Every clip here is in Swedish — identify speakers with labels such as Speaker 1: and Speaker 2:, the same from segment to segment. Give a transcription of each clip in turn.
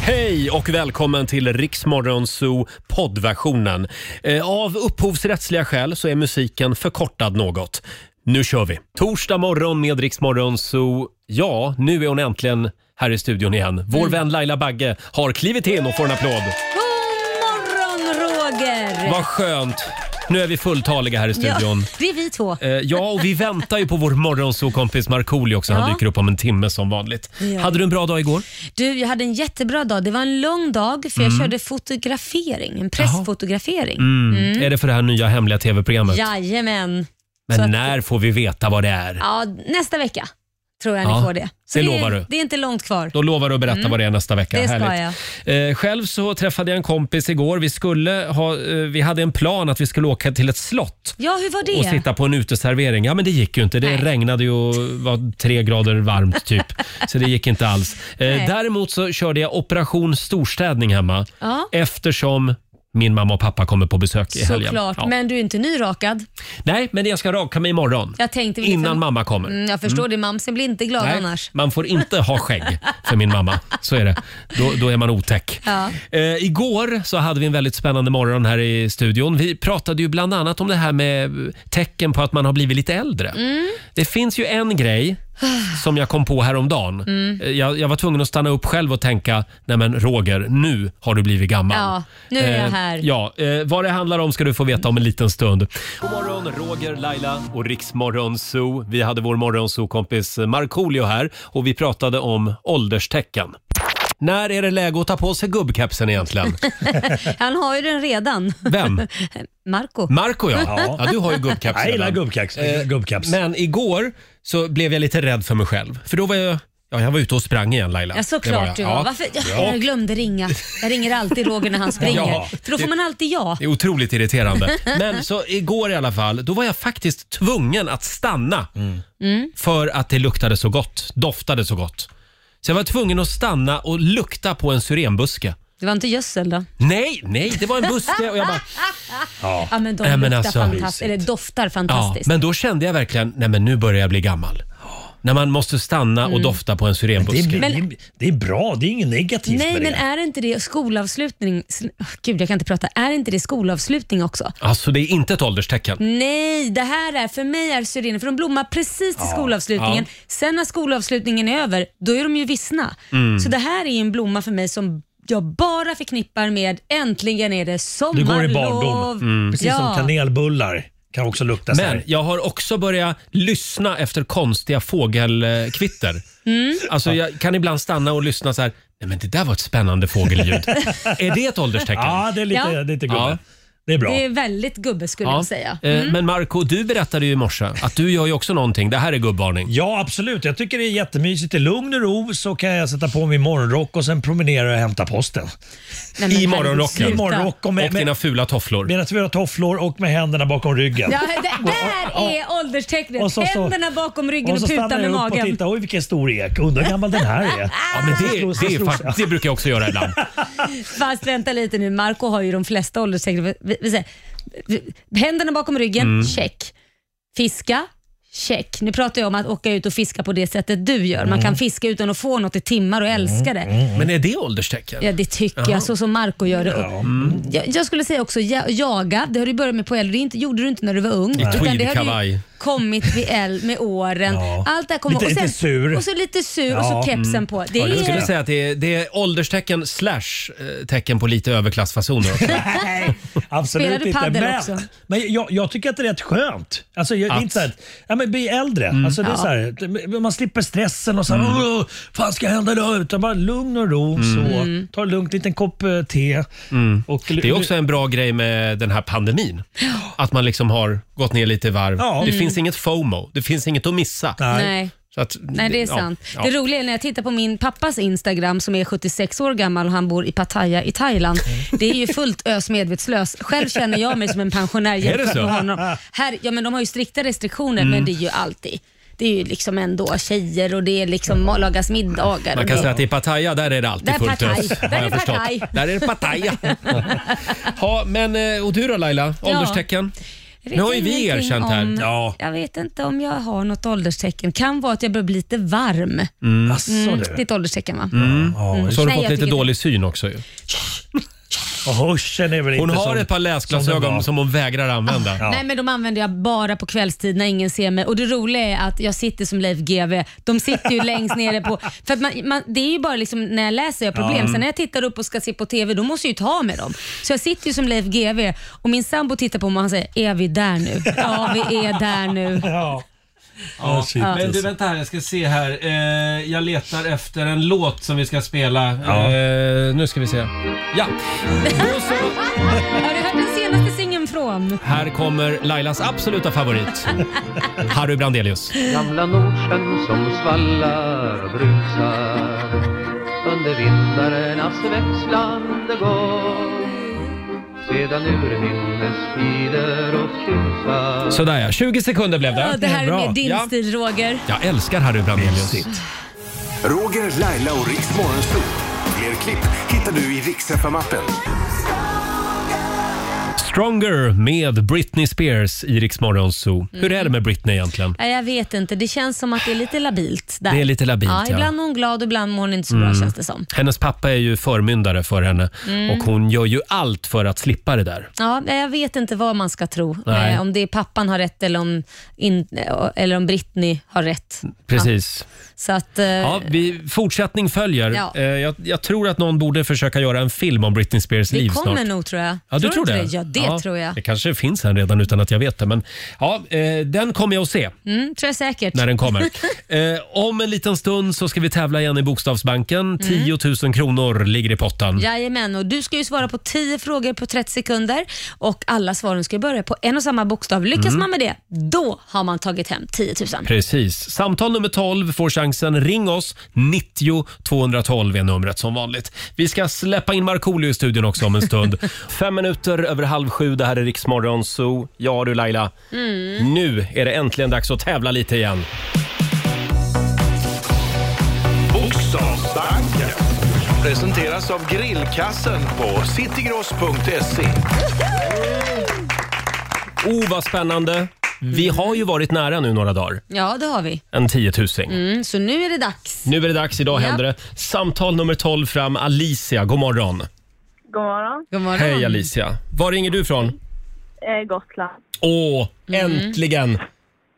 Speaker 1: Hej och välkommen till Riksmorgon Zoo poddversionen. Eh, Av upphovsrättsliga skäl så är musiken förkortad något. Nu kör vi! Torsdag morgon med Riksmorgon Zoo. Ja, nu är hon äntligen här i studion igen. Vår vän Laila Bagge har klivit in och får en applåd.
Speaker 2: God morgon Roger!
Speaker 1: Vad skönt! Nu är vi fulltaliga här i studion.
Speaker 2: Ja, det är vi två.
Speaker 1: Eh, Ja, och vi väntar ju på vår morgonsokompis Markoolio också. Han
Speaker 2: Ja.
Speaker 1: dyker upp om en timme som vanligt.
Speaker 2: Ja.
Speaker 1: Hade du en bra dag igår?
Speaker 2: Du, jag hade en jättebra dag. Det var en lång dag för jag körde fotografering, en pressfotografering.
Speaker 1: Mm. Är det för det här nya hemliga tv-programmet?
Speaker 2: Jajamän. Så
Speaker 1: Men
Speaker 2: att-
Speaker 1: när får vi veta vad det är?
Speaker 2: Ja, nästa vecka tror jag
Speaker 1: Ja,
Speaker 2: ni får det. Så
Speaker 1: det
Speaker 2: är-
Speaker 1: lovar du.
Speaker 2: Det är inte långt kvar.
Speaker 1: Då lovar du att berätta vad det är nästa vecka.
Speaker 2: Mm. Det ska
Speaker 1: Härligt. Eh, själv så träffade jag en kompis igår. Vi, skulle ha, eh, vi hade en plan att vi skulle åka till ett slott
Speaker 2: Ja, hur var
Speaker 1: och
Speaker 2: det?
Speaker 1: sitta på en uteservering. Ja, men det gick ju inte. Det
Speaker 2: Nej.
Speaker 1: regnade ju och var tre grader varmt typ. så det gick inte alls. Eh,
Speaker 2: Nej.
Speaker 1: däremot så körde jag operation storstädning hemma
Speaker 2: Ja.
Speaker 1: eftersom min mamma och pappa kommer på besök i helgen.
Speaker 2: Såklart,
Speaker 1: Ja.
Speaker 2: men du är inte nyrakad.
Speaker 1: Nej, men jag ska raka mig imorgon.
Speaker 2: Jag tänkte vi
Speaker 1: Innan
Speaker 2: liksom-
Speaker 1: mamma kommer.
Speaker 2: Mm, jag förstår det, mamsen blir inte glad
Speaker 1: Nej,
Speaker 2: annars.
Speaker 1: man får inte ha skägg för min mamma. Så är det. Då, då är man otäck.
Speaker 2: Ja.
Speaker 1: Eh, igår så hade vi en väldigt spännande morgon här i studion. Vi pratade ju bland annat om det här med tecken på att man har blivit lite äldre.
Speaker 2: Mm.
Speaker 1: Det finns ju en grej som jag kom på häromdagen.
Speaker 2: Mm.
Speaker 1: Eh, Jag, jag var tvungen att stanna upp själv och tänka, nej men Roger, nu har du blivit gammal.
Speaker 2: Ja, nu är jag
Speaker 1: Eh,
Speaker 2: här.
Speaker 1: Ja, eh, vad det handlar om ska du få veta om en liten stund. God morgon, Roger, Laila och Riksmorgon Zoo. Vi hade vår morgonzoo-kompis eh, Markoolio här och vi pratade om ålderstecken. När är det läge att ta på sig gubbkepsen egentligen?
Speaker 2: Han har ju den redan.
Speaker 1: Vem?
Speaker 2: Marco.
Speaker 1: Marco ja. ja.
Speaker 3: Ja.
Speaker 1: du har ju gubbkeps
Speaker 3: Jag gillar
Speaker 1: redan.
Speaker 3: gubbkeps.
Speaker 1: Eh,
Speaker 3: gubbkeps.
Speaker 1: Men igår så blev jag lite rädd för mig själv. För då var jag, ja, jag var ute och sprang igen Laila.
Speaker 2: Ja,
Speaker 1: Det var jag.
Speaker 2: såklart du var.
Speaker 1: Ja.
Speaker 2: Varför? Ja, Jag glömde ringa. Jag ringer alltid Roger när han springer.
Speaker 1: Ja.
Speaker 2: För då får man alltid ja.
Speaker 1: Det är otroligt irriterande. Men så igår i alla fall, då var jag faktiskt tvungen att stanna.
Speaker 3: Mm.
Speaker 2: Mm.
Speaker 1: För att det luktade så gott, doftade så gott. Så jag var tvungen att stanna och lukta på en syrenbuske.
Speaker 2: Det var inte gödsel då?
Speaker 1: Nej, nej, det var en buske och jag bara,
Speaker 2: Ja men de
Speaker 1: Nej, men
Speaker 2: luktar
Speaker 1: alltså-
Speaker 2: fantastiskt. Eller doftar
Speaker 1: ja.
Speaker 2: fantastiskt.
Speaker 1: Men då kände jag verkligen, nej men nu börjar jag bli gammal. När man måste stanna och dofta på en
Speaker 3: det,
Speaker 1: syrenbuske.
Speaker 3: är,
Speaker 2: Mm. Men-
Speaker 3: det är bra, det är inget negativt
Speaker 2: Nej
Speaker 3: med
Speaker 2: men
Speaker 3: det.
Speaker 2: är inte det skolavslutning? sn- åh, Gud jag kan inte prata. Är inte det skolavslutning också?
Speaker 1: Alltså det är inte ett ålderstecken.
Speaker 2: Nej, det här är för mig är syrener, för de blommar precis till skolavslutningen. Sen när skolavslutningen är över, då är de ju vissna.
Speaker 3: Mm.
Speaker 2: Så det här är ju en blomma för mig som jag bara förknippar med äntligen är det
Speaker 3: Du går
Speaker 2: sommarlov.
Speaker 3: i barndom. Mm. Precis som kanelbullar kan också lukta så
Speaker 1: Men
Speaker 3: här.
Speaker 1: jag har också börjat lyssna efter konstiga fågelkvitter. Alltså jag kan ibland stanna och lyssna så här. Nej men det där var ett spännande fågelljud. är det ett ålderstecken?
Speaker 3: Ja, det är lite,
Speaker 2: Ja.
Speaker 3: det är lite gubbe.
Speaker 1: Ja.
Speaker 3: Det är bra.
Speaker 2: Det är väldigt gubbe skulle
Speaker 1: Ja.
Speaker 2: jag säga. Mm.
Speaker 1: Eh, Men Marco, du berättade ju i morse att du gör ju också någonting. Det här är gubbvarning.
Speaker 3: Ja, absolut. Jag tycker det är jättemysigt. I lugn och ro så kan jag sätta på min morgonrock och sen promenera och hämta posten.
Speaker 2: Nej, men
Speaker 1: I
Speaker 2: herregud,
Speaker 1: morgonrocken.
Speaker 2: sluta.
Speaker 3: I morgonrock och med,
Speaker 1: Och dina
Speaker 3: med,
Speaker 1: fula tofflor.
Speaker 3: medan vi har tofflor och med händerna bakom ryggen.
Speaker 2: Ja, det, där är ålderstecknet.
Speaker 3: Och så- så-
Speaker 2: Händerna bakom ryggen
Speaker 3: Och
Speaker 2: och,
Speaker 3: så
Speaker 2: puta
Speaker 3: stannar
Speaker 2: med
Speaker 3: jag upp och
Speaker 2: magen.
Speaker 3: tittar. Oj, vilken stor ek. Undrar hur gammal den här är.
Speaker 1: Ja, men det, det, är, fakt- det brukar jag också göra ibland.
Speaker 2: Fast vänta lite nu, Marco har ju de flesta ålderstecknen. Vi, vi säger, vi- händerna bakom ryggen,
Speaker 3: Mm.
Speaker 2: check. Fiska, check. Nu pratar jag om att åka ut och fiska på det sättet du gör. Man
Speaker 3: Mm.
Speaker 2: kan fiska utan att få något i timmar och älska det.
Speaker 1: Men är det ålderstecken? Mm.
Speaker 2: Ja, det tycker jag. Så som Marco gör det. Mm.
Speaker 3: Ja.
Speaker 2: Jag, jag skulle säga också ja, jaga. Det har du börjat med på äldre. Det inte, gjorde du inte när du var ung. Utan det har du ju
Speaker 1: tweedkavaj.
Speaker 2: kommit vid äldre med åren.
Speaker 3: Ja.
Speaker 2: Allt det här kommer.
Speaker 3: Lite-
Speaker 2: och sen,
Speaker 3: lite sur.
Speaker 2: Och så lite sur och
Speaker 3: Ja.
Speaker 2: så kepsen på. Det
Speaker 1: Jag skulle
Speaker 2: är,
Speaker 1: säga att det är, det är ålderstecken slash eh, tecken på lite överklassfasoner också.
Speaker 3: Nej,
Speaker 2: Spelar
Speaker 3: absolut
Speaker 2: du
Speaker 3: inte.
Speaker 2: padel
Speaker 3: Men,
Speaker 2: också?
Speaker 3: men jag, jag tycker att det är rätt skönt. Alltså, jag, det är
Speaker 1: Att?
Speaker 3: Inte så här, ja, men bli äldre.
Speaker 4: Mm.
Speaker 3: Alltså, det är så här, man slipper stressen och så här, "Åh, fan ska hända då? Utan bara lugn och ro.
Speaker 4: Mm.
Speaker 2: Mm.
Speaker 3: Så, ta det lugnt, liten kopp eh, te. Och,
Speaker 1: Mm. Det är också en bra grej med den här pandemin. Att man liksom har gått ner lite i varv.
Speaker 3: Ja.
Speaker 1: Det
Speaker 3: Mm.
Speaker 1: finns inget FOMO, det finns inget att missa.
Speaker 3: Nej.
Speaker 2: nej.
Speaker 1: Så att,
Speaker 2: Nej, det är
Speaker 1: ja,
Speaker 2: sant.
Speaker 1: ja.
Speaker 2: Det roliga är när jag tittar på min pappas Instagram som är 76 år gammal och han bor i Pattaya i Thailand.
Speaker 1: Mm.
Speaker 2: Det är ju fullt ös medvetslös. Själv känner jag mig som en pensionär jämfört
Speaker 1: så? Mm.
Speaker 2: med honom. Här, ja, men de har ju strikta restriktioner, men det är ju alltid. Det är ju liksom ändå tjejer och det är liksom lagas middagar.
Speaker 1: Man
Speaker 2: och
Speaker 1: kan
Speaker 2: det-
Speaker 1: säga att i Pattaya, där är det alltid
Speaker 2: Där är
Speaker 1: fullt
Speaker 2: Pattaya.
Speaker 1: ös.
Speaker 2: Där
Speaker 1: har jag
Speaker 2: är
Speaker 1: förstått.
Speaker 2: Pattaya.
Speaker 1: Där är det Pattaya. ja, men, eh, och du då Laila? Ålderstecken?
Speaker 2: Jag vet
Speaker 1: Nu har ju vi
Speaker 2: ingenting
Speaker 1: erkänt här.
Speaker 2: Om,
Speaker 3: Ja.
Speaker 2: Jag vet inte om jag har något ålderstecken. Kan vara att jag börjar bli lite varm.
Speaker 3: Asså
Speaker 2: Mm, det är
Speaker 3: du.
Speaker 2: ett ålderstecken va?
Speaker 3: Mm. Ja, just-
Speaker 1: Mm. Så har du
Speaker 2: Nej,
Speaker 1: fått
Speaker 2: jag
Speaker 1: lite
Speaker 2: tycker
Speaker 1: dålig syn också ju.
Speaker 3: Och hörseln är väl
Speaker 1: Hon
Speaker 3: inte
Speaker 1: har
Speaker 3: som,
Speaker 1: ett par
Speaker 3: som den var.
Speaker 1: läsglasögon som hon vägrar använda.
Speaker 3: Ja.
Speaker 2: Nej men de använder jag bara på kvällstid när ingen ser mig. Och det roliga är att jag sitter som Leif GW. De sitter ju längst nere på... För att man, man, det är ju bara liksom när jag läser jag har problem. Sen när jag tittar upp och ska se på TV då måste jag ju ta med dem. Så jag sitter ju som Leif GW och min sambo tittar på mig och han säger “Är vi där nu?” Ja vi är där nu.
Speaker 3: Ja. Ja, shit,
Speaker 4: Men du
Speaker 3: alltså.
Speaker 4: vänta här, jag ska se här. Eh, jag letar efter en låt som vi ska spela.
Speaker 3: Ja.
Speaker 1: Eh, nu ska vi se. Ja, då så.
Speaker 2: Har du hört den senaste singeln från?
Speaker 1: Här kommer Lailas absoluta favorit. Harry Brandelius.
Speaker 5: Gamla Nordsjön som svallar och brusar under vintrarnas växlande gång. Sedan urminnes tider och tjusar
Speaker 1: Sådär ja, 20 sekunder blev
Speaker 2: Ja,
Speaker 1: det.
Speaker 2: det här är
Speaker 3: bra.
Speaker 2: mer din
Speaker 1: Ja.
Speaker 2: stil Roger.
Speaker 1: Jag älskar Harry Brandelius.
Speaker 6: Roger, Laila och Riks Morgonzoo. Fler klipp hittar du i Riks FM-appen.
Speaker 1: Stronger med Britney Spears i Rix Morgon Zoo. Hur är det med Britney egentligen?
Speaker 2: Nej, jag vet Mm. inte. Det känns som att det är lite labilt. Där.
Speaker 1: Det är lite labilt, ja.
Speaker 2: Ibland är hon glad och ibland mår hon inte så bra känns det som.
Speaker 1: Mm.
Speaker 2: Mm.
Speaker 1: Hennes pappa är ju förmyndare för henne och hon gör ju allt för att slippa det där.
Speaker 2: Ja, nej, jag vet inte vad man ska tro.
Speaker 1: Nej.
Speaker 2: Eh, om det är pappan har rätt eller om, in, eh, eller om Britney har rätt.
Speaker 1: Precis.
Speaker 2: Så att, eh,
Speaker 1: Ja, vi, fortsättning följer.
Speaker 2: Ja.
Speaker 1: Eh, Jag, jag tror att någon borde försöka göra en film om Britney Spears
Speaker 2: det
Speaker 1: liv
Speaker 2: kommer
Speaker 1: snart.
Speaker 2: nog tror jag.
Speaker 1: Ja, du
Speaker 2: du
Speaker 1: tror,
Speaker 2: inte
Speaker 1: det?
Speaker 2: Ja, det
Speaker 1: Ja,
Speaker 2: tror jag.
Speaker 1: Det kanske finns en redan utan att jag vet det. Men, ja, eh, den kommer jag att se
Speaker 2: Mm, tror jag säkert.
Speaker 1: när den kommer. eh, om en liten stund så ska vi tävla igen i
Speaker 2: Mm.
Speaker 1: Bokstavsbanken. 10 000 kronor ligger i potten.
Speaker 2: Jajamän, och du ska ju svara på 10 frågor på 30 sekunder och alla svaren ska ju börja på en och samma bokstav. Lyckas
Speaker 1: Mm.
Speaker 2: man med det, då har man tagit hem 10 000.
Speaker 1: Precis. Samtal nummer 12 får chansen. Ring oss. 90 212 är numret som vanligt. Vi ska släppa in Markoolio i studion också om en stund. Fem minuter över halv sju. Det här är Riksmorgon Zoo. Ja du Laila,
Speaker 2: Mm.
Speaker 1: nu är det äntligen dags att tävla lite igen.
Speaker 7: Bokstavsbanken presenteras av grillkassen på citygross.se.
Speaker 1: Oh, vad spännande. Vi
Speaker 2: Mm.
Speaker 1: har ju varit nära nu några dagar.
Speaker 2: Ja, det har vi.
Speaker 1: En tiotusing.
Speaker 2: Mm, så nu är det dags.
Speaker 1: Nu är det dags. Idag
Speaker 2: Ja.
Speaker 1: händer det. Samtal nummer 12 fram. Alicia, god morgon.
Speaker 8: God morgon.
Speaker 2: God morgon.
Speaker 1: Hej Alicia. Var ringer du ifrån?
Speaker 8: Eh, Gotland.
Speaker 1: Åh,
Speaker 2: Mm.
Speaker 1: äntligen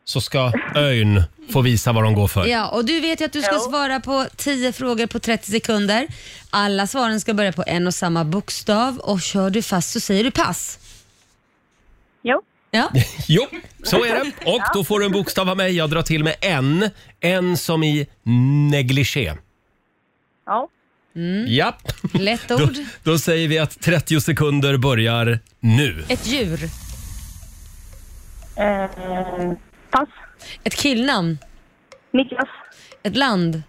Speaker 1: så ska ön få visa vad de går för.
Speaker 2: Ja, och du vet ju att du ska
Speaker 8: Ja.
Speaker 2: svara på 10 frågor på 30 sekunder. Alla svaren ska börja på en och samma bokstav och kör du fast så säger du pass.
Speaker 8: Jo.
Speaker 2: Ja,
Speaker 1: Jo, så är det. Och då får du en bokstav av mig. Jag drar till med en. En som i negligé.
Speaker 8: Ja.
Speaker 1: Japp.
Speaker 2: Mm. lätt
Speaker 1: Då,
Speaker 2: ord.
Speaker 1: då säger vi att 30 sekunder börjar nu.
Speaker 2: Ett djur.
Speaker 8: Eh, pass.
Speaker 2: Ett killnamn.
Speaker 8: Niklas.
Speaker 2: Ett land.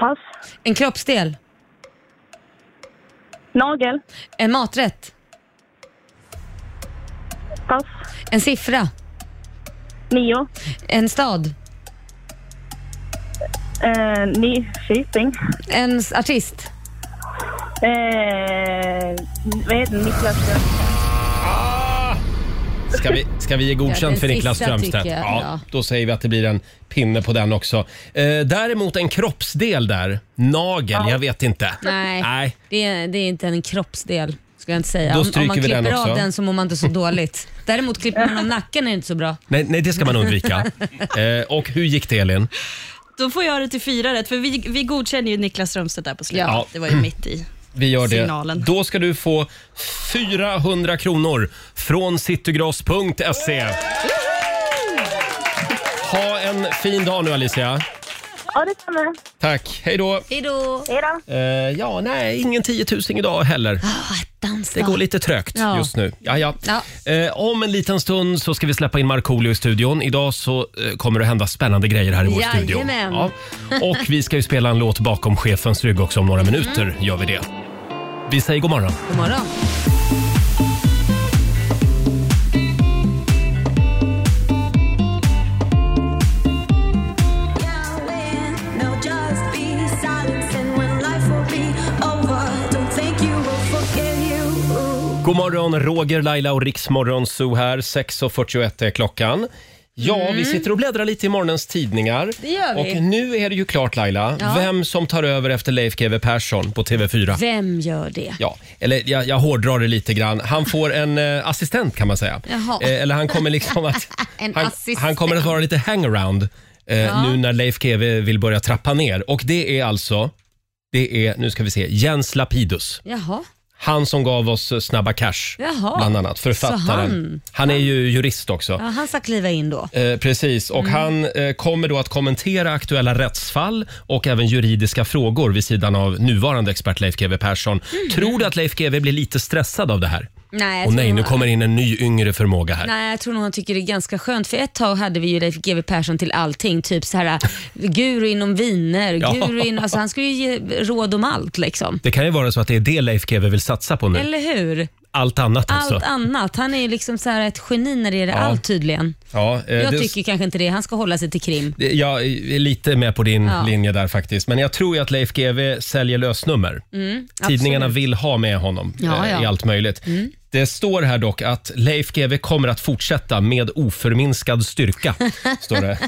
Speaker 8: Pass.
Speaker 2: En kroppsdel.
Speaker 8: Nagel.
Speaker 2: En maträtt.
Speaker 8: Pass.
Speaker 2: En siffra.
Speaker 8: Nio.
Speaker 2: En stad.
Speaker 8: Eh, Nyköping.
Speaker 2: En s- artist.
Speaker 8: Eh, vad heter den? Niklas?
Speaker 1: Ska vi, ska vi ge
Speaker 2: Ja,
Speaker 1: godkänt
Speaker 2: den
Speaker 1: för Niklas
Speaker 2: sista
Speaker 1: Strömstedt?
Speaker 2: tycker jag,
Speaker 1: Ja,
Speaker 2: ja.
Speaker 1: då säger vi att det blir en pinne på den också. Eh, däremot en kroppsdel där. Nagel, jag vet inte.
Speaker 2: Nej,
Speaker 1: Nej.
Speaker 2: Det, är, det är inte en kroppsdel skulle jag inte säga.
Speaker 1: Då
Speaker 2: Om, om
Speaker 1: stryker
Speaker 2: man
Speaker 1: vi den
Speaker 2: klipper av
Speaker 1: också.
Speaker 2: den så mår man inte så dåligt. Däremot klipper man av nacken är det inte så bra.
Speaker 1: Nej, nej, det ska man undvika. Eh, och hur gick det Elin?
Speaker 9: Då får jag det till fyra rätt, för vi, vi godkänner ju Niklas Strömstedt där på slutet.
Speaker 1: Ja.
Speaker 9: Det var ju mitt i.
Speaker 1: Vi gör det.
Speaker 9: Signalen.
Speaker 1: Då ska du få 400 kronor från citygross.se. Ha en fin dag nu Alicia.
Speaker 8: Ja, det stämmer.
Speaker 1: Tack, hej då.
Speaker 2: Hej då!
Speaker 8: Hej då.
Speaker 1: Eh, ja, nej, ingen 10 000 idag heller. Det går lite trögt
Speaker 2: Ja.
Speaker 1: just nu. Ja, ja.
Speaker 2: Ja.
Speaker 1: Eh, om en liten stund så ska vi släppa in Markoolio i studion. Idag så eh, kommer det hända spännande grejer här i vår studio.
Speaker 2: Jajamän.
Speaker 1: Och vi ska ju spela en låt bakom chefens rygg också om några minuter. Gör vi det. Vi säger god morgon.
Speaker 2: God morgon.
Speaker 1: God morgon, Roger, Laila och Riksmorgon Zoo här. 6.41 är klockan. Ja, vi sitter och bläddrar lite i morgonens tidningar.
Speaker 2: Mm. Det gör vi.
Speaker 1: Och nu är det ju klart Laila,
Speaker 2: Ja.
Speaker 1: vem som tar över efter Leif GW Persson på TV4.
Speaker 2: Vem gör det?
Speaker 1: Ja, eller jag, jag hårdrar det lite grann. Han får en eh, assistent kan man säga.
Speaker 2: Jaha.
Speaker 1: Eh, eller han kommer liksom att...
Speaker 2: En
Speaker 1: han,
Speaker 2: assistent.
Speaker 1: han kommer att vara lite hangaround eh, nu när Leif GW vill börja trappa ner. Och det är alltså, det är, nu ska vi se, Jens Lapidus.
Speaker 2: Jaha.
Speaker 1: Han som gav oss eh, Snabba Cash,
Speaker 2: Jaha.
Speaker 1: bland annat. Författaren.
Speaker 2: Så
Speaker 1: han.
Speaker 2: han-
Speaker 1: är ju jurist också.
Speaker 2: Ja, Mm. han ska kliva in då.
Speaker 1: Eh, precis, och han eh, kommer då att kommentera aktuella rättsfall och även juridiska frågor vid sidan av nuvarande expert Leif GW Persson. Tror du att Leif GW blir lite stressad av det här?
Speaker 2: Mm. Nej, jag
Speaker 1: Och
Speaker 2: tror
Speaker 1: nej, nu
Speaker 2: nog-
Speaker 1: kommer in en ny yngre förmåga här.
Speaker 2: Nej, jag tror nog han tycker det är ganska skönt. För ett tag hade vi ju Leif GW Persson till allting. Typ så här, guru inom viner,
Speaker 1: Ja.
Speaker 2: guru inom... Alltså han skulle ju ge råd om allt liksom.
Speaker 1: Det kan ju vara så att det är det Leif GW vill satsa på nu.
Speaker 2: Eller hur?
Speaker 1: Allt annat
Speaker 2: Allt
Speaker 1: alltså.
Speaker 2: annat. Han är ju liksom så här ett geni när det gäller allt tydligen.
Speaker 1: ja, eh,
Speaker 2: Jag
Speaker 1: det-
Speaker 2: tycker kanske inte det. Han ska hålla sig till krim.
Speaker 1: det- Jag är lite med på din
Speaker 2: Ja.
Speaker 1: linje där faktiskt. Men jag tror ju att Leif GW säljer lösnummer. Tidningarna vill ha med honom
Speaker 2: Ja,
Speaker 1: eh,
Speaker 2: ja. Mm.
Speaker 1: i allt möjligt. Det står här dock att Leif GW kommer att fortsätta med oförminskad styrka. står det.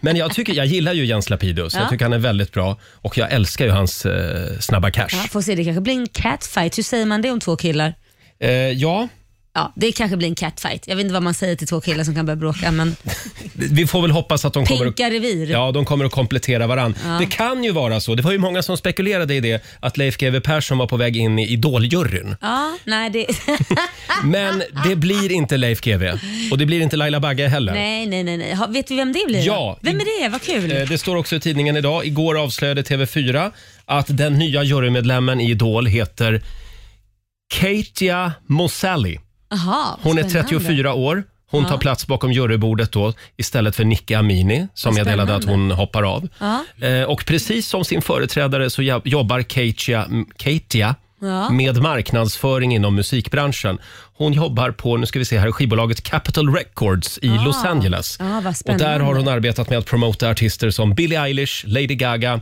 Speaker 1: Men jag, tycker, jag gillar ju Jens Lapidus. Jag
Speaker 2: Ja.
Speaker 1: tycker han är väldigt bra och jag älskar ju hans eh, snabba cash.
Speaker 2: Ja, får se, det kanske blir en catfight. Hur säger man det om två killar?
Speaker 1: Eh, ja,
Speaker 2: Ja, det kanske blir en catfight. Jag vet inte vad man säger till två killar som kan börja bråka, men
Speaker 1: vi får väl hoppas att de kommer att
Speaker 2: pinka revir.
Speaker 1: Ja, de kommer att komplettera varann. Det kan ju vara så, det var ju många som spekulerade i det, att Leif GW Persson var på väg in i Idoljuryn.
Speaker 2: Ja, nej, det,
Speaker 1: Men det blir inte Leif GW och det blir inte Laila Bagge heller.
Speaker 2: nej, nej, nej, nej. Ha, vet vi vem det blir? då?
Speaker 1: Ja.
Speaker 2: Vem är det? Vad kul.
Speaker 1: Eh, Det står också i tidningen idag, igår avslöjade TV4 att den nya jurymedlemmen i Idol heter Katia Mosali.
Speaker 2: Aha,
Speaker 1: Hon är
Speaker 2: spännande.
Speaker 1: 34 år. Hon tar plats bakom jurybordet då istället för Nicki Amini som meddelade att hon hoppar av. Eh, och precis som sin företrädare så jab- jobbar Katia, m- Katia
Speaker 2: Ja.
Speaker 1: med marknadsföring inom musikbranschen. Hon jobbar på, nu ska vi se här, skivbolaget Capitol Records
Speaker 2: Ah,
Speaker 1: i Los Angeles.
Speaker 2: Ja, vad
Speaker 1: och
Speaker 2: spännande.
Speaker 1: där har hon arbetat med att promota artister som Billie Eilish, Lady Gaga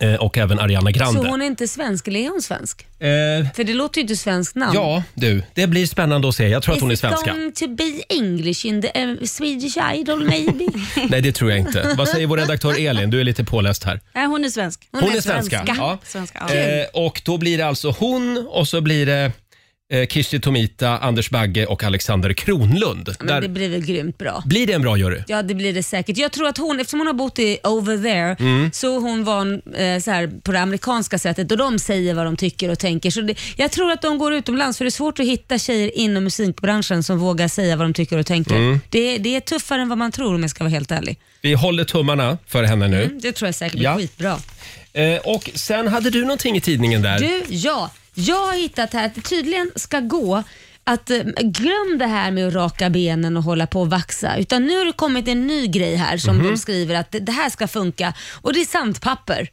Speaker 1: eh, och även Ariana Grande.
Speaker 2: Så hon är inte svensk, eller är hon svensk?
Speaker 1: eh,
Speaker 2: För det låter ju inte svenskt namn.
Speaker 1: ja, du. Det blir spännande att se. Jag tror att hon är
Speaker 2: Is it
Speaker 1: svenska.
Speaker 2: going to be English in the eh, Swedish Idol maybe?
Speaker 1: Nej, det tror jag inte. Vad säger vår redaktör Elin? Du är lite påläst här.
Speaker 9: Nej, hon är svensk.
Speaker 1: Hon, är svenska. Ja.
Speaker 9: Svenska, ja.
Speaker 1: Eh, och då blir det alltså hon och så blir det eh, Kirsti Tomita, Anders Bagge och Alexander Kronlund.
Speaker 2: Men
Speaker 1: Där
Speaker 2: det blir väl grymt bra.
Speaker 1: Blir det en bra jury?
Speaker 2: Ja, det blir det säkert. Jag tror att hon, eftersom hon har bott i over there,
Speaker 1: Mm.
Speaker 2: så är hon van eh, så här, på det amerikanska sättet och de säger vad de tycker och tänker. Så det, jag tror att de går utomlands för det är svårt att hitta tjejer inom musikbranschen som vågar säga vad de tycker och tänker.
Speaker 1: Mm.
Speaker 2: Det, det är tuffare än vad man tror om jag ska vara helt ärlig.
Speaker 1: Vi håller tummarna för henne nu.
Speaker 2: Mm, Det tror jag säkert blir
Speaker 1: Mm. Ja.
Speaker 2: skitbra.
Speaker 1: Eh, och sen hade du någonting i tidningen där.
Speaker 2: Du, ja. Jag har hittat här att det tydligen ska gå att eh, glöm det här med att raka benen och hålla på och vaxa. Utan nu har det kommit en ny grej här som de skriver att det- det här ska funka och det är sandpapper.
Speaker 1: Nej,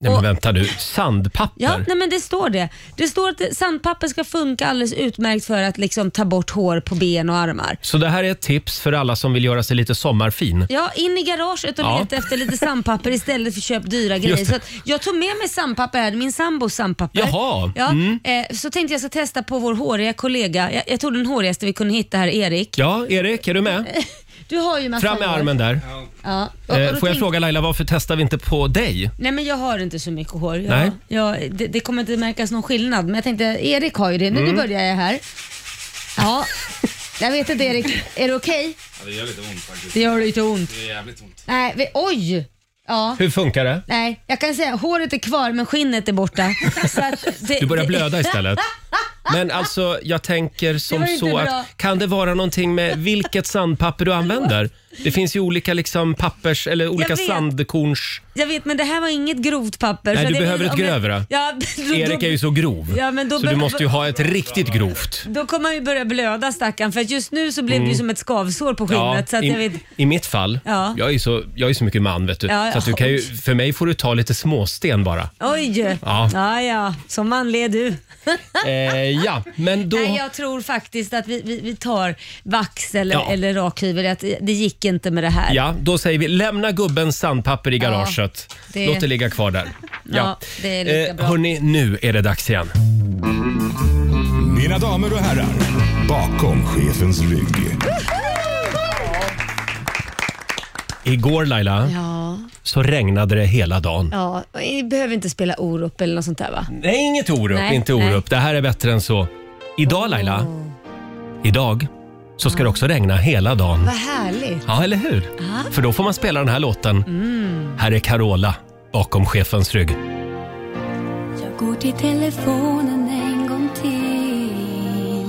Speaker 1: men
Speaker 2: och-
Speaker 1: vänta du. Sandpapper?
Speaker 2: Ja, nej men det står det. Det står att sandpapper ska funka alldeles utmärkt för att liksom ta bort hår på ben och armar.
Speaker 1: Så det här är ett tips för alla som vill göra sig lite sommarfin.
Speaker 2: Ja, in i garaget och
Speaker 1: Ja.
Speaker 2: leta efter lite sandpapper istället för att köpa dyra grejer.
Speaker 1: Just det.
Speaker 2: Så att jag tog med mig sandpapper här, min sambos sandpapper.
Speaker 1: Jaha, Mm.
Speaker 2: Ja, eh, så tänkte jag ska testa på vår håriga kollega. Jag, jag tog den hårigaste vi kunde hitta här, Erik.
Speaker 1: Ja, Erik, är du med?
Speaker 2: Du har ju massa
Speaker 1: Fram med
Speaker 2: hår.
Speaker 1: armen där.
Speaker 2: Ja. Och,
Speaker 1: Eh, får
Speaker 2: och då
Speaker 1: jag
Speaker 2: tänkte-
Speaker 1: fråga Laila, varför testar vi inte på dig?
Speaker 2: Nej men jag har inte så mycket hår. Jag,
Speaker 1: Nej.
Speaker 2: Jag, det, det kommer inte märkas någon skillnad. Men jag tänkte, Erik har ju det. Nu,
Speaker 1: Mm.
Speaker 2: nu börjar jag här. Ja, jag vet inte Erik, är det okej?
Speaker 4: det gör lite ont faktiskt.
Speaker 2: Det gör lite ont.
Speaker 4: Det är jävligt ont.
Speaker 2: Nej, vi, oj! Ja.
Speaker 1: Hur funkar det?
Speaker 2: Nej, jag kan säga håret är kvar men skinnet är borta. Så att det,
Speaker 1: Du börjar
Speaker 2: det-
Speaker 1: blöda istället. Men alltså, jag tänker
Speaker 2: Det
Speaker 1: som
Speaker 2: var inte
Speaker 1: så
Speaker 2: bra.
Speaker 1: att kan det vara någonting med vilket sandpapper du använder? Det finns ju olika liksom pappers eller olika
Speaker 2: vet.
Speaker 1: sandkorns...
Speaker 2: Jag vet men det här var inget grovt papper.
Speaker 1: Nej,
Speaker 2: så
Speaker 1: du
Speaker 2: det-
Speaker 1: behöver ett
Speaker 2: om jag-
Speaker 1: grövre.
Speaker 2: Ja, då,
Speaker 1: Erik är ju så grov,
Speaker 2: Ja, men då
Speaker 1: så du
Speaker 2: be-
Speaker 1: måste ju ha ett riktigt grovt.
Speaker 2: Då kommer han ju börja blöda stackarn för att just nu så blev det
Speaker 1: Mm.
Speaker 2: ju som ett skavsår på skinnet. så att jag vet,
Speaker 1: i, I mitt fall,
Speaker 2: Ja.
Speaker 1: jag, är så, jag är så mycket man vet du,
Speaker 2: Ja,
Speaker 1: så att du
Speaker 2: ja.
Speaker 1: kan ju, för mig får du ta lite småsten bara.
Speaker 2: oj!
Speaker 1: Ja.
Speaker 2: Ja. ja, som manlig är du.
Speaker 1: Eh, ja, men då...
Speaker 2: Nej, jag tror faktiskt att vi, vi, vi tar vax eller,
Speaker 1: Ja.
Speaker 2: eller rakhyvel. Att det gick inte med det här.
Speaker 1: Ja, då säger vi lämna gubbens sandpapper i garaget.
Speaker 2: det-
Speaker 1: Låt det ligga kvar där. Eh,
Speaker 2: Ja, det är lika bra.
Speaker 1: Hörni, nu är det dags igen.
Speaker 10: Mina damer och herrar, bakom chefens rygg.
Speaker 1: Igår Laila,
Speaker 2: Ja.
Speaker 1: så regnade det hela dagen.
Speaker 2: ja. och Ni behöver inte spela Orup eller något sånt där va?
Speaker 1: Nej, inget Orup,
Speaker 2: Nej,
Speaker 1: inte
Speaker 2: nej. Oh.
Speaker 1: Orup. Det här är bättre än så. Idag Laila, idag så ska det också regna hela dagen.
Speaker 2: Vad härligt.
Speaker 1: Ja, eller hur?
Speaker 2: Ah.
Speaker 1: För då får man spela den här låten.
Speaker 2: Mm.
Speaker 1: Här är Carola, bakom chefens rygg.
Speaker 11: Jag går till telefonen en gång till.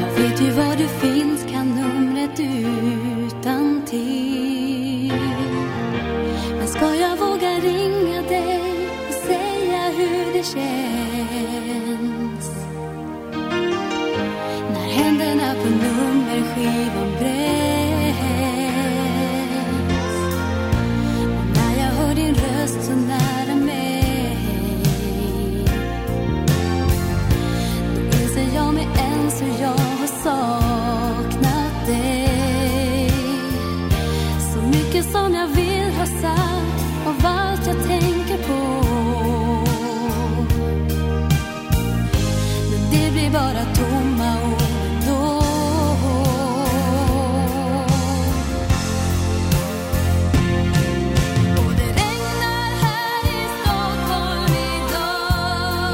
Speaker 11: Jag vet ju var du finns, kan numret utan till. Men ska jag våga ringa dig och säga hur det känns? När händerna på nummerskivan bränns. När jag hör din röst så nära mig Då inser jag mig ens hur jag har saknat dig Så mycket som jag vill ha sagt av allt jag tänker på Men det blir bara tomma ord då Och det regnar här i Stockholm idag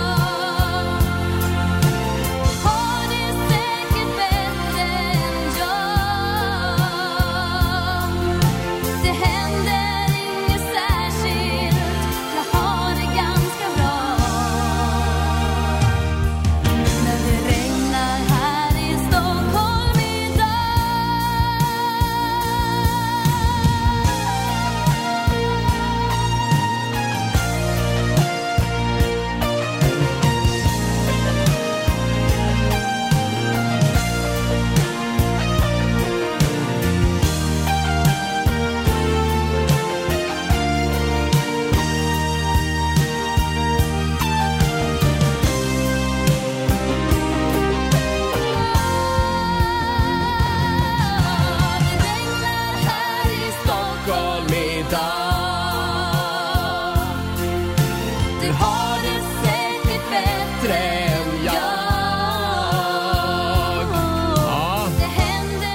Speaker 11: Har det säkert bättre än jag Det händer inget särskilt Jag har det ganska bra Men det regnar här i Stockholm idag här i Stockholm idag. Du har det säkert bättre än jag.
Speaker 1: Ja.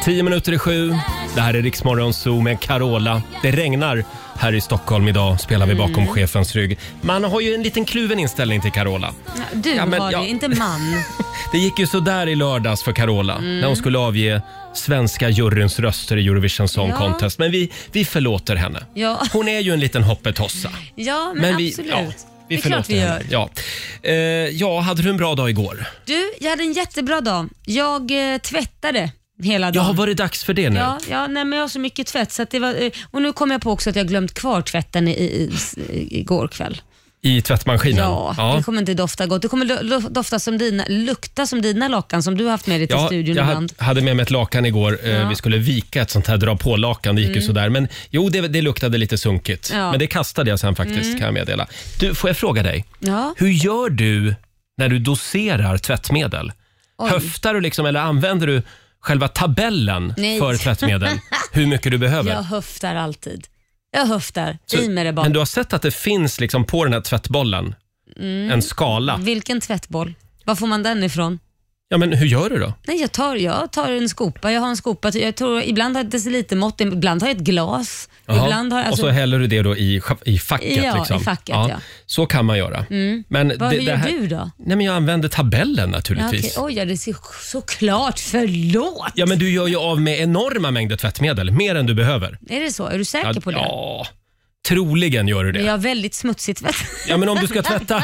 Speaker 1: Tio minuter i sju. Det här är Riksmorgon Zoo med Carola. Det regnar här i Stockholm idag, spelar vi bakom
Speaker 2: Mm.
Speaker 1: chefens rygg. Man har ju en liten kluven inställning till Carola.
Speaker 2: Ja, Du
Speaker 1: Ja, men
Speaker 2: har
Speaker 1: jag-
Speaker 2: det, inte man.
Speaker 1: Det gick ju sådär i lördags för Carola
Speaker 2: Mm.
Speaker 1: när hon skulle avge svenska juryns röster i Eurovision Song
Speaker 2: Ja.
Speaker 1: Contest. Men vi, vi förlåter henne.
Speaker 2: Ja,
Speaker 1: Hon är ju en liten hoppetossa.
Speaker 2: ja men, absolut.
Speaker 1: ja,
Speaker 2: det är klart
Speaker 1: förlåter
Speaker 2: vi
Speaker 1: henne.
Speaker 2: gör.
Speaker 1: Ja. Eh, ja, hade du en bra dag igår?
Speaker 2: Du, jag hade en jättebra dag. Jag eh, tvättade hela dagen.
Speaker 1: Ja, var det dags för det nu?
Speaker 2: Ja, ja nej, men jag har så mycket tvätt. Så att det var, eh, och nu kom jag på också att jag glömt kvar tvätten i, i, i, igår kväll.
Speaker 1: I tvättmaskinen?
Speaker 2: Ja, det kommer inte dofta gott. Det kommer lo- lo- dofta som dina, lukta som dina lakan som du har haft med dig till
Speaker 1: Ja,
Speaker 2: studion
Speaker 1: jag
Speaker 2: ibland.
Speaker 1: hade- hade med mig ett lakan igår. Eh,
Speaker 2: Ja.
Speaker 1: Vi skulle vika ett sånt här dra på-lakan. Det gick ju
Speaker 2: Mm.
Speaker 1: sådär. Men jo, det, det luktade lite sunkigt.
Speaker 2: Ja.
Speaker 1: Men det kastade jag sen faktiskt,
Speaker 2: Mm.
Speaker 1: kan jag meddela. Du, får jag fråga dig?
Speaker 2: Ja.
Speaker 1: Hur gör du när du doserar tvättmedel?
Speaker 2: Oj.
Speaker 1: Höftar du liksom eller använder du själva tabellen
Speaker 2: Nej.
Speaker 1: för tvättmedel? Hur mycket du behöver?
Speaker 2: Jag höftar alltid. Jag höftar. I med det bara.
Speaker 1: men du har sett att det finns liksom på den här tvättbollen
Speaker 2: Mm.
Speaker 1: en skala.
Speaker 2: Vilken tvättboll? Var får man den ifrån?
Speaker 1: Ja, men hur gör du då?
Speaker 2: Nej, jag tar, jag tar en skopa. Jag har en skopa. Jag tror, ibland har jag ett decilitermått, ibland har jag ett glas.
Speaker 1: Jaha.
Speaker 2: Ibland har alltså- jag,
Speaker 1: Och så häller du det då i, i facket.
Speaker 2: Ja, i
Speaker 1: liksom.
Speaker 2: facket, ja.
Speaker 1: Så kan man göra.
Speaker 2: mm.
Speaker 1: Men
Speaker 2: Vad
Speaker 1: det,
Speaker 2: gör
Speaker 1: det här-
Speaker 2: du då?
Speaker 1: Nej, men jag använder tabellen
Speaker 2: Ja,
Speaker 1: naturligtvis. Ja,
Speaker 2: okej. Oj, ja, det ser såklart. Förlåt!
Speaker 1: men du gör ju av med enorma mängder tvättmedel, mer än du behöver.
Speaker 2: Är det så? Är du säker
Speaker 1: ja,
Speaker 2: på det?
Speaker 1: Ja, troligen gör du
Speaker 2: Men
Speaker 1: det.
Speaker 2: jag har väldigt smutsigt tvätt.
Speaker 1: Ja, men om du ska tvätta...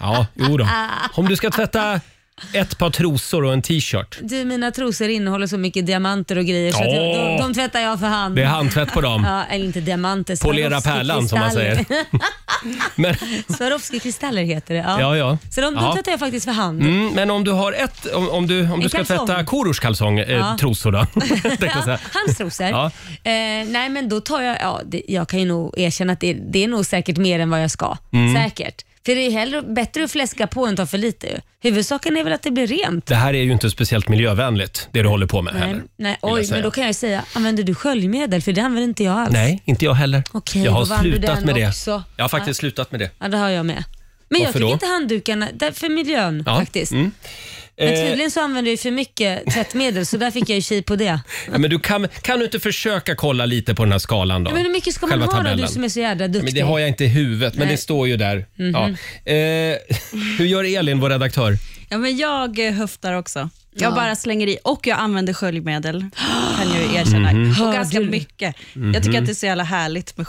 Speaker 1: Ja, jo då. Om du ska tvätta ett par trosor och en t-shirt.
Speaker 2: Du, mina trosor innehåller så mycket diamanter och grejer så att jag,
Speaker 1: Åh.
Speaker 2: de, de tvättar jag för hand.
Speaker 1: Det är handtvätt på dem.
Speaker 2: Ja, eller inte diamanter.
Speaker 1: Polera pärlan, som man
Speaker 2: Swarovski-kristaller.
Speaker 1: Men,
Speaker 2: Swarovski-kristaller heter det. Ja.
Speaker 1: ja, ja.
Speaker 2: Så de, de
Speaker 1: ja.
Speaker 2: tvättar jag faktiskt för hand.
Speaker 1: Mm, men om du har ett, om, om du, om du
Speaker 2: En
Speaker 1: ska
Speaker 2: kalsong.
Speaker 1: tvätta Korosh kalsong, eh,
Speaker 2: Ja.
Speaker 1: trosor då? Tänkte jag säga.
Speaker 2: Hans trosor.
Speaker 1: Ja.
Speaker 2: Eh, nej, men då tar jag... Ja, det, jag kan ju nog erkänna att det, det är nog säkert mer än vad jag ska.
Speaker 1: Mm.
Speaker 2: Säkert. För det är hellre, bättre att fläska på än ta för lite. ju. Huvudsaken är väl att det blir rent.
Speaker 1: Det här är ju inte speciellt miljövänligt, det du håller på med
Speaker 2: Nej,
Speaker 1: heller.
Speaker 2: nej,
Speaker 1: jag
Speaker 2: oj,
Speaker 1: säga.
Speaker 2: men då kan jag säga, använder du sköljmedel? För det använder inte jag alls.
Speaker 1: Nej, inte jag heller.
Speaker 2: Okej,
Speaker 1: jag har
Speaker 2: då vann du
Speaker 1: slutat
Speaker 2: den
Speaker 1: med det.
Speaker 2: också.
Speaker 1: Jag har faktiskt slutat med det.
Speaker 2: Ja, det har jag med. Men jag
Speaker 1: Varför
Speaker 2: tycker
Speaker 1: då?
Speaker 2: inte handdukarna, där- för miljön
Speaker 1: Ja,
Speaker 2: faktiskt.
Speaker 1: mm.
Speaker 2: Men
Speaker 1: Eh,
Speaker 2: tydligen så använder jag ju för mycket tvättmedel så där fick jag ju tji på det.
Speaker 1: Ja, men du kan, kan du inte försöka kolla lite på den här skalan då?
Speaker 2: Men hur mycket ska man
Speaker 1: Själva
Speaker 2: ha då,
Speaker 1: tabellen.
Speaker 2: du som är så jädra
Speaker 1: Ja,
Speaker 2: duktig?
Speaker 1: men det har jag inte i huvudet, men
Speaker 9: Nej.
Speaker 1: det står ju där.
Speaker 9: Mhm.
Speaker 1: Ja. Eh, hur gör Elin, vår redaktör?
Speaker 9: Ja, men jag eh, höftar också. Jag
Speaker 2: Ja.
Speaker 9: bara slänger i och jag använder sköljmedel. Kan jag ju erkänna.
Speaker 1: Mhm.
Speaker 9: Och
Speaker 2: Hör
Speaker 9: ganska
Speaker 2: du?
Speaker 9: mycket.
Speaker 1: Mhm.
Speaker 9: Jag tycker att det är så jävla härligt med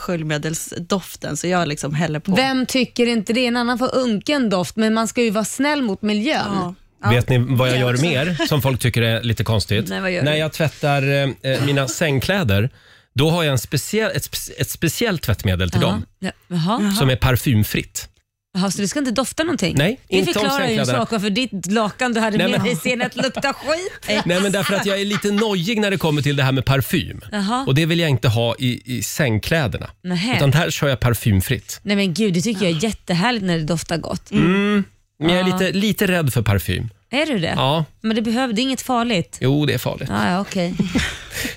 Speaker 9: sköljmedelsdoften så jag liksom häller på.
Speaker 2: Vem tycker inte det? En annan får unken doft, men man ska ju vara snäll mot miljön.
Speaker 1: Vet ni vad jag
Speaker 2: Jag
Speaker 1: gör
Speaker 2: också.
Speaker 1: mer som folk tycker är lite konstigt?
Speaker 2: Nej, vad gör
Speaker 1: När
Speaker 2: du?
Speaker 1: jag tvättar eh, eh, mina sängkläder, då har jag en speciell, ett, spe- ett speciellt tvättmedel till dem
Speaker 2: Ja, Jaha.
Speaker 1: som är parfymfritt.
Speaker 2: Jaha, så det ska inte dofta någonting?
Speaker 1: Nej,
Speaker 2: det
Speaker 1: inte om
Speaker 2: förklarar ju en
Speaker 1: sängkläderna.
Speaker 2: sak varför ditt lakan du hade
Speaker 1: Nej,
Speaker 2: med
Speaker 1: men-
Speaker 2: dig senast luktar skit.
Speaker 1: Nej, men därför att jag är lite nojig när det kommer till det här med parfym.
Speaker 2: Jaha.
Speaker 1: Och det vill jag inte ha i, i sängkläderna.
Speaker 2: Nähä.
Speaker 1: Utan här kör jag parfymfritt.
Speaker 2: Nej men gud, det tycker jag är jättehärligt när det doftar gott.
Speaker 1: Mm. Men jag är
Speaker 2: Ja.
Speaker 1: lite, lite rädd för parfym.
Speaker 2: Är du det?
Speaker 1: Ja.
Speaker 2: Men det, behöver, det är inget farligt?
Speaker 1: Jo, det är farligt.
Speaker 2: Ja, ja okej.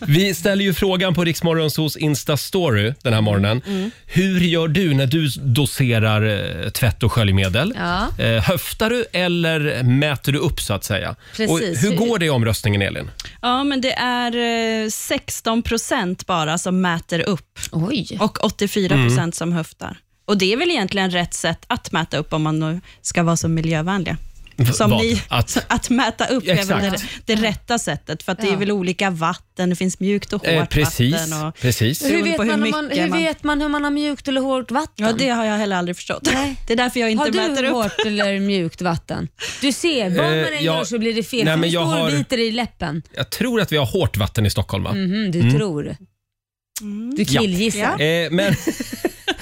Speaker 1: Vi ställer ju frågan på Riksmorgonsos Insta-story den här morgonen.
Speaker 2: Mm.
Speaker 1: Hur gör du när du doserar eh, tvätt och sköljmedel?
Speaker 2: Ja.
Speaker 1: Eh, höftar du eller mäter du upp så att säga?
Speaker 9: Precis.
Speaker 1: Och hur går det i omröstningen Elin?
Speaker 9: Ja, men det är eh, 16 procent bara som mäter upp och 84 procent
Speaker 1: Mm.
Speaker 9: som höftar. Och Det är väl egentligen rätt sätt att mäta upp om man nu ska vara så miljövänliga.
Speaker 1: V-
Speaker 9: Som
Speaker 1: vad?
Speaker 9: ni,
Speaker 1: Att-
Speaker 9: att, mäta upp är väl det,
Speaker 1: Exakt.
Speaker 9: det rätta sättet, för att det är väl olika vatten, det finns mjukt och hårt
Speaker 1: Eh, precis,
Speaker 9: vatten. Och,
Speaker 1: precis.
Speaker 2: Hur,
Speaker 9: Beroende
Speaker 2: vet
Speaker 9: på hur
Speaker 2: man om man,
Speaker 9: mycket
Speaker 2: hur
Speaker 9: man-
Speaker 2: vet man hur man har mjukt eller hårt vatten?
Speaker 9: Ja, det har jag heller aldrig förstått. Det är därför jag inte
Speaker 2: har du
Speaker 9: mäter upp.
Speaker 2: hårt eller mjukt vatten? Du ser, vad man
Speaker 1: Eh,
Speaker 2: än
Speaker 1: jag-
Speaker 2: gör så blir det fel.
Speaker 1: Nej,
Speaker 2: Nej,
Speaker 1: men
Speaker 2: men
Speaker 1: jag
Speaker 2: står
Speaker 1: har-
Speaker 2: och biter i läppen.
Speaker 1: Jag tror att vi har hårt vatten i Stockholm va?
Speaker 2: Mhm, du
Speaker 1: Mm.
Speaker 2: tror.
Speaker 9: Mm.
Speaker 2: Du
Speaker 1: Ja.
Speaker 2: killgissar.
Speaker 1: Eh, men,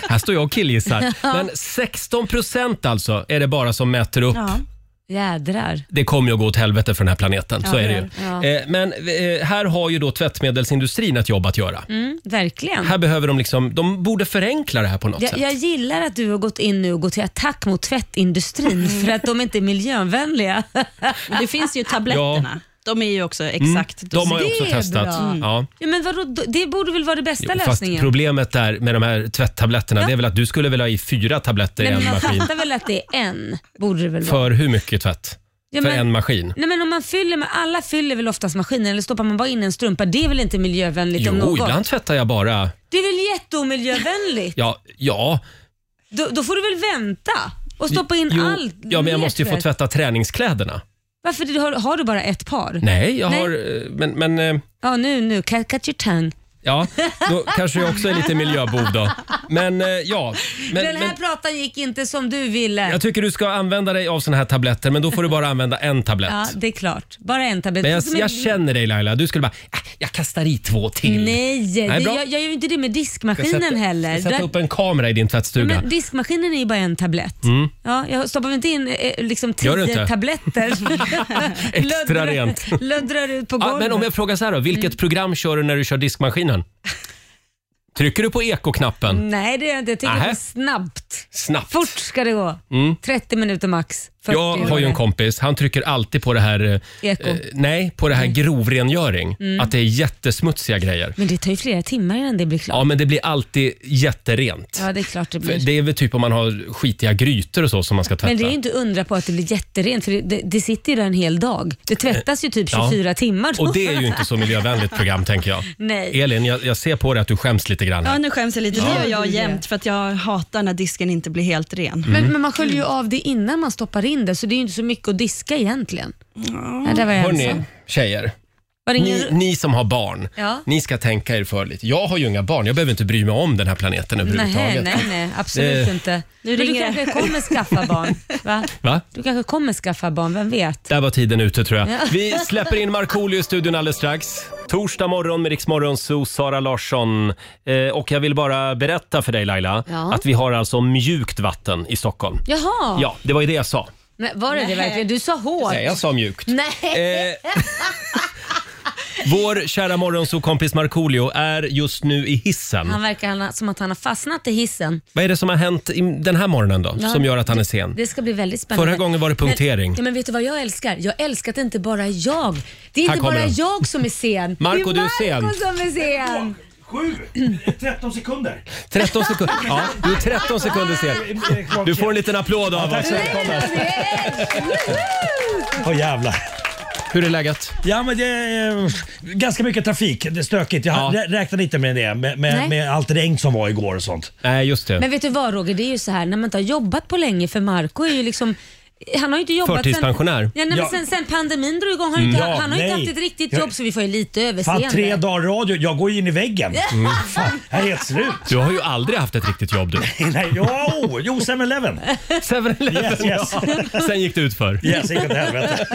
Speaker 1: här står jag och killgissar.
Speaker 2: Ja.
Speaker 1: Men 16 procent alltså är det bara som mäter upp.
Speaker 2: Jädrar.
Speaker 1: Det kommer ju att gå åt helvete för den här planeten,
Speaker 2: Ja,
Speaker 1: så är det
Speaker 2: det
Speaker 1: ju.
Speaker 2: är det.
Speaker 1: Eh, Men eh, här har ju då tvättmedelsindustrin ett jobb att göra.
Speaker 2: Mm, verkligen.
Speaker 1: Här behöver de liksom, de borde förenkla det här på något
Speaker 2: Jag,
Speaker 1: sätt.
Speaker 2: jag gillar att du har gått in nu och gått till attack mot tvättindustrin för att de inte är miljövänliga.
Speaker 9: Mm. Det finns ju tabletterna. De är ju också
Speaker 1: Mm,
Speaker 9: exakt
Speaker 1: De har ju
Speaker 2: Det
Speaker 1: också
Speaker 2: är
Speaker 1: testat. Mm.
Speaker 2: bra.
Speaker 1: Ja.
Speaker 2: Ja, men vadå, det borde väl vara det bästa
Speaker 1: Fast
Speaker 2: lösningen?
Speaker 1: problemet där med de här tvätttabletterna,
Speaker 2: Ja.
Speaker 1: det är väl att du skulle vilja ha i fyra tabletter
Speaker 2: Nej,
Speaker 1: i
Speaker 2: men
Speaker 1: en
Speaker 2: jag
Speaker 1: maskin.
Speaker 2: fattar väl att det är en, borde det väl vara.
Speaker 1: För hur mycket tvätt?
Speaker 2: Ja,
Speaker 1: För
Speaker 2: men-
Speaker 1: en maskin?
Speaker 2: Nej, men om man fyller med, alla fyller väl oftast maskinen eller stoppar man bara in en strumpa? Det är väl inte miljövänligt om
Speaker 1: Jo,
Speaker 2: något?
Speaker 1: ibland tvättar jag bara...
Speaker 2: Det är väl jätteomiljövänligt?
Speaker 1: Ja, ja.
Speaker 2: då, då får du väl vänta och stoppa in
Speaker 1: jo,
Speaker 2: allt.
Speaker 1: Ja, men jag måste ju få
Speaker 2: mer
Speaker 1: tvätta träningskläderna.
Speaker 2: Varför det- har, har du bara ett par?
Speaker 1: Nej, jag
Speaker 2: Nej.
Speaker 1: har... eh, Men, men eh,
Speaker 2: Ja, nu, nu. Cut, cut your tongue.
Speaker 1: ja, då kanske jag också är lite miljöbov då. Men eh, ja. Men,
Speaker 2: Den här
Speaker 1: men,
Speaker 2: pratan gick inte som du ville.
Speaker 1: jag tycker du ska använda dig av såna här tabletter, men då får du bara använda en tablett.
Speaker 2: Ja, det är klart. Bara en tablett.
Speaker 1: Men jag,
Speaker 2: Som en-
Speaker 1: jag känner dig Laila, du skulle bara, "Äh, jag kastar i två till.
Speaker 2: Nej, det,
Speaker 1: bra.
Speaker 2: jag, jag gör ju inte det med
Speaker 1: Jag ska
Speaker 2: diskmaskinen
Speaker 1: sätta,
Speaker 2: heller.
Speaker 1: Ska sätta
Speaker 2: Där-
Speaker 1: upp en kamera i din tvättstuga.
Speaker 2: men diskmaskinen är ju bara en tablett.
Speaker 1: Mm.
Speaker 2: Ja, jag stoppar väl inte in eh, liksom
Speaker 1: Gör du
Speaker 2: tio
Speaker 1: inte?
Speaker 2: tabletter?
Speaker 1: Extra
Speaker 2: Löddrar-
Speaker 1: rent.
Speaker 2: Löddrar ut på
Speaker 1: Ja, Ah,
Speaker 2: golvet. Mm.
Speaker 1: men om jag frågar så här då, vilket program kör du när du kör diskmaskinen? Trycker du på ekoknappen?
Speaker 2: Nej, det gör jag inte. Jag tycker
Speaker 1: Nähä.
Speaker 2: det är snabbt.
Speaker 1: Snabbt.
Speaker 2: Fort ska det gå.
Speaker 1: Mm.
Speaker 2: 30 minuter max. 40
Speaker 1: Jag har ju en kompis, han trycker alltid på det här, eh,
Speaker 2: Eko.
Speaker 1: eh, nej, på det här grovrengöring.
Speaker 2: Mm.
Speaker 1: Att det är jättesmutsiga grejer.
Speaker 2: Men det tar ju flera timmar innan det blir klart.
Speaker 1: Ja, men det blir alltid jätterent.
Speaker 2: Ja, det är klart det
Speaker 1: För
Speaker 2: blir.
Speaker 1: Det är väl typ om man har skitiga grytor och så som man ska tvätta.
Speaker 2: men det är ju inte undra på att det blir jätterent för det, det, det sitter ju där en hel dag. Det tvättas ju typ
Speaker 1: Eh, Ja.
Speaker 2: 24 timmar. då.
Speaker 1: Och det är ju inte Mm. så miljövänligt program tänker jag.
Speaker 9: Nej.
Speaker 1: Elin, jag, jag ser på dig att du skäms lite grann.
Speaker 9: Ja,
Speaker 1: Här.
Speaker 9: nu skäms jag lite.
Speaker 1: Ja.
Speaker 9: Det gör jag jämt för att jag hatar när disken inte blir helt ren.
Speaker 1: Mm.
Speaker 2: Men, men man sköljer ju av det innan man stoppar in det så det är ju inte så mycket att diska egentligen. Ja, det var jag
Speaker 1: Hörni,
Speaker 2: ensam.
Speaker 1: tjejer.
Speaker 2: Var det
Speaker 1: Ni,
Speaker 2: ingen...
Speaker 1: ni som har barn,
Speaker 2: Ja.
Speaker 1: ni ska tänka er för lite. Jag har ju inga barn, jag behöver inte bry mig om den här planeten överhuvudtaget. Eh,
Speaker 2: Nej, nej, nej, absolut
Speaker 1: Det-
Speaker 2: inte.
Speaker 9: Nu
Speaker 2: Men du
Speaker 9: ringer
Speaker 2: kanske kommer skaffa barn? Va?
Speaker 1: Va?
Speaker 2: Du kanske kommer skaffa barn, vem vet?
Speaker 1: Där var tiden ute tror jag.
Speaker 2: Ja.
Speaker 1: Vi släpper in Markoolio i studion alldeles strax. Torsdag morgon med Riksmorgon Zoo, Sara Larsson. Eh, och jag vill bara berätta för dig Laila,
Speaker 2: Ja.
Speaker 1: att vi har alltså mjukt vatten i Stockholm.
Speaker 2: Jaha,
Speaker 1: Ja, det var ju det jag sa.
Speaker 2: Men var det det verkligen? Du sa hårt.
Speaker 1: Nej, jag sa mjukt.
Speaker 2: Nej.
Speaker 1: Eh, Vår kära morgonsokompis Markoolio är just nu i hissen.
Speaker 2: Han verkar han, som att han har fastnat i hissen.
Speaker 1: Vad är det som har hänt i, den här morgonen då,
Speaker 2: Ja,
Speaker 1: som gör att han är sen?
Speaker 2: Det ska bli väldigt spännande.
Speaker 1: Mm. Förra gången var det punktering.
Speaker 2: Men, ja, men vet du vad jag älskar? Jag älskar att det inte bara är jag. Det är
Speaker 1: Här
Speaker 2: inte
Speaker 1: kommer
Speaker 2: bara
Speaker 1: den.
Speaker 2: jag som är sen.
Speaker 1: Marco,
Speaker 2: det
Speaker 1: du
Speaker 2: är
Speaker 1: är sen.
Speaker 2: Marco som är sen.
Speaker 3: Sju! 13 sekunder.
Speaker 1: 13 sekunder. Ja, du är 13 sekunder sen. Du får en liten applåd av
Speaker 3: tack
Speaker 1: oss.
Speaker 3: så mycket. Åh jävlar.
Speaker 1: Hur är läget?
Speaker 3: Ja, men det är eh, ganska mycket trafik. Det är stökigt. Jag
Speaker 1: Ja.
Speaker 3: rä- räknade inte med det, med,
Speaker 2: Nej.
Speaker 3: med, med allt regn som var igår och sånt.
Speaker 1: Nej, just det.
Speaker 2: Men vet du vad Roger, det är ju så här när man inte har jobbat på länge för Marco är ju liksom han har ju inte jobbat
Speaker 1: Förtidspensionär.
Speaker 2: Sen, ja, nej, men
Speaker 3: Ja.
Speaker 2: sen, sen pandemin drog igång har han, inte,
Speaker 3: Mm. Ja,
Speaker 2: han har inte
Speaker 3: nej.
Speaker 2: haft ett riktigt
Speaker 3: Jag-
Speaker 2: jobb så vi får ju lite
Speaker 3: Fan,
Speaker 2: överseende.
Speaker 3: tre dagar radio. Jag går ju in i väggen.
Speaker 2: Mm.
Speaker 3: Fan, jag är helt slut.
Speaker 1: Du har ju aldrig haft ett riktigt jobb du.
Speaker 3: Nej, jo, jo 7-Eleven. yes,
Speaker 1: 7-Eleven,
Speaker 3: yes.
Speaker 1: Sen gick det ut för.
Speaker 3: Yes, gick åt helvete.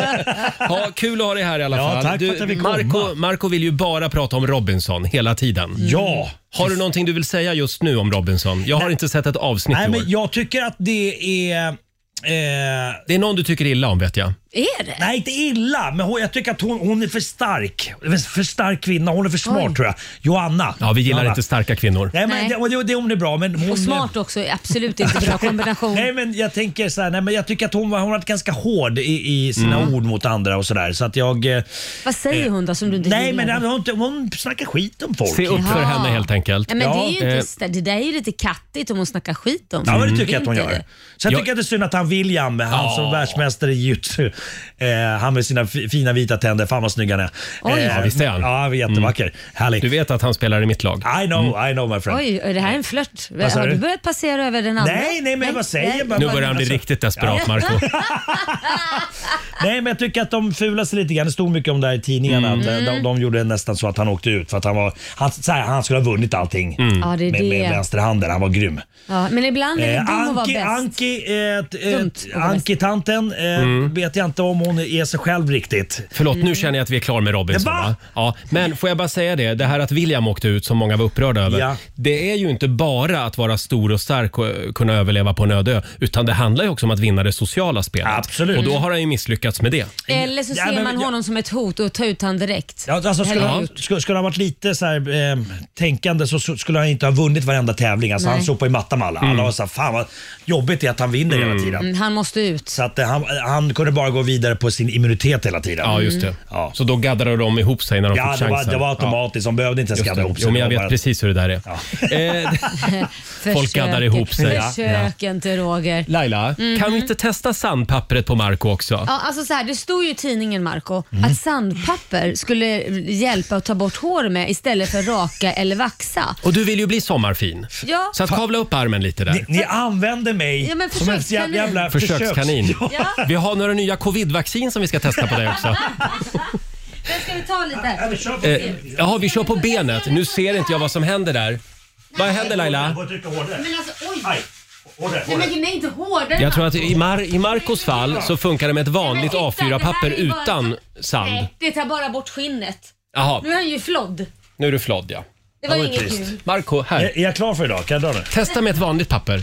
Speaker 1: Ja, kul att ha dig här i alla
Speaker 3: Ja,
Speaker 1: fall.
Speaker 3: tack för att jag fick
Speaker 1: Marco,
Speaker 3: komma.
Speaker 1: Marco vill ju bara prata om Robinson hela tiden.
Speaker 3: Ja.
Speaker 1: Har du någonting du vill säga just nu om Robinson? Jag har inte sett ett avsnitt
Speaker 3: Nej,
Speaker 1: i år.
Speaker 3: men jag tycker att det är... Eh,
Speaker 1: Det är någon du tycker illa om vet jag.
Speaker 2: Är det?
Speaker 3: Nej, inte illa, men hon, jag tycker att hon, hon är för stark. För stark kvinna. Hon är för smart
Speaker 2: Oj.
Speaker 3: tror jag. Joanna.
Speaker 1: Ja, vi gillar
Speaker 3: Joanna.
Speaker 1: inte starka kvinnor.
Speaker 3: Nej, men
Speaker 2: Nej.
Speaker 3: Det, och det, det hon är bra, men hon...
Speaker 2: Och smart också är absolut inte bra kombination.
Speaker 3: Nej men jag tänker så här, nej men jag tycker att hon, var- hon har varit ganska hård i, i sina
Speaker 1: Mm.
Speaker 3: ord mot andra och sådär. Så att jag... eh,
Speaker 2: Vad säger hon då som du inte
Speaker 3: Nej
Speaker 2: gillar?
Speaker 3: men hon, hon, hon snackar skit om folk.
Speaker 1: Se upp för
Speaker 2: Ja.
Speaker 1: henne helt enkelt.
Speaker 2: Ja, men det, är ju
Speaker 1: Eh,
Speaker 2: inte, st- det där är ju lite kattigt om hon snackar skit om
Speaker 3: Ja, men det
Speaker 2: folk.
Speaker 3: tycker jag att hon
Speaker 2: Inte
Speaker 3: gör.
Speaker 2: det.
Speaker 3: Sen
Speaker 1: Jag-
Speaker 3: tycker jag att det är synd att han William, han som världsmästare i jujutsu, eh, han med sina fi- fina vita tänder, fan vad snygg han är. Eh,
Speaker 2: Oj.
Speaker 1: Ja, visst är han. Mm.
Speaker 3: Ja, han är jättevacker. Härlig.
Speaker 1: Du vet att han spelar i mitt lag. Mm.
Speaker 3: I know, I know my friend.
Speaker 2: Oj, är det här en flört?
Speaker 3: sa
Speaker 2: Har du
Speaker 3: du?
Speaker 2: börjat passera över den andra?
Speaker 3: Nej, nej, men vad säger
Speaker 2: nej.
Speaker 3: man?
Speaker 1: Nu börjar han bli
Speaker 3: Alltså-
Speaker 1: riktigt desperat Marco.
Speaker 3: Nej, men jag tycker att de fular sig lite grann. Det stod mycket om det här i tidningarna.
Speaker 2: Mm.
Speaker 3: att, eh, De, de gjorde nästan så att han åkte ut för att han var... Han, så här, han skulle ha vunnit allting
Speaker 2: Mm. Ja, det är
Speaker 3: med, med
Speaker 2: det.
Speaker 3: vänsterhanden. Han var grym.
Speaker 2: Ja, men ibland är det
Speaker 3: Eh,
Speaker 2: dum att vara
Speaker 3: Anki,
Speaker 2: bäst.
Speaker 3: Anki, eh, t- eh,
Speaker 2: Dumt
Speaker 3: t-
Speaker 2: att vara
Speaker 3: Anki-tanten eh,
Speaker 1: Mm.
Speaker 3: vet jag inte om hon är sig själv riktigt.
Speaker 1: Förlåt,
Speaker 2: Mm.
Speaker 1: nu känner jag att vi är klara med Robinson.
Speaker 3: Va?
Speaker 1: Va? Ja, men får jag bara säga det, det här att William åkte ut som många var upprörda över.
Speaker 3: Ja.
Speaker 1: Det är ju inte bara att vara stor och stark och eh, kunna överleva på en öde ö, utan det handlar ju också om att vinna det sociala spelet.
Speaker 3: Absolut.
Speaker 1: Och då har han ju misslyckats med det.
Speaker 2: Eller så
Speaker 3: Ja,
Speaker 2: ser
Speaker 3: men-
Speaker 2: man
Speaker 3: ja.
Speaker 2: honom som ett hot och tar ut han direkt.
Speaker 3: Ja, alltså skulle,
Speaker 2: Eller
Speaker 3: han,
Speaker 2: hur?
Speaker 3: skulle, skulle han varit lite så här, eh, tänkande så, så skulle han inte ha vunnit varenda tävling. Alltså, han
Speaker 2: Nej.
Speaker 3: sopade i mattan med alla. Alla var så här, fan vad jobbigt det är att han vinner hela tiden.
Speaker 2: Mm, han måste ut.
Speaker 3: Så att, eh, han, han kunde bara gå vidare på sin immunitet hela tiden.
Speaker 1: Ja, just det.
Speaker 3: Ja.
Speaker 1: Så då gaddade de ihop sig när de
Speaker 3: Ja,
Speaker 1: fick
Speaker 3: det
Speaker 1: chansen.
Speaker 3: var, det var automatiskt. De behövde inte ens
Speaker 1: Just
Speaker 3: gadda
Speaker 1: det.
Speaker 3: ihop sig.
Speaker 1: Jo, men jag
Speaker 3: Det var
Speaker 1: vet
Speaker 3: bara-
Speaker 1: precis hur det där är. Eh, Folk gaddar ihop sig. Ja,
Speaker 2: Försök inte Roger. Mm.
Speaker 1: Laila, kan vi inte testa sandpappret på Marco också?
Speaker 2: Ja, alltså så här, det stod ju i tidningen Marco
Speaker 1: Mm.
Speaker 2: att sandpapper skulle hjälpa att ta bort hår med istället för raka eller vaxa.
Speaker 1: Och du vill ju bli sommarfin.
Speaker 2: Ja.
Speaker 1: Så att kavla upp armen lite där.
Speaker 3: Ni, ni använder mig
Speaker 2: Ja, men
Speaker 3: som en
Speaker 2: försökskanin.
Speaker 3: jävla, jävla
Speaker 1: Försökskanin.
Speaker 3: försöks-
Speaker 2: Ja.
Speaker 1: Vi har några nya covid-vaccin som vi ska testa på dig också.
Speaker 2: Den ska vi ta
Speaker 3: Ja,
Speaker 2: lite.
Speaker 3: men kör på
Speaker 1: Eh, jaha, vi kör på benet. Nu ser inte jag vad som händer där. Vad händer
Speaker 3: Jag
Speaker 1: Laila?
Speaker 3: får trycka hårdare.
Speaker 2: Men alltså oj.
Speaker 3: Aj. Hårdare,
Speaker 2: Nej,
Speaker 3: hårdare.
Speaker 2: men nej, inte hårdare.
Speaker 1: Jag tror att i, Mar- i Marcos fall så funkar det med ett vanligt
Speaker 2: Nej, men titta, det här
Speaker 1: A4-papper
Speaker 2: är ju bara-
Speaker 1: utan sand.
Speaker 2: Nej, det tar bara bort skinnet.
Speaker 1: Jaha,
Speaker 2: Nu är han ju flodd.
Speaker 1: nu är du flodd ja.
Speaker 2: Det var
Speaker 3: Ja, det är
Speaker 2: inget
Speaker 3: trist.
Speaker 2: kul.
Speaker 1: Marco, här.
Speaker 3: Är är jag klar för idag? Kan jag dra nu?
Speaker 1: Testa med ett vanligt papper.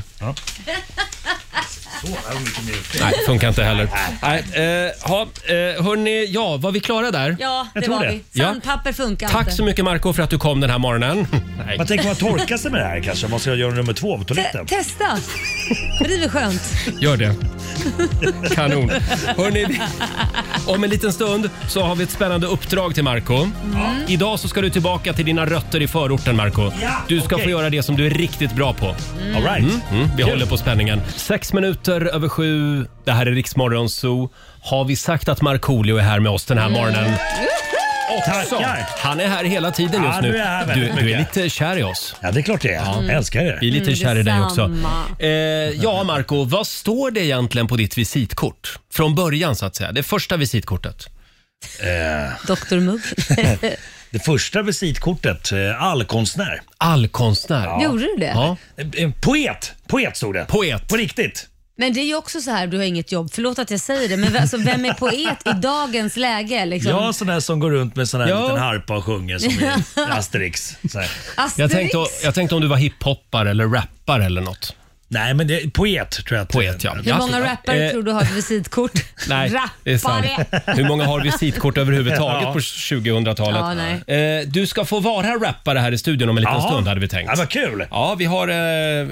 Speaker 3: Så, här var mycket mjukt.
Speaker 1: Nej, funkar inte heller. Nej, eh, ha, eh, hörni, ja, var vi klara där?
Speaker 2: Ja, det
Speaker 3: Jag tror
Speaker 2: var
Speaker 3: det.
Speaker 2: vi.
Speaker 1: Ja.
Speaker 2: Sandpapper funkar
Speaker 1: Tack
Speaker 2: inte.
Speaker 1: så mycket Marco för att du kom den här morgonen. Nej.
Speaker 3: Man tänker man torkar sig med det här kanske? Man ska göra nummer två på toaletten.
Speaker 2: Te- testa. Men Det är väl skönt.
Speaker 1: Gör det. Kanon. Hörrni, vi- om en liten stund så har vi ett spännande uppdrag till Marco.
Speaker 3: Mm.
Speaker 1: Idag så ska du tillbaka till dina rötter i förorten, Marco.
Speaker 3: Ja,
Speaker 1: Du ska få
Speaker 3: okej.
Speaker 1: göra det som du är riktigt bra på.
Speaker 3: All right.
Speaker 1: Mm, vi håller på spänningen. Sex minuter över sju. Det här är Riksmorgon Zoo. Har vi sagt att Markoolio är här med oss den
Speaker 3: Mm.
Speaker 1: här morgonen? Också.
Speaker 3: Tackar.
Speaker 1: Han är här hela tiden
Speaker 3: Ja,
Speaker 1: just
Speaker 3: nu
Speaker 1: nu.
Speaker 3: är jag här
Speaker 1: Du,
Speaker 3: väldigt
Speaker 1: du är
Speaker 3: mycket.
Speaker 1: lite kär i oss.
Speaker 3: Ja, det är klart det är. Jag älskar er.
Speaker 1: Vi är lite
Speaker 2: Mm,
Speaker 1: kär i dig också.
Speaker 2: detsamma.
Speaker 1: Eh, ja, Marco, vad står det egentligen på ditt visitkort? Från början så att säga. Det första visitkortet.
Speaker 3: Eh,
Speaker 2: Dr Mugg.
Speaker 3: Det första visitkortet, eh, allkonstnär.
Speaker 1: Allkonstnär. Ja.
Speaker 2: Gjorde du det?
Speaker 3: Eh, eh, Poet! Poet stod det.
Speaker 1: Poet.
Speaker 3: På riktigt.
Speaker 2: Men det är ju också så här, du har inget jobb. Förlåt att jag säger det, men v- alltså, vem är poet i dagens läge? Liksom?
Speaker 3: Ja, sån där som går runt med sån här
Speaker 1: Ja.
Speaker 3: liten harpa och sjunger som i Asterix. Så här.
Speaker 2: Asterix.
Speaker 1: Jag tänkte, jag tänkte om du var hiphoppare eller rappare eller något.
Speaker 3: Nej, men det, poet tror jag att Poet, ja.
Speaker 2: Hur många
Speaker 1: Eh,
Speaker 2: rappare tror du har ett visitkort?
Speaker 1: Nej, det är sant.
Speaker 2: Rappare!
Speaker 1: Hur många har visitkort överhuvudtaget
Speaker 3: Ja.
Speaker 1: på 2000-talet?
Speaker 2: Ja, nej.
Speaker 1: Eh, du ska få vara rappare här i studion om en liten
Speaker 3: Ja.
Speaker 1: stund hade vi tänkt. Ja, vad
Speaker 3: kul!
Speaker 1: Ja, vi har, eh,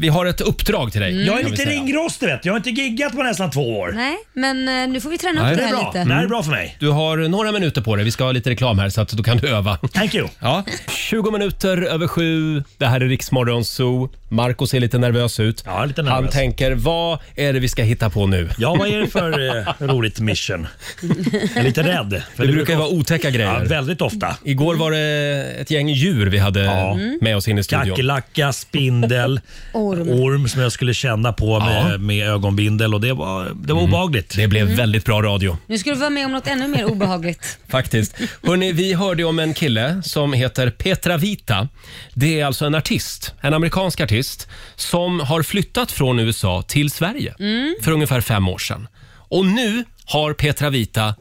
Speaker 1: vi har ett uppdrag till dig.
Speaker 3: Mm. Jag är
Speaker 1: kan vi
Speaker 3: lite
Speaker 1: säga.
Speaker 3: ringrostig vet du. Jag har inte giggat på nästan två år.
Speaker 2: Nej, men eh, nu får vi träna
Speaker 1: Nej,
Speaker 2: upp det här lite.
Speaker 1: Mm. Du har några minuter på dig. Vi ska ha lite reklam här så att du kan öva.
Speaker 3: Thank you.
Speaker 1: Ja. 20 minuter över sju. Det här är Riksmorgon Zoo. Marco ser lite nervös ut. Han tänker, vad är det vi ska hitta på nu?
Speaker 3: Ja, vad är det för eh, roligt mission? Jag är lite rädd. För
Speaker 1: det, brukar ju vara otäcka grejer.
Speaker 3: Ja, väldigt ofta.
Speaker 1: Igår var det ett gäng djur vi hade med oss in i studion.
Speaker 3: Kackerlacka, spindel,
Speaker 2: Orm.
Speaker 3: orm som jag skulle känna på med, med ögonbindel och det var, det var obehagligt.
Speaker 1: Mm. Det blev väldigt bra radio.
Speaker 2: Nu ska du vara med om något ännu mer obehagligt.
Speaker 1: Faktiskt. Hörrni, vi hörde om en kille som heter Petra Vita. Det är alltså en artist, en amerikansk artist, som har flyttat från USA till Sverige
Speaker 2: Mm.
Speaker 1: för ungefär fem år sedan. Och nu har Petra Vita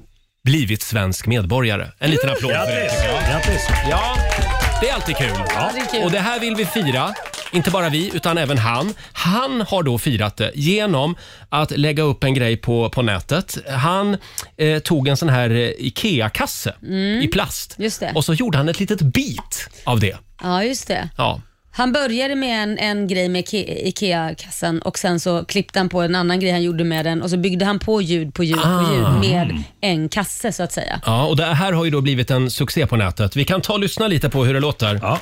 Speaker 1: blivit svensk medborgare. En liten applåd för det.
Speaker 3: Grattis!
Speaker 1: tycker
Speaker 3: Grattis.
Speaker 1: jag. Ja, det är alltid kul.
Speaker 2: det är kul.
Speaker 1: Och det här vill vi fira. Inte bara vi, utan även han. Han har då firat det genom att lägga upp en grej på, på nätet. Han eh, tog en sån här eh, IKEA-kasse
Speaker 2: Mm.
Speaker 1: i plast
Speaker 2: Just det.
Speaker 1: och så gjorde han ett litet bit av det.
Speaker 2: Ja, just det.
Speaker 1: Ja.
Speaker 2: Han började med en, en grej med Ike- IKEA-kassan och sen så klippte han på en annan grej han gjorde med den och så byggde han på ljud på ljud
Speaker 1: Ah.
Speaker 2: på ljud med en kasse så att säga.
Speaker 1: Ja, och det här har ju då blivit en succé på nätet. Vi kan ta och lyssna lite på hur det låter.
Speaker 3: Ja.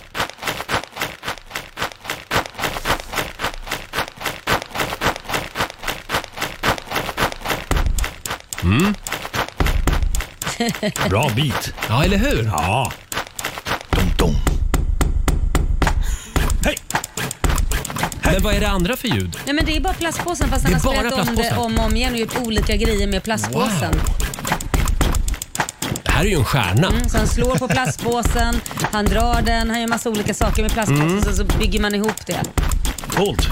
Speaker 1: Mm.
Speaker 3: Bra bit.
Speaker 1: Ja, eller hur?
Speaker 3: Ja.
Speaker 1: Men vad är det andra för ljud?
Speaker 2: Nej men det är bara plastpåsen fast han
Speaker 1: Det är
Speaker 2: har
Speaker 1: bara
Speaker 2: spelat om det
Speaker 1: plastpåsen.
Speaker 2: om och om igen och gjort olika grejer med plastpåsen.
Speaker 1: Det här är ju en stjärna.
Speaker 2: Mm, så han slår på plastpåsen, han drar den, han gör massa olika saker med plastpåsen
Speaker 1: Mm.
Speaker 2: och så bygger man ihop det.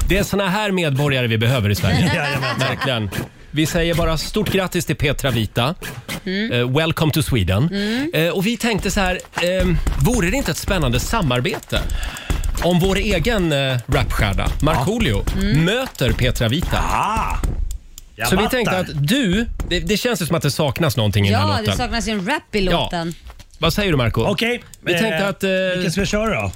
Speaker 1: Det är såna här medborgare vi behöver i Sverige.
Speaker 2: Jajamän.
Speaker 1: Verkligen. Vi säger bara stort grattis till Petra Vita.
Speaker 2: Mm.
Speaker 1: Eh, welcome to Sweden.
Speaker 2: Mm.
Speaker 1: Eh, och vi tänkte så här, eh, vore det inte ett spännande samarbete? Om vår egen eh, rapstjärna Markoolio möter Petra Vita.
Speaker 2: Mm. Ah! Jag
Speaker 1: Så vi
Speaker 2: fattar.
Speaker 1: tänkte att du, det, det känns ju som att det saknas någonting i den här
Speaker 2: Ja, det
Speaker 1: låten.
Speaker 2: saknas ju en rap i låten.
Speaker 1: Vad säger du Marco?
Speaker 3: Okej.
Speaker 1: Vi tänkte att... Eh,
Speaker 3: vilken ska vi köra då?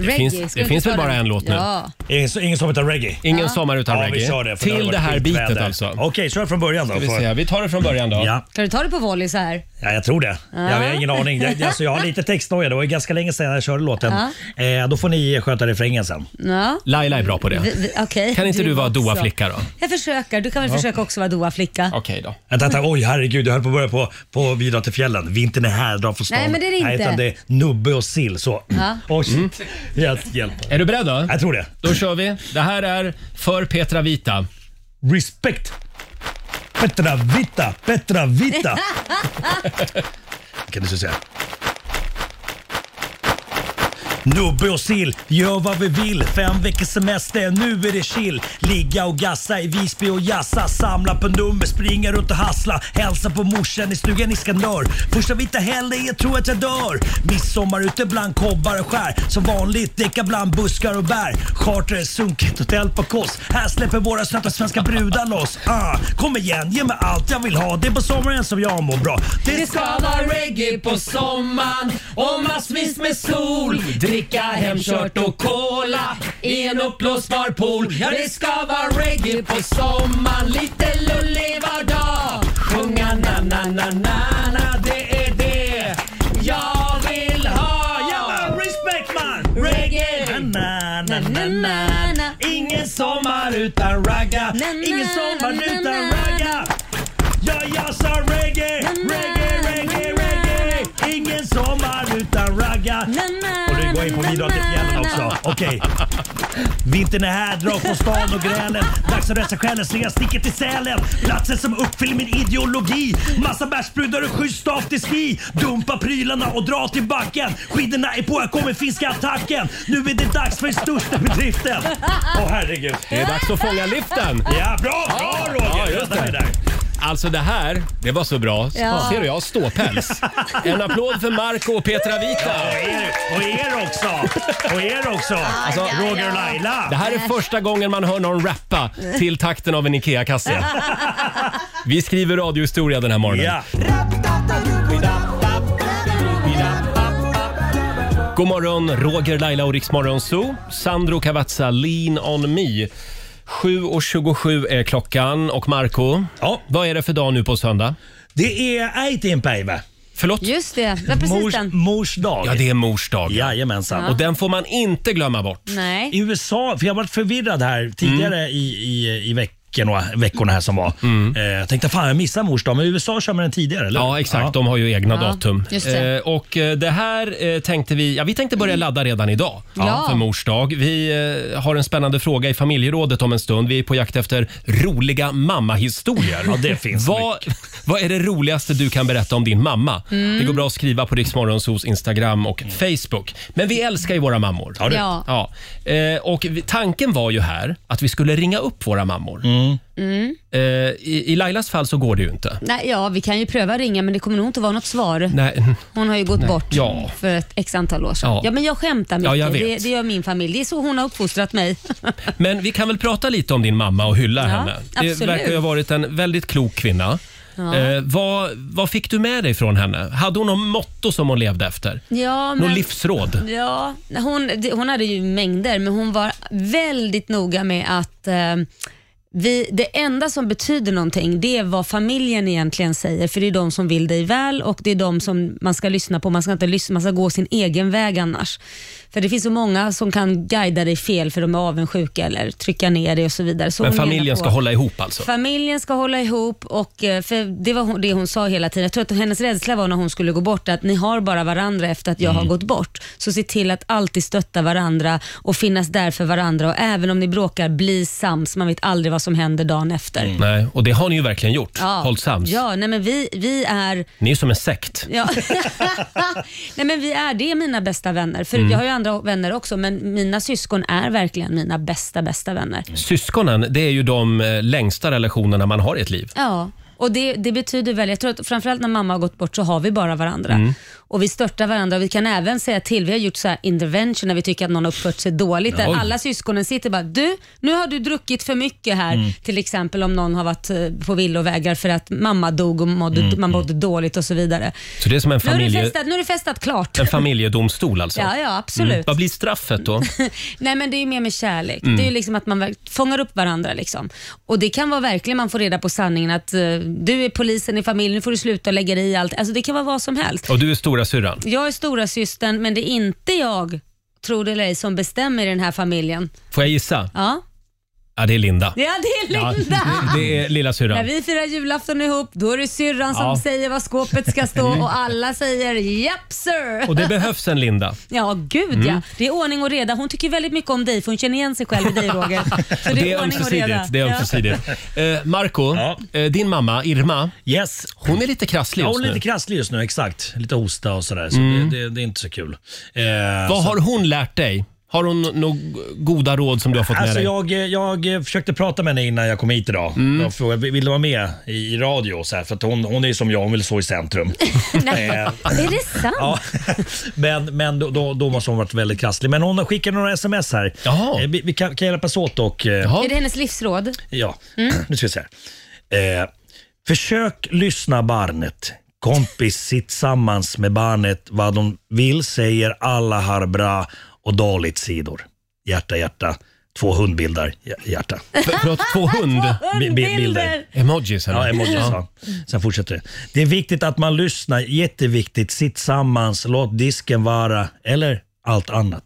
Speaker 2: Reggae,
Speaker 1: finns-
Speaker 2: ska vi
Speaker 1: det
Speaker 2: inte
Speaker 1: finns väl
Speaker 2: ta
Speaker 1: bara
Speaker 2: den?
Speaker 1: en låt nu?
Speaker 2: Ja.
Speaker 3: Ingen, ingen sommar utan reggae?
Speaker 1: Ingen sommar utan
Speaker 3: ja,
Speaker 1: reggae.
Speaker 3: Vi kör det, för
Speaker 1: Till
Speaker 3: har varit
Speaker 1: det här
Speaker 3: skitväder.
Speaker 1: bitet alltså.
Speaker 3: Okej, kör från början då.
Speaker 1: Ska vi
Speaker 3: för-
Speaker 1: se, vi tar det från början då.
Speaker 3: Ja,
Speaker 2: Kan du ta det på volley så här?
Speaker 3: ja jag tror det.
Speaker 2: Ja.
Speaker 3: Jag har ingen aning. Jag, alltså, jag har lite textnoja. Det var ju ganska länge sedan jag körde låten.
Speaker 2: Ja.
Speaker 3: Eh, då får ni sköta refrängen sen.
Speaker 2: Ja.
Speaker 1: Laila är bra på
Speaker 2: Vi- vi- okej.
Speaker 3: Kan inte du vara
Speaker 2: också.
Speaker 3: doa-flicka då?
Speaker 2: Jag försöker. Du kan väl
Speaker 3: Ja.
Speaker 2: försöka också vara doa-flicka?
Speaker 1: Okej då.
Speaker 3: Vänta, vänta, oj herregud, jag höll på att börja på, på Vi drar till fjällen. Vintern är här, dra från stan.
Speaker 2: Nej, men det är det
Speaker 3: Nej,
Speaker 2: inte.
Speaker 3: utan det är nubbe och sill. Så.
Speaker 2: Ja.
Speaker 3: Oj,
Speaker 1: Mm.
Speaker 3: shit. Hjälp, hjälp.
Speaker 1: Är du beredd då?
Speaker 3: Jag tror det.
Speaker 1: Då kör vi. Det här är för Petra Vita.
Speaker 3: Respekt. Petra Vita, Petra Vita. kan du så säga. Nubbe och sill, gör vad vi vill. Fem veckors semester, nu är det chill. Ligga och gassa i Visby och jassa. Samla på nummer, springa runt och hassla. Hälsa på morsan i stugan i Skandör. Första vita helgen, jag tror att jag dör. Midsommar ute bland kobbar och skär. Som vanligt, däcka bland buskar och bär. Charter, sunkigt hotell på Kos. Här släpper våra söta svenska brudar loss. Ah, kom igen, ge mig allt jag vill ha. Det är på sommaren som jag mår bra.
Speaker 12: Det ska vara reggae på sommaren och massvis med sol. Dricka hemkört och cola i en uppblåsbar pool. Ja, det ska vara reggae på sommaren, lite lullig var dag. Sjunga na-na-na-na-na, det är det jag vill ha.
Speaker 3: Jävla respect man!
Speaker 12: Reggae!
Speaker 3: Na-na-na-na-na.
Speaker 12: Ingen sommar utan ragga.
Speaker 3: Ingen sommar utan ragga. Ja, jag sa reggae, reggae, reggae, reggae. Ingen sommar utan ragga. Och nu går jag in på bidrag till fjällen också. Okej. Vintern är här, dra från stan och grälen. Dags att rensa själen, slänga sticket till Sälen. Platsen som uppfyller min ideologi. Massa bärsbrudar och schysst stav till ski. Dumpa prylarna och dra till backen. Skidorna är på, här kommer finska attacken. Nu är det dags för den största bedriften. Åh herregud.
Speaker 1: Det är dags att fånga liften.
Speaker 3: Ja, bra, bra Roger!
Speaker 1: Ja, just det. Alltså det här, det var så bra.
Speaker 12: Ja.
Speaker 1: Ser du, jag har ståpäls. En applåd för Marco och Petra Vita.
Speaker 3: Och er också! Och er också!
Speaker 1: Alltså,
Speaker 3: Roger och Laila!
Speaker 1: Det här är första gången man hör någon rappa till takten av en IKEA-kasse. Vi skriver radiohistoria den här morgonen.
Speaker 3: Ja.
Speaker 1: God morgon, Roger, Laila och Riksmorgon Zoo. Sandro Cavazza, Lean on me. 7.27 är klockan och Marco, ja. vad är det för dag nu på söndag?
Speaker 3: Det är Äitinpäivä.
Speaker 1: Förlåt?
Speaker 2: Just det, det var precis
Speaker 3: mors,
Speaker 2: den.
Speaker 3: mors dag.
Speaker 1: Ja, det är mors dag.
Speaker 3: Jajamensan.
Speaker 2: Ja. Och den
Speaker 1: får man inte glömma bort.
Speaker 2: Nej.
Speaker 3: I USA, för jag har varit förvirrad här tidigare
Speaker 1: Mm.
Speaker 3: i, i, i veckorna, veckorna här som var. Eh, jag tänkte fan jag missar mors dag, men i USA kör man den tidigare eller
Speaker 1: Ja, exakt. De har ju egna
Speaker 3: Ja,
Speaker 1: datum.
Speaker 3: just det. Mm.
Speaker 1: Eh, och eh, det här eh, tänkte vi, ja, vi tänkte börja ladda redan idag
Speaker 3: Ja.
Speaker 1: för mors dag. Vi eh, har en spännande fråga i familjerådet om en stund. Vi är på jakt efter roliga mammahistorier.
Speaker 3: Ja, det finns
Speaker 1: vad, vad är det roligaste du kan berätta om din mamma?
Speaker 2: Mm.
Speaker 1: Det går bra att skriva på Riksmorgonsos Instagram och Facebook. Men vi älskar ju våra mammor.
Speaker 2: Ja, det- Ja.
Speaker 1: Ja. Eh, och vi- tanken var ju här att vi skulle ringa upp våra mammor.
Speaker 2: Mm.
Speaker 1: Eh, i, I Lailas fall så går det ju inte.
Speaker 2: Nej, ja, vi kan ju pröva ringa men det kommer nog inte vara något svar.
Speaker 1: Nej.
Speaker 2: Hon har ju gått
Speaker 1: Nej.
Speaker 2: bort
Speaker 1: Ja.
Speaker 2: för ett x antal år sedan.
Speaker 1: Ja.
Speaker 2: Ja, men jag skämtar mycket.
Speaker 1: Ja, jag vet.
Speaker 2: det, det gör min familj. Det är så hon har uppfostrat mig.
Speaker 1: Men vi kan väl prata lite om din mamma och hylla
Speaker 2: Ja,
Speaker 1: henne. Det
Speaker 2: absolut.
Speaker 1: verkar ju ha varit en väldigt klok kvinna.
Speaker 2: Ja.
Speaker 1: Eh, vad, vad fick du med dig från henne? Hade hon något motto som hon levde efter?
Speaker 2: Ja,
Speaker 1: Något
Speaker 2: men-
Speaker 1: livsråd?
Speaker 2: Ja, hon, det- hon hade ju mängder men hon var väldigt noga med att eh, vi, det enda som betyder någonting det är vad familjen egentligen säger för det är de som vill dig väl och det är de som man ska lyssna på. Man ska inte lyssna, man ska gå sin egen väg annars. För det finns så många som kan guida dig fel för de är avundsjuka eller trycka ner dig och så vidare. Så
Speaker 1: Men
Speaker 2: hon menar
Speaker 1: familjen
Speaker 2: på-
Speaker 1: ska hålla ihop alltså?
Speaker 2: Familjen ska hålla ihop och eh, för det var hon- det hon sa hela tiden. Jag tror att hennes rädsla var när hon skulle gå bort att ni har bara varandra efter att jag
Speaker 1: Mm.
Speaker 2: har gått bort. Så se till att alltid stötta varandra och finnas där för varandra och även om ni bråkar, bli sams. Man vet aldrig vad som händer dagen efter.
Speaker 1: Nej, och det har ni ju verkligen gjort. Hållt Mm. sams.
Speaker 2: Ja, nej men vi, vi är
Speaker 1: Ni är som en sekt.
Speaker 2: Ja. Nej, men vi är, det är mina bästa vänner. För
Speaker 1: Mm.
Speaker 2: Jag har ju andra vänner också, men mina syskon är verkligen mina bästa, bästa vänner.
Speaker 1: Mm. Syskonen, det är ju de eh, längsta relationerna man har i ett liv.
Speaker 2: Ja, och det, det betyder väl, jag tror att framförallt när mamma har gått bort så har vi bara varandra.
Speaker 1: Mm.
Speaker 2: Och vi störtar varandra och vi kan även säga till. Vi har gjort så här intervention när vi tycker att någon har uppfört sig dåligt. Där
Speaker 13: Oj.
Speaker 2: alla syskonen sitter bara, du, nu har du druckit för mycket här.
Speaker 13: Mm.
Speaker 2: Till exempel om någon har varit eh, på villovägar för att mamma dog och mådde,
Speaker 1: Mm,
Speaker 2: man mådde dåligt och så vidare.
Speaker 1: Så det är som en,
Speaker 2: Nu har, du
Speaker 1: familje,
Speaker 2: festat, nu har du festat klart.
Speaker 1: en familjedomstol alltså?
Speaker 2: Ja, ja, absolut.
Speaker 1: Vad blir straffet då?
Speaker 2: Nej men det är ju mer med kärlek.
Speaker 1: Mm.
Speaker 2: Det är ju liksom att man verk- fångar upp varandra. Liksom. Och Det kan vara verkligen man får reda på sanningen att eh, du är polisen i familjen, nu får du sluta lägga dig i allt. Alltså Det kan vara vad som helst.
Speaker 1: Och du är stora syrran.
Speaker 2: Jag är stora systern men det är inte jag, tror det eller ej, som bestämmer i den här familjen.
Speaker 1: Får jag gissa?
Speaker 2: Ja,
Speaker 1: Ja, det är Linda.
Speaker 2: ja det är Linda!
Speaker 1: Ja, det, det är lilla
Speaker 2: När
Speaker 1: syrran.
Speaker 2: vi firar julafton ihop, då är det
Speaker 1: Ja.
Speaker 2: syrran som säger var skåpet ska stå
Speaker 1: Mm.
Speaker 2: och alla säger japp sir.
Speaker 1: Och det behövs en Linda.
Speaker 2: Ja, gud
Speaker 1: Mm.
Speaker 2: ja. Det är ordning och reda. Hon tycker väldigt mycket om dig för hon känner igen sig själv i dig Roger. Så
Speaker 1: Det är ömsesidigt. Det är ömsesidigt. Eh, Marco, eh, din mamma Irma,
Speaker 3: yes.
Speaker 1: hon är lite krasslig
Speaker 3: Ja,
Speaker 1: just
Speaker 3: hon är
Speaker 1: nu.
Speaker 3: lite krasslig just nu, exakt. Lite hosta och sådär. Så
Speaker 1: Mm.
Speaker 3: det, det, det är inte så kul. Eh,
Speaker 1: Vad
Speaker 3: så-
Speaker 1: har hon lärt dig? Har hon några goda råd som du har fått med
Speaker 3: Alltså
Speaker 1: dig? Mm.
Speaker 3: jag, jag eh, försökte prata med henne innan jag kom hit idag. Jag frågade, vill du vara med i, i radio? och Så här, för att hon, hon är ju som jag, hon vill stå i centrum.
Speaker 2: Nej.
Speaker 3: Eh,
Speaker 2: Är det sant?
Speaker 3: Ja, men men då, då, då måste hon varit väldigt krasslig. Men hon skickade några sms här. Eh, Vi, vi kan, kan hjälpas åt och... eh,
Speaker 2: Är det hennes livsråd?
Speaker 3: Ja, nu ska vi se här. Eh, försök lyssna barnet. Kompis sitt tillsammans med barnet. Vad de vill säger alla har bra och dåligt sidor. Hjärta, hjärta. Två hundbilder, hj- hjärta.
Speaker 1: Förlåt, två hund?
Speaker 3: Bi- bi- bilder.
Speaker 1: Emojis eller?
Speaker 3: Ja, emojis.
Speaker 1: Ja.
Speaker 3: Ja. Sen fortsätter det. Det är viktigt att man lyssnar, jätteviktigt. Sitt tillsammans, låt disken vara eller allt annat.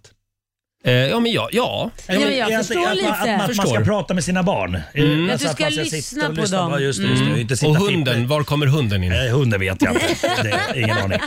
Speaker 1: Eh, ja, men ja. ja.
Speaker 2: Ja, men jag förstår
Speaker 3: att, man-
Speaker 2: lite.
Speaker 3: Att, att man ska
Speaker 1: Förstår.
Speaker 3: prata med sina barn.
Speaker 1: Mm.
Speaker 3: Alltså
Speaker 2: Att du ska
Speaker 3: man sitta
Speaker 2: lyssna
Speaker 3: och
Speaker 2: på dem.
Speaker 3: Ja, Just det, just det.
Speaker 1: Mm.
Speaker 3: Inte sitta
Speaker 1: Och
Speaker 3: och Eh,
Speaker 1: hunden, var kommer hunden in?
Speaker 3: hunden vet jag inte. Det, ingen aning.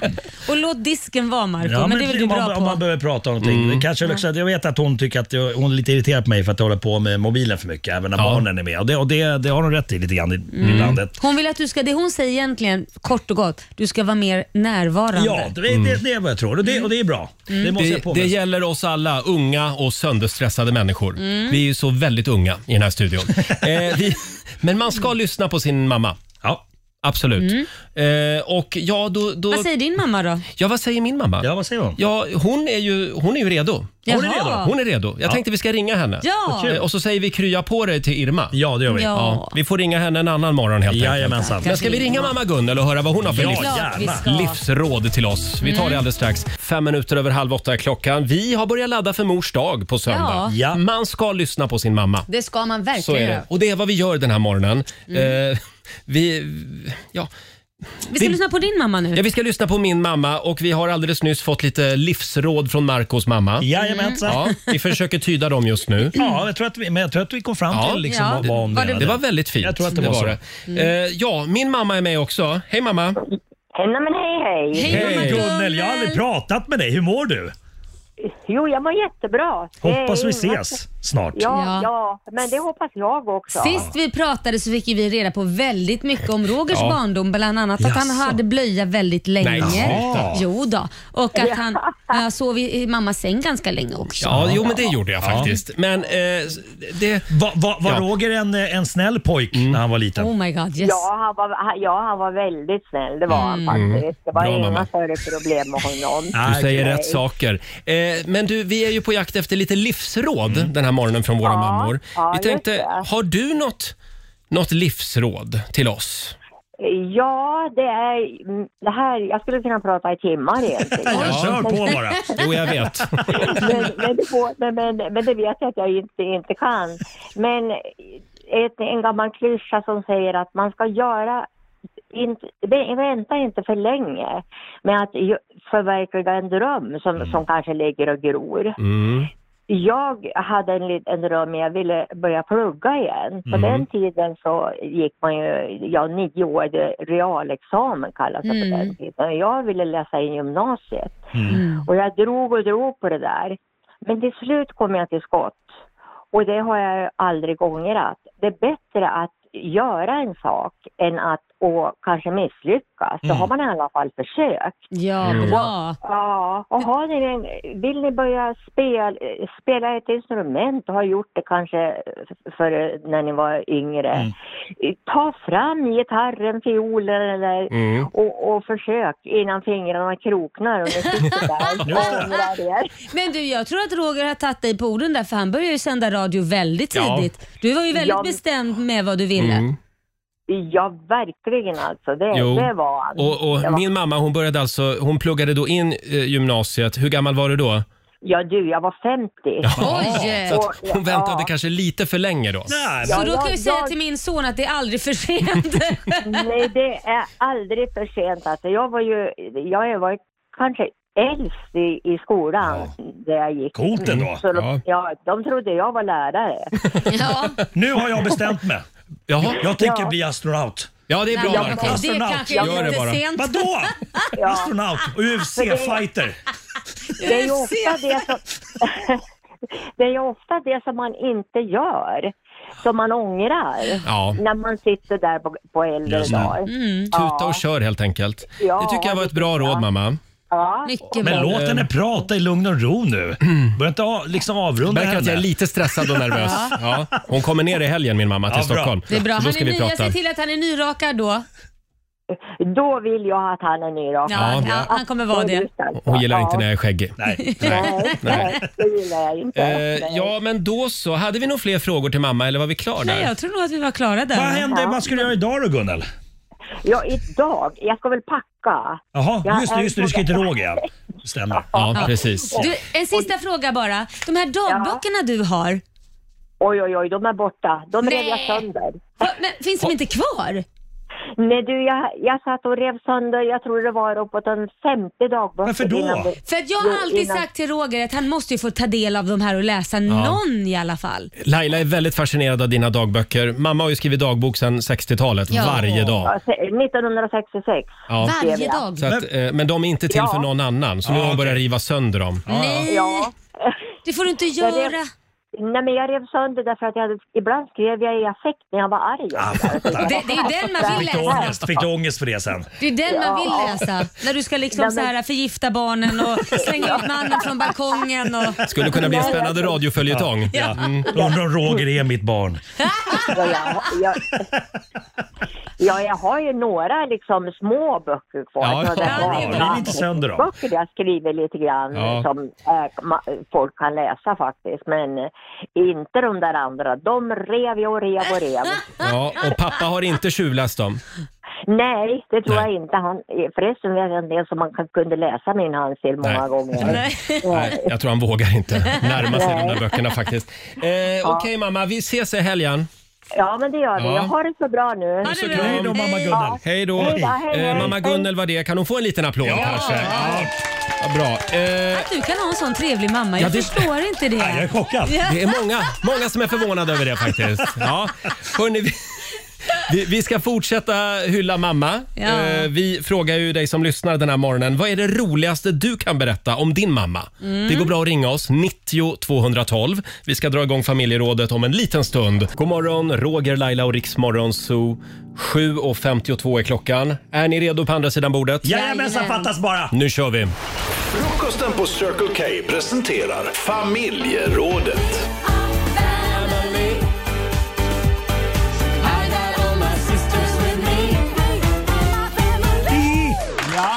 Speaker 2: Och låt disken vara Marco,
Speaker 3: Ja,
Speaker 2: men, det är väl du
Speaker 3: om man,
Speaker 2: bra på?
Speaker 3: Om man behöver prata om någonting.
Speaker 1: Mm.
Speaker 3: Det Kanske också, jag vet att hon tycker att jag, hon är lite irriterad på mig för att jag håller på med mobilen för mycket, även när barnen är med. Och det, och det, det har hon rätt i lite grann i-
Speaker 2: Mm.
Speaker 3: ibland. Att-
Speaker 2: Hon vill att du ska, det hon säger egentligen, kort och gott, du ska vara mer närvarande. Mm.
Speaker 3: Ja, det, det, det är vad jag tror och det, och det är bra. Det måste jag
Speaker 1: Det, det
Speaker 3: påminna
Speaker 1: gäller oss alla, unga och sönderstressade människor.
Speaker 2: Mm.
Speaker 1: Vi är ju så väldigt unga i den här studion. eh, vi, men man ska lyssna på sin mamma.
Speaker 3: Ja.
Speaker 1: absolut. Eh, och ja, då, då...
Speaker 2: Mm. Vad säger din mamma då?
Speaker 1: Ja, vad säger min mamma?
Speaker 3: Ja, vad säger hon?
Speaker 1: Ja, hon är ju, hon är ju redo.
Speaker 2: Jaha. Hon är redo?
Speaker 1: Hon är redo. Jag
Speaker 2: Ja.
Speaker 1: tänkte vi ska ringa henne.
Speaker 2: Ja. Vad kul.
Speaker 1: Eh, Och så säger vi krya på dig till Irma.
Speaker 3: Ja, det gör
Speaker 2: vi. Ja.
Speaker 1: Vi får ringa henne en annan morgon helt
Speaker 3: Jajamensan.
Speaker 1: enkelt. Men ska vi ringa mamma Gunnel och höra vad hon har för
Speaker 3: Ja,
Speaker 1: livs-
Speaker 3: Klart vi ska.
Speaker 1: livsråd till oss? Vi tar det
Speaker 3: Mm.
Speaker 1: alldeles strax. Fem minuter över halv åtta är klockan. Vi har börjat ladda för mors dag på söndag.
Speaker 2: Ja.
Speaker 1: Man ska lyssna på sin mamma.
Speaker 2: Det ska man verkligen
Speaker 1: Så är det.
Speaker 2: göra.
Speaker 1: Och det är vad vi gör den här morgonen.
Speaker 2: Mm.
Speaker 1: Eh, vi, ja,
Speaker 2: Vi ska
Speaker 1: Det-
Speaker 2: lyssna på din mamma nu.
Speaker 1: Ja, vi ska lyssna på min mamma och vi har alldeles nyss fått lite livsråd från Marcos mamma.
Speaker 3: Jajamensan.
Speaker 1: Ja, vi försöker tyda dem just nu.
Speaker 3: Ja, jag tror att vi, men jag tror att vi kom fram till liksom vad, vad hon
Speaker 1: det,
Speaker 3: menade.
Speaker 1: det var väldigt fint.
Speaker 3: Jag tror att det, var,
Speaker 1: det.
Speaker 3: så.
Speaker 1: Eh, ja, min mamma är med också. Hej mamma!
Speaker 13: Hej, nej, men hej, hej.
Speaker 3: Hej Gunnel, jag har aldrig pratat med dig. Hur mår du?
Speaker 13: Jo, jag mår jättebra. Det är
Speaker 3: Hoppas vi
Speaker 13: inga-
Speaker 3: ses snart.
Speaker 13: Ja, ja, men det hoppas jag också.
Speaker 2: Sist vi pratade så fick ju vi reda på väldigt mycket om Rogers
Speaker 13: Ja.
Speaker 2: barndom, bland annat att han
Speaker 13: Jaså.
Speaker 2: hade blöja väldigt länge.
Speaker 1: sluta.
Speaker 2: jo då. Och att han äh, sov i i mammas säng ganska länge också. Oh
Speaker 1: Ja, jo men det gjorde jag faktiskt. Men eh, det...
Speaker 3: Var, var, var
Speaker 1: Ja. Mm.
Speaker 3: Roger en, eh, en snäll pojk när han var liten?
Speaker 2: Oh my god, yes.
Speaker 13: Ja han, var, han- ja, han var väldigt snäll. Det var han
Speaker 1: Mm.
Speaker 13: faktiskt. Det var
Speaker 1: Bra,
Speaker 13: inga
Speaker 1: mamma.
Speaker 13: större problem med honom.
Speaker 1: Du säger
Speaker 13: Nej.
Speaker 1: rätt saker. Eh, men du, vi är ju på jakt efter lite livsråd
Speaker 3: Mm.
Speaker 1: den här morgonen från våra mammor.
Speaker 13: ja,
Speaker 1: vi tänkte, har du något, något livsråd till oss?
Speaker 13: Ja, det är... mm, Det här, jag skulle kunna prata i timmar egentligen.
Speaker 1: Ja. Kör på bara. Jo, jag vet.
Speaker 13: men, men, det får, men, men, men det vet jag att jag inte, inte kan. Men ett, en gammal klyscha som säger att man ska göra inte, vä- vänta inte för länge med att ju- förverkliga en dröm som,
Speaker 1: Mm.
Speaker 13: som kanske ligger och gror.
Speaker 12: Mm.
Speaker 13: Jag hade en liten dröm, jag ville börja plugga igen. På
Speaker 14: Mm.
Speaker 13: den tiden så gick man ju, ja nio år, det- realexamen kallas
Speaker 2: Mm.
Speaker 13: det på den tiden. Och Jag ville läsa in gymnasiet. Och jag drog och drog på det där. Men till slut kom jag till skott. Och det har jag aldrig ångrat. Det är bättre att göra en sak än att och kanske misslyckas. Då
Speaker 2: Mm.
Speaker 13: har man i alla fall försökt.
Speaker 2: Ja,
Speaker 13: Mm.
Speaker 2: bra.
Speaker 13: Ja, och har ni en, vill ni börja spel, eh, spela ett instrument och har gjort det kanske för när ni var yngre.
Speaker 1: Mm.
Speaker 13: Eh, Ta fram gitarren, fiolen eller,
Speaker 12: Mm.
Speaker 13: och, och försök innan fingrarna kroknar och ni sitter där och ångrar er.
Speaker 2: Ah, Men du, jag tror att Roger har tagit dig på orden där för han började ju sända radio väldigt
Speaker 13: Ja.
Speaker 2: tidigt. Du var ju väldigt
Speaker 13: Ja.
Speaker 2: bestämd med vad du ville.
Speaker 1: Mm.
Speaker 13: Ja, verkligen alltså. Det,
Speaker 1: Jo.
Speaker 13: det var han.
Speaker 1: Och,
Speaker 13: det
Speaker 1: och
Speaker 13: var,
Speaker 1: min mamma hon började alltså, hon pluggade då in eh, gymnasiet. Hur gammal var du då?
Speaker 13: Ja, du, jag var 50.
Speaker 2: Oj!
Speaker 1: Så att hon
Speaker 13: Eh. Och-
Speaker 1: väntade
Speaker 13: ja.
Speaker 1: kanske lite för länge då.
Speaker 2: Så då kan jag ju säga till min son att det är aldrig för sent.
Speaker 13: Nej, det är aldrig för sent. Alltså, jag var ju, jag var ju kanske äldst i, i skolan där jag gick. Mm.
Speaker 3: Coolt ändå.
Speaker 13: Så
Speaker 3: Ja.
Speaker 13: de, ja, de trodde jag var lärare.
Speaker 3: Nu har jag bestämt mig.
Speaker 1: Jaha.
Speaker 3: Jag tänker
Speaker 13: Ja.
Speaker 3: bli astronaut.
Speaker 1: Ja,
Speaker 13: det är bra, Ja, Marco. det är kanske Gör det lite bara. sent.
Speaker 3: Vadå?
Speaker 13: Ja.
Speaker 3: Astronaut och UFC-fighter.
Speaker 13: Det är ju ofta det som... Det är ju ofta det som man inte gör, som man ångrar
Speaker 1: Ja.
Speaker 13: när man sitter där på, på äldre
Speaker 1: Just det.
Speaker 13: dagar.
Speaker 2: Mm.
Speaker 1: Tuta och kör helt enkelt.
Speaker 13: Ja,
Speaker 1: det tycker jag var ett bra råd mamma.
Speaker 13: Ja.
Speaker 3: Men låt henne prata i lugn och ro nu. Börja inte av, liksom avrunda
Speaker 1: Mm. Märker att jag är lite stressad och nervös. Ja. Hon kommer ner i helgen min mamma till
Speaker 3: Ja, bra.
Speaker 1: Stockholm.
Speaker 2: Det är bra.
Speaker 1: Så
Speaker 2: Han
Speaker 1: då ska
Speaker 2: är
Speaker 1: vi
Speaker 2: ny. Jag
Speaker 1: prata.
Speaker 2: ser till att han är nyrakad då.
Speaker 13: Då vill jag att han är nyrakad.
Speaker 1: Ja, Ja.
Speaker 2: Han kommer vara det.
Speaker 1: Hon gillar inte när jag är skäggig.
Speaker 3: Nej.
Speaker 13: Nej, nej, det gillar jag inte.
Speaker 1: Eh, ja, men då så. Hade vi nog fler frågor till mamma eller var vi klar
Speaker 2: Nej,
Speaker 1: där?
Speaker 2: jag tror nog att vi var klara där.
Speaker 3: Vad hände? Vad ska du göra idag då Gunnel?
Speaker 13: Ja, idag. Jag ska väl packa.
Speaker 3: Jaha,
Speaker 13: Jag
Speaker 3: just det,
Speaker 13: är
Speaker 3: just det.
Speaker 13: på
Speaker 3: Du ska inte
Speaker 13: väg.
Speaker 3: Roger ja. Stämmer.
Speaker 1: Ja, precis.
Speaker 2: Du, en sista fråga bara. De här dagböckerna du har,
Speaker 13: Oj, oj, oj, de är borta. De
Speaker 2: Nej.
Speaker 13: rev jag sönder.
Speaker 2: men finns de inte kvar?
Speaker 13: Nej du, jag, jag satt och rev sönder, jag tror det var uppåt en 50 dagböcker.
Speaker 2: Varför då?
Speaker 13: innan det-
Speaker 2: För att jag
Speaker 13: Jo,
Speaker 2: har alltid
Speaker 13: innan-
Speaker 2: sagt till Roger att han måste ju få ta del av de här och läsa någon i alla fall.
Speaker 1: Laila är väldigt fascinerad av dina dagböcker. Mamma har ju skrivit dagbok sedan 60-talet,
Speaker 2: Ja.
Speaker 1: varje dag.
Speaker 13: Ja, se- 1966.
Speaker 1: Ja.
Speaker 13: skrev jag.
Speaker 1: Så att, eh, men de är inte till
Speaker 13: Ja.
Speaker 1: för någon annan, så nu har hon börjat riva sönder dem.
Speaker 2: Nej,
Speaker 13: Ja.
Speaker 2: det får du inte
Speaker 13: Jag rev-
Speaker 2: göra.
Speaker 13: Nej men jag rev sönder därför att jag, hade- ibland skrev jag i affekt när jag var arg.
Speaker 2: Ah, Det, det är den man vill
Speaker 3: Fick du
Speaker 2: läsa.
Speaker 3: ångest? Fick du ångest för det sen?
Speaker 2: Det är den man vill
Speaker 13: Ja.
Speaker 2: läsa. När du ska liksom
Speaker 13: Nej,
Speaker 2: så
Speaker 13: men-
Speaker 2: här förgifta barnen och slänga ut mannen från balkongen. Och...
Speaker 1: Skulle kunna bli en spännande radioföljetong. Mm.
Speaker 3: Ja. Undrar om Roger är mitt barn.
Speaker 13: Ja, jag, jag, Ja, jag har ju några liksom små böcker kvar.
Speaker 3: Ja,
Speaker 13: Sådana där
Speaker 3: ja,
Speaker 13: vanliga
Speaker 3: riv inte sönder dem.
Speaker 13: Böcker där jag skriver lite grann
Speaker 3: Ja.
Speaker 13: som eh, ma- folk kan läsa faktiskt. Men eh, inte de där andra. De rev jag och rev och rev.
Speaker 1: Ja, och pappa har inte tjuvläst dem.
Speaker 13: Nej, det tror jag inte. Han, eh, förresten vet jag inte ens om man kan- kunde läsa min handstil många
Speaker 1: Nej.
Speaker 13: gånger.
Speaker 1: Nej, jag tror han vågar inte närma sig de där böckerna faktiskt. Eh, Okej
Speaker 13: Ja.
Speaker 1: mamma, vi ses i helgen.
Speaker 13: Ja, men det gör vi.
Speaker 1: Ja.
Speaker 13: Jag har det så bra nu.
Speaker 1: Puss och kram.
Speaker 13: Ja.
Speaker 1: Hej då.
Speaker 13: Hej då, hej, hej.
Speaker 1: Eh, mamma Gunnel var det. Kan hon få en liten applåd kanske? Ja. Ja, bra. Eh,
Speaker 2: Du kan ha en sån trevlig mamma. Jag
Speaker 1: Ja, det-
Speaker 2: förstår inte det.
Speaker 1: jag är chockad. Det är många, många som är förvånade över det faktiskt. Ja. Hörrni, vi, vi, vi ska fortsätta hylla mamma.
Speaker 2: Ja.
Speaker 1: Eh, vi frågar ju dig som lyssnar den här morgonen. Vad är det roligaste du kan berätta om din mamma?
Speaker 12: Mm.
Speaker 1: Det går bra att ringa oss, 90 212. Vi ska dra igång familjerådet om en liten stund. God morgon, Roger, Laila och Riksmorgon Zoo. 7.52 är klockan. Är ni redo på andra sidan bordet?
Speaker 7: Jajamensan, fattas bara.
Speaker 1: Nu kör vi!
Speaker 7: Frukosten på Circle K presenterar familjerådet.
Speaker 3: Ja.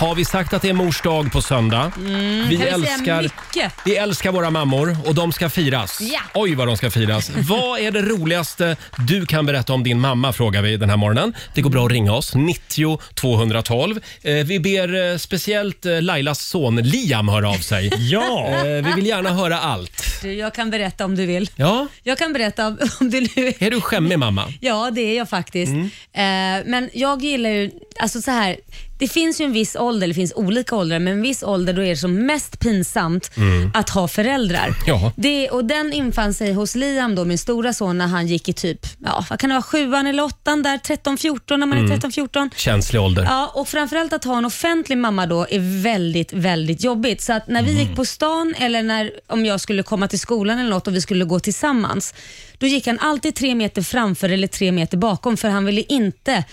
Speaker 1: Har vi sagt att det är mors dag på söndag?
Speaker 2: Mm, kan vi säga mycket?
Speaker 1: vi älskar våra mammor och de ska firas.
Speaker 2: Ja.
Speaker 1: Oj, vad de ska firas. vad är det roligaste du kan berätta om din mamma? frågar vi den här morgonen. Det går bra att ringa oss. 90 212. Eh, vi ber eh, speciellt eh, Lailas son Liam höra av sig. ja. eh, vi vill gärna höra allt.
Speaker 2: Du, jag kan berätta om du vill.
Speaker 1: Ja.
Speaker 2: Jag kan berätta om, om du nu...
Speaker 1: Är du skämmig mamma?
Speaker 2: Ja, det är jag faktiskt.
Speaker 1: Mm.
Speaker 2: Eh, men jag gillar ju, alltså så här, det finns ju en viss ålder, det finns olika åldrar, men en viss ålder då är det som mest pinsamt
Speaker 11: Mm.
Speaker 2: att ha föräldrar.
Speaker 11: Ja.
Speaker 2: Det, och den infann sig hos Liam, då, min stora son, när han gick i typ, ja, vad kan det vara, sjuan eller åttan där, 13-14, när man
Speaker 1: Mm.
Speaker 2: är 13-14.
Speaker 1: Känslig ålder.
Speaker 2: Ja, och framförallt att ha en offentlig mamma då är väldigt, väldigt jobbigt. Så att när vi gick på stan eller när, om jag skulle komma till skolan eller något och vi skulle gå tillsammans, då gick han alltid tre meter framför eller tre meter bakom för han ville inte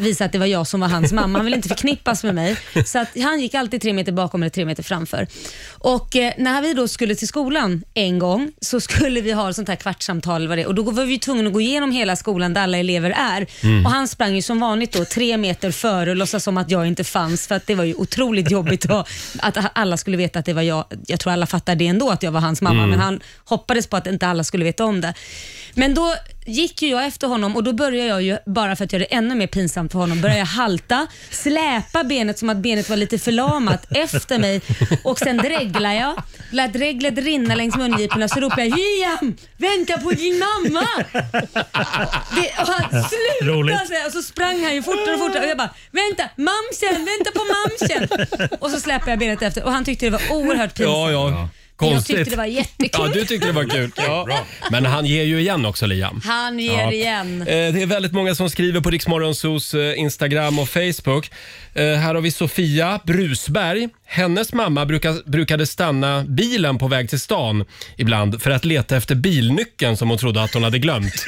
Speaker 2: visa att det var jag som var hans mamma. Han ville inte förknippas med mig. Så att han gick alltid tre meter bakom eller tre meter framför. Och eh, när vi då skulle till skolan en gång så skulle vi ha ett sånt här kvartssamtal eller vad det är. och då var vi ju tvungna att gå igenom hela skolan där alla elever är.
Speaker 11: Mm.
Speaker 2: Och han sprang ju som vanligt då tre meter före och låtsas som att jag inte fanns för att det var ju otroligt jobbigt att, att alla skulle veta att det var jag. Jag tror alla fattade det ändå att jag var hans mamma
Speaker 11: Mm.
Speaker 2: men han hoppades på att inte alla skulle veta om det. Men då gick ju jag efter honom och då började jag ju, bara för att göra det ännu mer pinsamt för honom, började jag halta, släpa benet som att benet var lite förlamat efter mig och sen dreglade jag, lät reglet rinna längs mungiporna så ropade jag “Liam, vänta på din mamma!” det, och han
Speaker 11: Roligt.
Speaker 2: slutade säga och så sprang han ju fortare och fortare och jag bara “Vänta, mamsen, vänta på mamsen!” Och så släpade jag benet efter och han tyckte det var oerhört pinsamt.
Speaker 1: Ja, ja.
Speaker 2: Men jag
Speaker 1: Konstigt.
Speaker 2: tyckte det var jättekul.
Speaker 1: Ja, du tyckte det var kul. Ja. Men han ger ju igen också, Liam.
Speaker 2: Han ger igen.
Speaker 1: Eh, Det är väldigt många som skriver på Riksmorgonsos eh, Instagram och Facebook. Eh, Här har vi Sofia Brusberg. Hennes mamma bruka, brukade stanna bilen på väg till stan ibland för att leta efter bilnyckeln som hon trodde att hon hade glömt.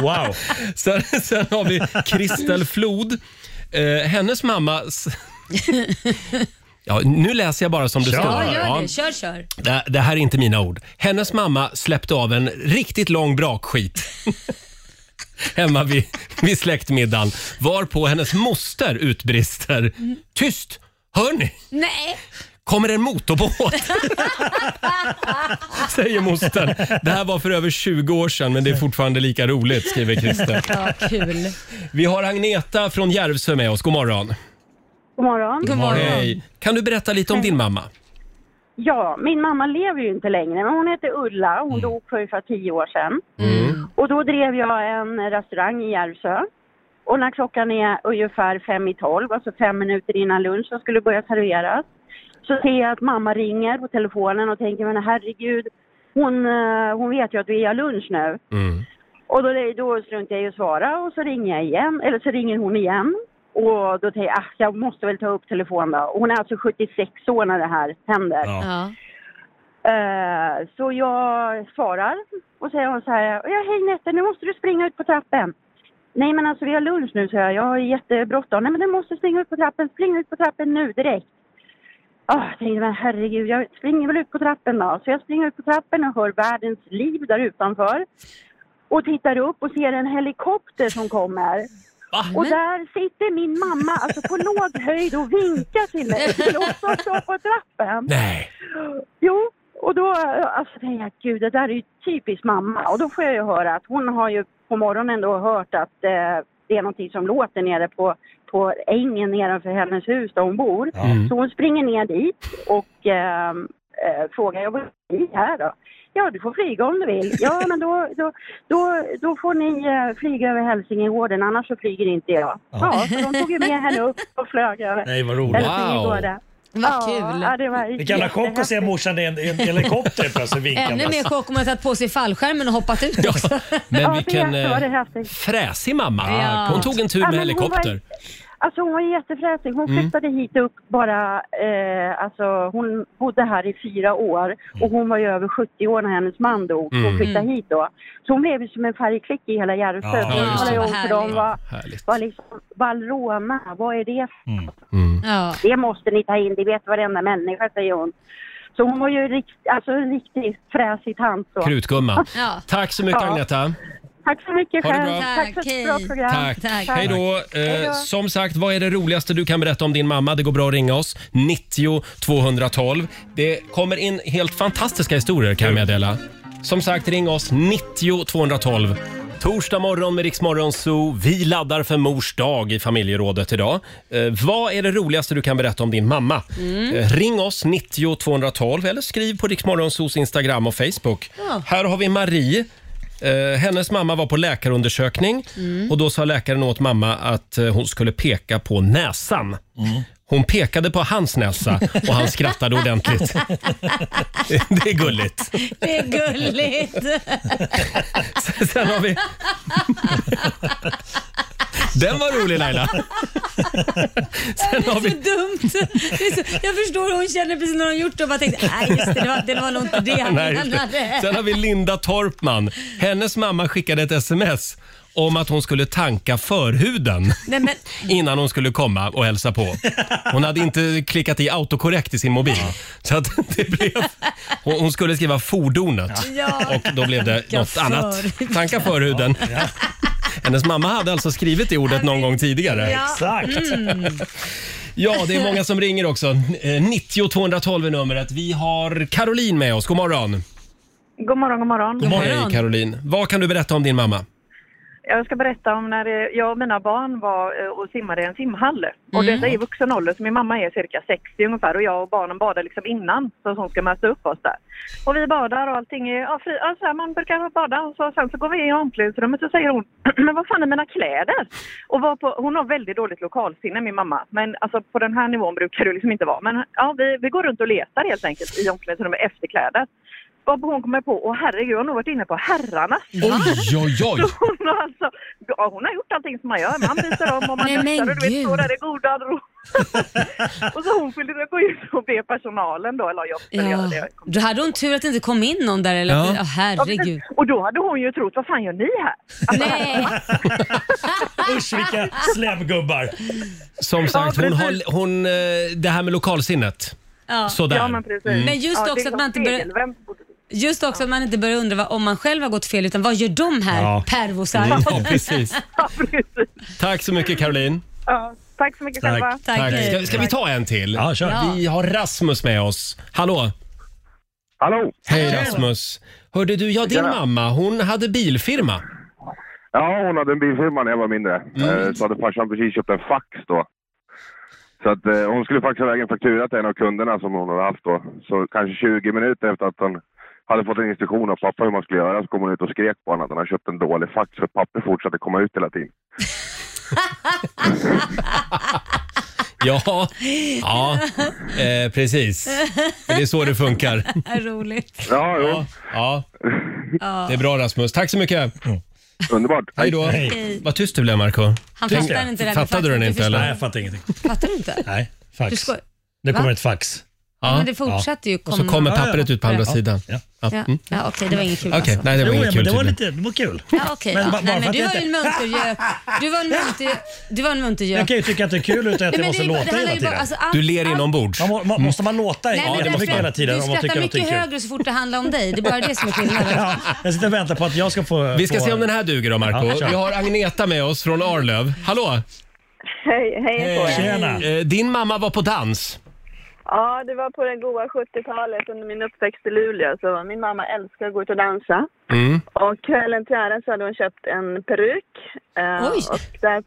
Speaker 1: Wow! Sen, sen har vi Kristel Flod. Eh, hennes mamma... s- Ja, nu läser jag bara som det står.
Speaker 2: Ja, gör
Speaker 1: Ja.
Speaker 2: det. Kör, kör.
Speaker 1: Det, det här är inte mina ord. Hennes mamma släppte av en riktigt lång brakskit hemma vid, vid släktmiddagen varpå hennes moster utbrister. Tyst! Hör ni?
Speaker 2: Nej.
Speaker 1: Kommer en motorbåt? Säger mostern. Det här var för över 20 år sedan men det är fortfarande lika roligt skriver Christer.
Speaker 2: Ja, kul.
Speaker 1: Vi har Agneta från Järvsö med oss. God morgon.
Speaker 14: God morgon.
Speaker 1: Hej. Kan du berätta lite om din mamma?
Speaker 14: Ja, min mamma lever ju inte längre, men hon heter Ulla. Hon dog för ungefär tio år sedan. Och då drev jag en restaurang i Järvsö. Och när klockan är ungefär fem i tolv, alltså fem minuter innan lunch som skulle börja serveras, så ser jag att mamma ringer på telefonen och tänker, men herregud, hon, eh, hon vet ju att vi är lunch nu. Och då, då struntar jag i att svara och så ringer jag igen, eller så ringer hon igen. Och då tänker jag, ah, jag måste väl ta upp telefonen då. Hon är alltså 76 år när det här händer. Eh, så jag svarar och säger hon så här, ja hej Nette, nu måste du springa ut på trappen. Nej men alltså vi har lunch nu, så jag. Jag har jättebråttom. Nej men du måste springa ut på trappen, spring ut på trappen nu direkt. Ah, jag tänkte, men herregud, jag springer väl ut på trappen då. Så jag springer ut på trappen och hör världens liv där utanför. och tittar upp och ser en helikopter som kommer. Och där sitter min mamma alltså på låg höjd och vinkar till mig. Låt oss stå på trappen.
Speaker 1: Nej.
Speaker 14: Jo, och då alltså, tänkte jag gud det där är ju typiskt mamma. Och då får jag ju höra att hon har ju på morgonen då hört att eh, det är någonting som låter nere på, på ängen nedanför hennes hus där hon bor.
Speaker 15: Mm.
Speaker 14: Så hon springer ner dit och eh, eh, frågar jag vad är det här då? Ja, du får flyga om du vill. Ja, men då, då, då, då får ni eh, flyga över Hälsingegården, annars så flyger inte jag. Ja, så de tog ju med henne upp och flög över
Speaker 3: Nej, vad roligt.
Speaker 14: Hälsingegården.
Speaker 2: Vad
Speaker 14: ja,
Speaker 2: kul.
Speaker 14: Ja, det var
Speaker 3: Vilken jävla chock att se morsan i en, i en helikopter alltså plötsligt vinkandes.
Speaker 2: Ännu mer chock om jag tagit på sig fallskärmen och hoppat ut också.
Speaker 1: alltså. Men vilken
Speaker 14: det var det
Speaker 1: eh,
Speaker 14: häftigt.
Speaker 1: fräsig mamma.
Speaker 14: Ja.
Speaker 1: Ah, Hon tog en tur
Speaker 14: Ja,
Speaker 1: med
Speaker 14: men hon var-
Speaker 1: helikopter.
Speaker 14: Alltså hon var jättefräsig. Hon
Speaker 1: Mm.
Speaker 14: flyttade hit upp bara, eh, alltså hon bodde här i fyra år och hon var ju över 70 år när hennes man dog. Så
Speaker 12: Mm.
Speaker 14: Hon flyttade hit då. Så hon blev ju som en färgklick i hela Järvsö.
Speaker 12: Ja,
Speaker 14: Så hon
Speaker 12: just
Speaker 14: talade ju
Speaker 12: det.
Speaker 14: om för dem vad,
Speaker 1: Härligt.
Speaker 14: vad liksom, Valroma, vad är det för
Speaker 1: Mm.
Speaker 14: Det måste ni ta in, det vet varenda människa säger hon. Så hon var ju rikt, alltså en riktigt fräsig tant då.
Speaker 1: Krutgumma. Tack så mycket
Speaker 14: Ja.
Speaker 1: Agneta.
Speaker 14: Tack så mycket
Speaker 1: Ha det
Speaker 14: själv.
Speaker 1: bra.
Speaker 14: Tack för ett bra program.
Speaker 1: Tack. Hej då. Eh, som sagt, vad är det roligaste du kan berätta om din mamma? Det går bra att ringa oss. 90 212. Det kommer in helt fantastiska historier kan jag meddela. Som sagt, ring oss 90 212. Torsdag morgon med Riksmorgon Zoo. Vi laddar för mors dag i familjerådet idag. Eh, vad är det roligaste du kan berätta om din mamma?
Speaker 12: Mm.
Speaker 1: Eh, ring oss 90 212 eller skriv på Riksmorgon Zoos Instagram och Facebook.
Speaker 12: Ja.
Speaker 1: Här har vi Marie. Eh, hennes mamma var på läkarundersökning
Speaker 12: Mm.
Speaker 1: och då sa läkaren åt mamma att eh, hon skulle peka på näsan.
Speaker 3: Mm.
Speaker 1: Hon pekade på hans näsa och han skrattade ordentligt. Det är gulligt.
Speaker 2: Det är gulligt.
Speaker 1: Sen har vi... Den var rolig Laila. Sen
Speaker 2: Det är
Speaker 1: har vi...
Speaker 2: så dumt. Det är så, jag förstår hur hon känner precis när hon gjort det och bara tänkte, nej just det, det var, det var nog inte det han
Speaker 1: Nej, just det.
Speaker 2: menade.
Speaker 1: Sen har vi Linda Torpman. Hennes mamma skickade ett sms om att hon skulle tanka förhuden
Speaker 2: Nej, men,
Speaker 1: innan hon skulle komma och hälsa på. Hon hade inte klickat i autokorrekt i sin mobil. Så att det blev, hon hon skulle skriva fordonet
Speaker 12: Ja.
Speaker 1: och då blev det
Speaker 12: Tanka
Speaker 1: något annat.
Speaker 12: förhuden.
Speaker 1: Tanka förhuden. Hennes mamma hade alltså skrivit det ordet någon gång tidigare.
Speaker 12: Mm.
Speaker 1: Ja, det är många som ringer också. Eh, 90 212 är numret. Vi har Caroline med oss. God morgon.
Speaker 16: God morgon, god morgon.
Speaker 1: Hej Caroline. Vad kan du berätta om din mamma?
Speaker 16: Jag ska berätta om när eh, jag och mina barn var eh, och simmade i en simhall. Och detta är i vuxen ålder, så min mamma är cirka 60 ungefär och jag och barnen badar liksom innan så att hon ska möta upp oss där. Och vi badar och allting är, ja, fri, alltså här, man brukar bada och så, sen så går vi in i omklädningsrummet och säger hon, men vad fan är mina kläder? Och var på, hon har väldigt dåligt lokalsinne min mamma, men alltså på den här nivån brukar det liksom inte vara. Men ja, vi, vi går runt och letar helt enkelt i omklädningsrummet efter kläder. Vad hon kommer på, åh herregud, jag har nog varit inne på herrarnas.
Speaker 1: Oj, oj, oj!
Speaker 16: Så hon, har alltså, ja, hon har gjort allting som man gör. Man byter om och man
Speaker 12: Nej, men
Speaker 16: dustar och du vet,
Speaker 12: gud.
Speaker 16: står där i goda ro. och så hon skulle gå ut och be personalen då, eller jag skulle göra
Speaker 2: Ja.
Speaker 16: det.
Speaker 2: Då hade hon tur att det inte kom in någon där eller?
Speaker 16: Ja.
Speaker 2: Ja. herregud.
Speaker 16: Och då hade hon ju trott, vad fan gör ni här?
Speaker 2: Nej.
Speaker 3: Usch vilka slemgubbar.
Speaker 1: Som sagt, hon
Speaker 3: precis.
Speaker 1: har, hon, eh, det här med lokalsinnet.
Speaker 2: Ja.
Speaker 1: Sådär.
Speaker 2: Ja, men precis.
Speaker 1: Mm.
Speaker 2: Men just
Speaker 16: Ja, det
Speaker 2: också
Speaker 16: är
Speaker 2: att man inte
Speaker 16: som
Speaker 2: börjar... Just också att man inte börjar undra vad, om man själv har gått fel utan vad gör de här
Speaker 1: Ja.
Speaker 2: pervosar?
Speaker 1: Mm, ja, precis. Tack så mycket Caroline.
Speaker 16: Ja, tack så mycket själva.
Speaker 1: Ska, ska vi ta en till? Ja,
Speaker 16: kör. Ja.
Speaker 1: Vi har Rasmus med oss. Hallå!
Speaker 17: Hallå!
Speaker 1: Hej
Speaker 17: Tjena.
Speaker 1: Rasmus! Hörde du, ja din
Speaker 17: Tjena.
Speaker 1: mamma, hon hade bilfirma.
Speaker 17: Ja, hon hade en bilfirma när jag var mindre. Eh, Så hade farsan precis köpt en fax då. Så att eh, hon skulle faxa iväg en faktura till en av kunderna som hon hade haft då. Så kanske 20 minuter efter att han hade fått en instruktion av pappa hur man skulle göra så kom hon ut och skrek på honom att han hade köpt en dålig fax för papper fortsatte komma ut hela tiden.
Speaker 1: Ja, ja eh, precis. Det är så det funkar.
Speaker 2: Roligt.
Speaker 17: Ja,
Speaker 1: ja. ja.
Speaker 2: Ja.
Speaker 1: Det är bra Rasmus. Tack så mycket.
Speaker 17: Underbart.
Speaker 1: Hej då.
Speaker 2: Hej.
Speaker 1: Vad tyst du blev Marco
Speaker 2: Han
Speaker 1: Tyst.
Speaker 2: fattar inte det här med
Speaker 1: Fattade du
Speaker 2: faxen,
Speaker 1: den
Speaker 2: du
Speaker 1: inte eller?
Speaker 2: förstår. Nej, jag
Speaker 3: fattar ingenting.
Speaker 2: Fattar du inte?
Speaker 3: Nej,
Speaker 2: Du
Speaker 3: fax.
Speaker 2: skoj-
Speaker 3: Det kommer
Speaker 2: Va?
Speaker 3: ett fax.
Speaker 2: men det fortsatte ju
Speaker 1: Och så kommer
Speaker 2: komma.
Speaker 1: pappret ut på andra
Speaker 2: Ja.
Speaker 1: sidan.
Speaker 2: Ja, ja
Speaker 1: Mm.
Speaker 2: okej, det var inget kul
Speaker 1: Okej,
Speaker 2: alltså.
Speaker 1: nej det var
Speaker 3: Jo,
Speaker 1: inget
Speaker 3: ja, men
Speaker 1: kul
Speaker 3: det var
Speaker 1: tydligen.
Speaker 3: lite, det var kul.
Speaker 2: Ja, okej.
Speaker 3: Men
Speaker 2: ja.
Speaker 3: bara- bara
Speaker 2: Nej,
Speaker 3: för
Speaker 2: men
Speaker 3: att
Speaker 2: du
Speaker 3: jag
Speaker 2: var ju en
Speaker 3: inte-
Speaker 2: muntergök. Du var en munter- du var en muntergök.
Speaker 3: Jag kan ju tycka att det är kul utan att det
Speaker 2: Nej, men
Speaker 3: måste
Speaker 2: det- det
Speaker 3: låta
Speaker 2: handlar
Speaker 3: hela
Speaker 2: ju bara-
Speaker 3: tiden.
Speaker 2: alltså, allt- Du ler allt-
Speaker 1: inombords.
Speaker 3: Man, må- man, måste man låta
Speaker 2: Nej, men
Speaker 3: jättemycket
Speaker 2: därför-
Speaker 3: hela tiden
Speaker 2: du
Speaker 3: om man tycker
Speaker 2: skrattar
Speaker 3: någonting
Speaker 2: mycket
Speaker 3: är kul?
Speaker 2: högre så fort det handlar om dig. Det är bara det som är skillnaden.
Speaker 3: Ja, jag sitter och väntar på att jag ska få...
Speaker 1: Vi ska
Speaker 3: få-
Speaker 1: se om den här duger då Marco.
Speaker 3: Ja, kör.
Speaker 1: Vi har Agneta med oss från Arlöv. Hallå!
Speaker 15: Hej, hej på er.
Speaker 1: Eh, Din mamma var på dans.
Speaker 15: Ja, det var på det goa 70-talet under min uppväxt i Luleå. Så min mamma älskar att gå ut och dansa.
Speaker 1: Mm.
Speaker 15: Och kvällen till ära så hade hon köpt en peruk. Eh,
Speaker 3: Oj.
Speaker 15: Och där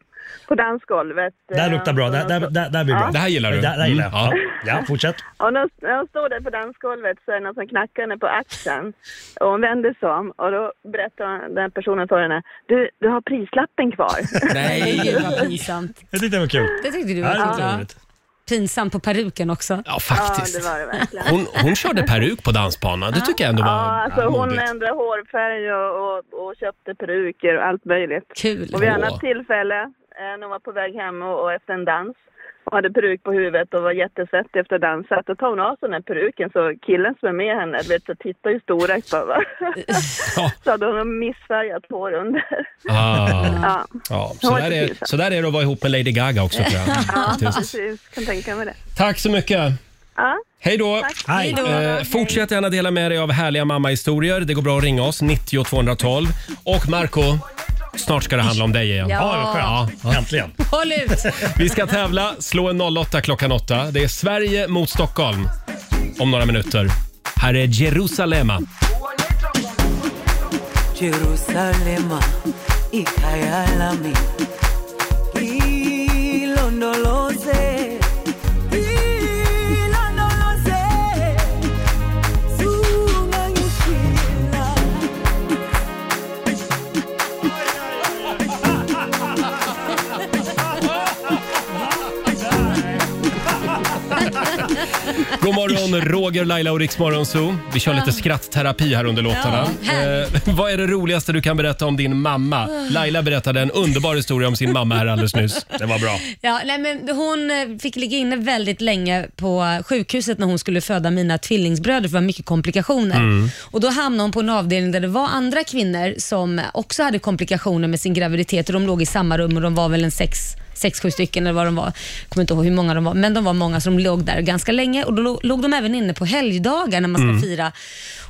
Speaker 15: på dansgolvet. eh,
Speaker 3: Där luktar bra. Där, där, där, där blir
Speaker 15: Ja.
Speaker 3: bra.
Speaker 15: Det här
Speaker 1: gillar du?
Speaker 3: Det här gillar
Speaker 1: Mm,
Speaker 3: jag. Ja. ja, fortsätt.
Speaker 15: Och när hon- när hon stod där på dansgolvet så är det någon som knackar henne på axeln. Och hon vänder sig om och då berättar hon- den personen för henne. Du, du har prislappen kvar.
Speaker 2: Nej, gud vad pinsamt.
Speaker 3: Jag tyckte det var kul.
Speaker 2: Det tyckte du
Speaker 3: Ja, det
Speaker 2: var
Speaker 3: tyckte jag var
Speaker 2: kul.
Speaker 3: roligt.
Speaker 2: Pinsamt på peruken också.
Speaker 1: Ja, faktiskt.
Speaker 15: Ja, det var det verkligen.
Speaker 1: Hon, hon körde peruk på dansbanan. Det tycker jag ändå var
Speaker 15: Ja, alltså hon
Speaker 1: modigt.
Speaker 15: ändrade hårfärg och, och, och köpte peruker och allt möjligt.
Speaker 2: Kul.
Speaker 15: Och vid
Speaker 1: Åh.
Speaker 15: annat tillfälle, eh, när hon var på väg hem och, och efter en dans och hade peruk på huvudet och var jättesvettig efter dansen, att då tar hon av sig den här peruken så killen som är med henne, du vet, så tittar ju storögt på va? Så hade hon missfärgat hår under.
Speaker 1: Ah.
Speaker 15: Ja.
Speaker 1: Ja, så, där är, så där är det att vara ihop med Lady Gaga också tror jag.
Speaker 15: Ja,
Speaker 1: Faktiskt.
Speaker 15: precis. Kan tänka mig det.
Speaker 1: Tack så mycket.
Speaker 15: Ja.
Speaker 1: Hej då!
Speaker 15: Tack. Hej då.
Speaker 1: Eh, fortsätt gärna dela med dig av härliga mammahistorier. Det går bra att ringa oss, 90 212. Och Marco, snart ska det handla om dig igen.
Speaker 2: Ja. Ja, vad skönt.
Speaker 1: Äntligen!
Speaker 2: Håll ut!
Speaker 1: Vi ska tävla, slå en 08 klockan 8. Det är Sverige mot Stockholm om några minuter. Här är Jerusalema.
Speaker 18: Jerusalema ikhaya lami ilondoloze ilondoloze sungangishiya
Speaker 1: God morgon, Roger, Laila och Riksmorgon Zoo. Vi kör lite skrattterapi här under låtarna.
Speaker 12: Ja, härligt.
Speaker 1: eh, vad är det roligaste du kan berätta om din mamma? Laila berättade en underbar historia om sin mamma här alldeles nyss. Det var bra.
Speaker 2: Ja, nej, men hon eh, fick ligga inne väldigt länge på sjukhuset när hon skulle föda mina tvillingsbröder för det var mycket komplikationer.
Speaker 12: Mm.
Speaker 2: Och Då hamnade hon på en avdelning där det var andra kvinnor som också hade komplikationer med sin graviditet och de låg i samma rum och de var väl en sex, sex sju stycken eller vad de var. Jag kommer inte ihåg hur många de var, men de var många som låg där ganska länge och då lo- låg de även inne på helgdagar när man ska
Speaker 12: Mm.
Speaker 2: fira.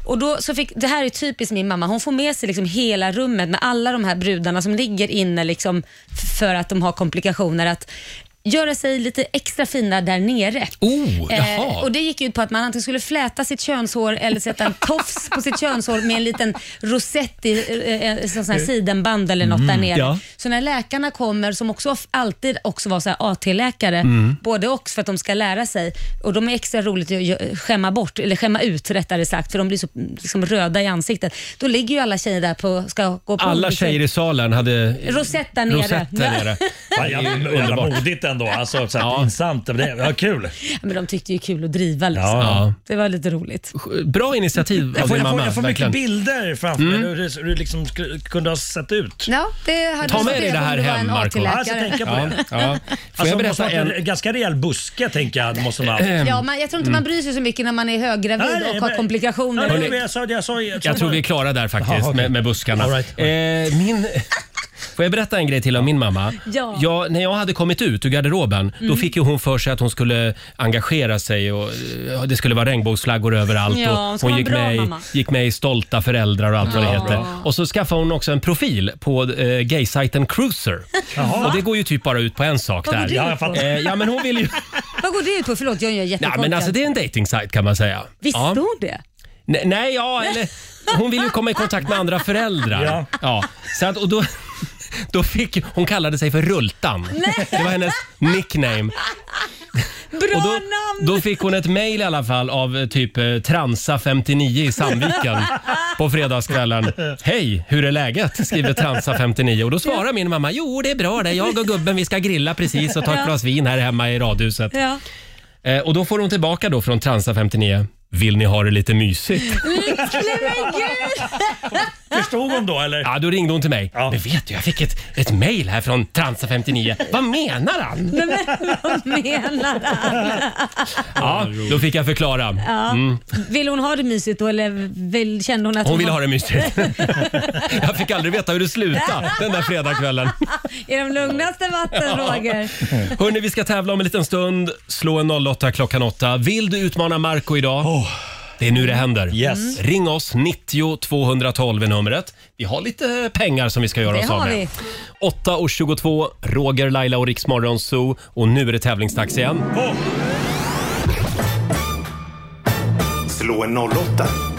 Speaker 2: Och då så fick, det här är typiskt min mamma, hon får med sig liksom hela rummet med alla de här brudarna som ligger inne liksom f- för att de har komplikationer. Att göra sig lite extra fina där nere.
Speaker 1: Oh,
Speaker 12: jaha.
Speaker 2: Eh, och det gick ut på att man antingen skulle fläta sitt könshår eller sätta en tofs på sitt könshår med en liten rosett i eh, eh, sån här sidenband eller något där
Speaker 12: Mm,
Speaker 2: nere.
Speaker 12: ja.
Speaker 2: Så när läkarna kommer, som också of- alltid också var så här AT-läkare,
Speaker 12: Mm.
Speaker 2: både och för att de ska lära sig. Och De är extra roligt att gö- skämma bort, eller skämma ut rättare sagt, för de blir så liksom, röda i ansiktet. Då ligger ju alla tjejer där på, ska gå på
Speaker 1: Alla tjejer i salen hade
Speaker 2: Rosett där nere.
Speaker 1: Rosett där nere.
Speaker 3: Ja, jävla- jävla modigt ändå. Alltså, så här, pinsamt. men Det var kul.
Speaker 2: Men de tyckte ju kul att driva liksom.
Speaker 1: Ja.
Speaker 2: Det var lite roligt.
Speaker 1: Bra initiativ av
Speaker 3: Jag får,
Speaker 1: din
Speaker 3: jag får,
Speaker 1: mamma.
Speaker 3: jag får mycket
Speaker 1: verkligen.
Speaker 3: bilder framför mig.
Speaker 1: Mm.
Speaker 3: Hur det- hur det liksom sk- kunde ha sett ut.
Speaker 2: Ja, det hade
Speaker 1: Ta
Speaker 2: du
Speaker 1: med dig
Speaker 2: spelat
Speaker 1: det
Speaker 2: om
Speaker 1: här
Speaker 2: du var en
Speaker 1: hem, Marco.
Speaker 2: AT-läkare.
Speaker 3: Ja, alltså, jag ska tänka på det.
Speaker 1: Ja, ja. Får
Speaker 3: Alltså,
Speaker 1: jag
Speaker 3: det måste
Speaker 1: berätta
Speaker 3: ha varit
Speaker 1: en... Ehm.
Speaker 3: en ganska rejäl buske, tänker jag. Det måste man...
Speaker 2: Ja, men jag tror
Speaker 1: Mm.
Speaker 2: inte man bryr sig så mycket när man är höggravid
Speaker 3: Nej, nej,
Speaker 2: och har
Speaker 3: men-
Speaker 2: komplikationer.
Speaker 3: Mm. Ja, det var- jag sa, jag sa, jag sa
Speaker 1: Jag tror vi är klara där faktiskt
Speaker 3: Jaha, okej.
Speaker 1: med, med buskarna.
Speaker 3: All
Speaker 1: Eh, min... Får jag berätta en grej till om min mamma?
Speaker 2: Ja.
Speaker 1: Jag, när jag hade kommit ut ur garderoben då
Speaker 12: Mm.
Speaker 1: fick ju hon för sig att hon skulle engagera sig och eh, det skulle vara regnbågsflaggor överallt.
Speaker 12: Ja, hon
Speaker 1: och
Speaker 12: ska vara
Speaker 1: gick,
Speaker 12: en bra
Speaker 1: med i,
Speaker 12: mamma.
Speaker 1: gick med i Stolta föräldrar och allt vad det
Speaker 12: Ja.
Speaker 1: heter. Och så skaffade hon också en profil på eh, gaysajten Cruiser.
Speaker 2: Jaha.
Speaker 1: Och det går ju typ bara ut på en sak
Speaker 2: Vad går
Speaker 1: där.
Speaker 2: det ut på?
Speaker 1: eh, ja, men hon vill ju...
Speaker 2: Vad går det ut på? Förlåt, jag är
Speaker 1: Ja,
Speaker 2: jättekorkad.
Speaker 1: men alltså det är en datingsajt kan man säga.
Speaker 2: Visst
Speaker 1: ja.
Speaker 2: står det?
Speaker 1: Nej, nej ja, eller, hon vill ju komma i kontakt med andra föräldrar. Ja. så att, och då, då fick hon kallade sig för Rultan.
Speaker 12: Nej.
Speaker 1: Det var hennes nickname.
Speaker 2: Bra
Speaker 1: och då, Då fick hon ett mejl i alla fall av eh, typ eh, Transa59 i Sandviken på fredagskvällen. Hej, hur är läget? skriver Transa59 och då svarar min mamma jo det är bra det. Jag och gubben vi ska grilla precis och ta ett
Speaker 12: Ja.
Speaker 1: glas vin här hemma i radhuset.
Speaker 2: Ja.
Speaker 1: Eh, och då får hon tillbaka då från Transa59 vill ni ha det lite mysigt?
Speaker 12: Nej men gud!
Speaker 1: Förstod hon då eller? Ja, då ringde hon till mig. Men vet du, jag fick ett, ett mail här från Transa59. Vad menar han?
Speaker 2: Men, men vad menar han?
Speaker 1: Ja, då fick jag förklara.
Speaker 2: Ja.
Speaker 1: Mm.
Speaker 2: Vill hon ha det mysigt då eller vill, kände hon att
Speaker 1: Hon ville
Speaker 2: var-
Speaker 1: ha det mysigt. Jag fick aldrig veta hur det slutade den där fredagskvällen.
Speaker 2: I de lugnaste vatten,
Speaker 1: Ja.
Speaker 2: Roger.
Speaker 1: Hörni, vi ska tävla om en liten stund. Slå en 08 klockan 8. Vill du utmana Marco idag? Det är nu det händer. Mm.
Speaker 2: Yes.
Speaker 1: Ring oss, 90 212 är numret. Vi har lite pengar som vi ska göra
Speaker 2: Det
Speaker 1: oss av
Speaker 2: har
Speaker 1: med.
Speaker 2: vi.
Speaker 1: 8.22, Roger, Laila och Riksmorgon Zoo. Och nu är det tävlingsdags igen.
Speaker 6: Slå en 08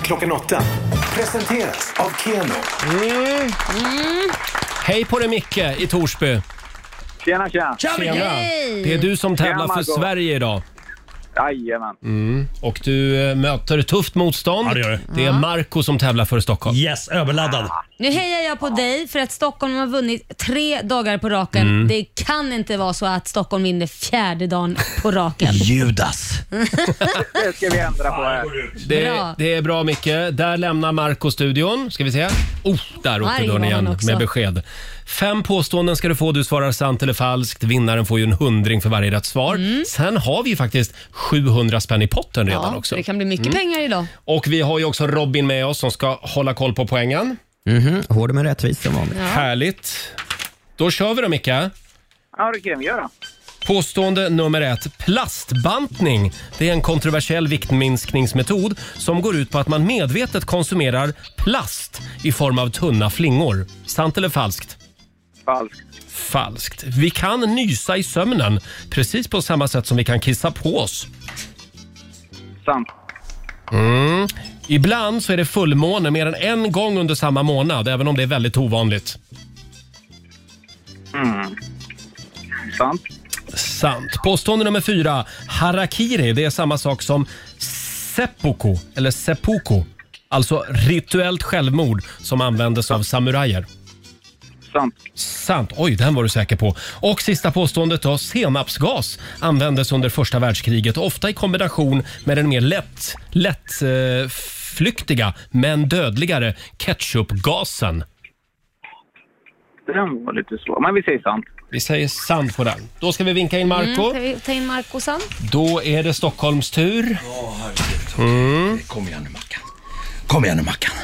Speaker 6: klockan 8. Presenteras av Keno.
Speaker 1: Mm. Hej på dig Micke i Torsby.
Speaker 19: Tjena, tjena!
Speaker 1: Det är du som tävlar
Speaker 19: Tjena,
Speaker 1: för
Speaker 19: Marco.
Speaker 1: Sverige idag.
Speaker 19: Jajamän.
Speaker 1: Mm. Och du eh, möter tufft motstånd. det, är Marco som tävlar för Stockholm.
Speaker 3: Mm. Yes, överladdad.
Speaker 2: Nu hejar jag på dig för att Stockholm har vunnit tre dagar på raken.
Speaker 3: Mm.
Speaker 2: Det kan inte vara så att Stockholm vinner fjärde dagen på raken.
Speaker 3: Judas.
Speaker 19: Det ska vi ändra på här.
Speaker 1: Det,
Speaker 2: Bra.
Speaker 1: det är bra Micke. Där lämnar Marco studion. Ska vi se. Oh, där åkte
Speaker 2: Arg
Speaker 1: dörren
Speaker 2: var han
Speaker 1: igen
Speaker 2: också.
Speaker 1: med besked. Fem påståenden ska du få. Du svarar sant eller falskt. Vinnaren får ju en hundring för varje rätt svar. Sen har vi ju faktiskt 700 spänn i potten redan
Speaker 2: Mm. ja,
Speaker 1: också.
Speaker 2: Det kan bli mycket
Speaker 1: Mm.
Speaker 2: pengar idag.
Speaker 1: Och vi har ju också Robin med oss som ska hålla koll på poängen.
Speaker 20: Mhm. Hård men rättvis som vanligt.
Speaker 1: Härligt. Då kör vi då Micke.
Speaker 19: Ja, det kan vi göra.
Speaker 1: Påstående nummer ett. Plastbantning. Det är en kontroversiell viktminskningsmetod som går ut på att man medvetet konsumerar plast i form av tunna flingor. Sant eller falskt?
Speaker 19: Falskt.
Speaker 1: Falskt. Vi kan nysa i sömnen precis på samma sätt som vi kan kissa på oss.
Speaker 19: Sant.
Speaker 1: Mm. Ibland så är det fullmåne mer än en gång under samma månad, även om det är väldigt ovanligt.
Speaker 19: Mm. Sant.
Speaker 1: Sant. Påstående nummer fyra. Harakiri, det är samma sak som seppuku, eller seppuku. Alltså rituellt självmord som användes av samurajer.
Speaker 19: Sant.
Speaker 1: Sant. Oj, den var du säker på. Och sista påståendet då. Senapsgas användes under första världskriget, ofta i kombination med den mer lätt, lätt eh, flyktiga men dödligare ketchupgasen.
Speaker 19: Den var lite svår, men vi säger sant.
Speaker 1: Vi säger sant på den. Då ska vi vinka in Marco.
Speaker 2: Mm, tar vi- ta in Marco sen.
Speaker 1: Då är det Stockholms tur. Mm.
Speaker 12: Eh, Kom igen nu Mackan. Kom igen nu Mackan.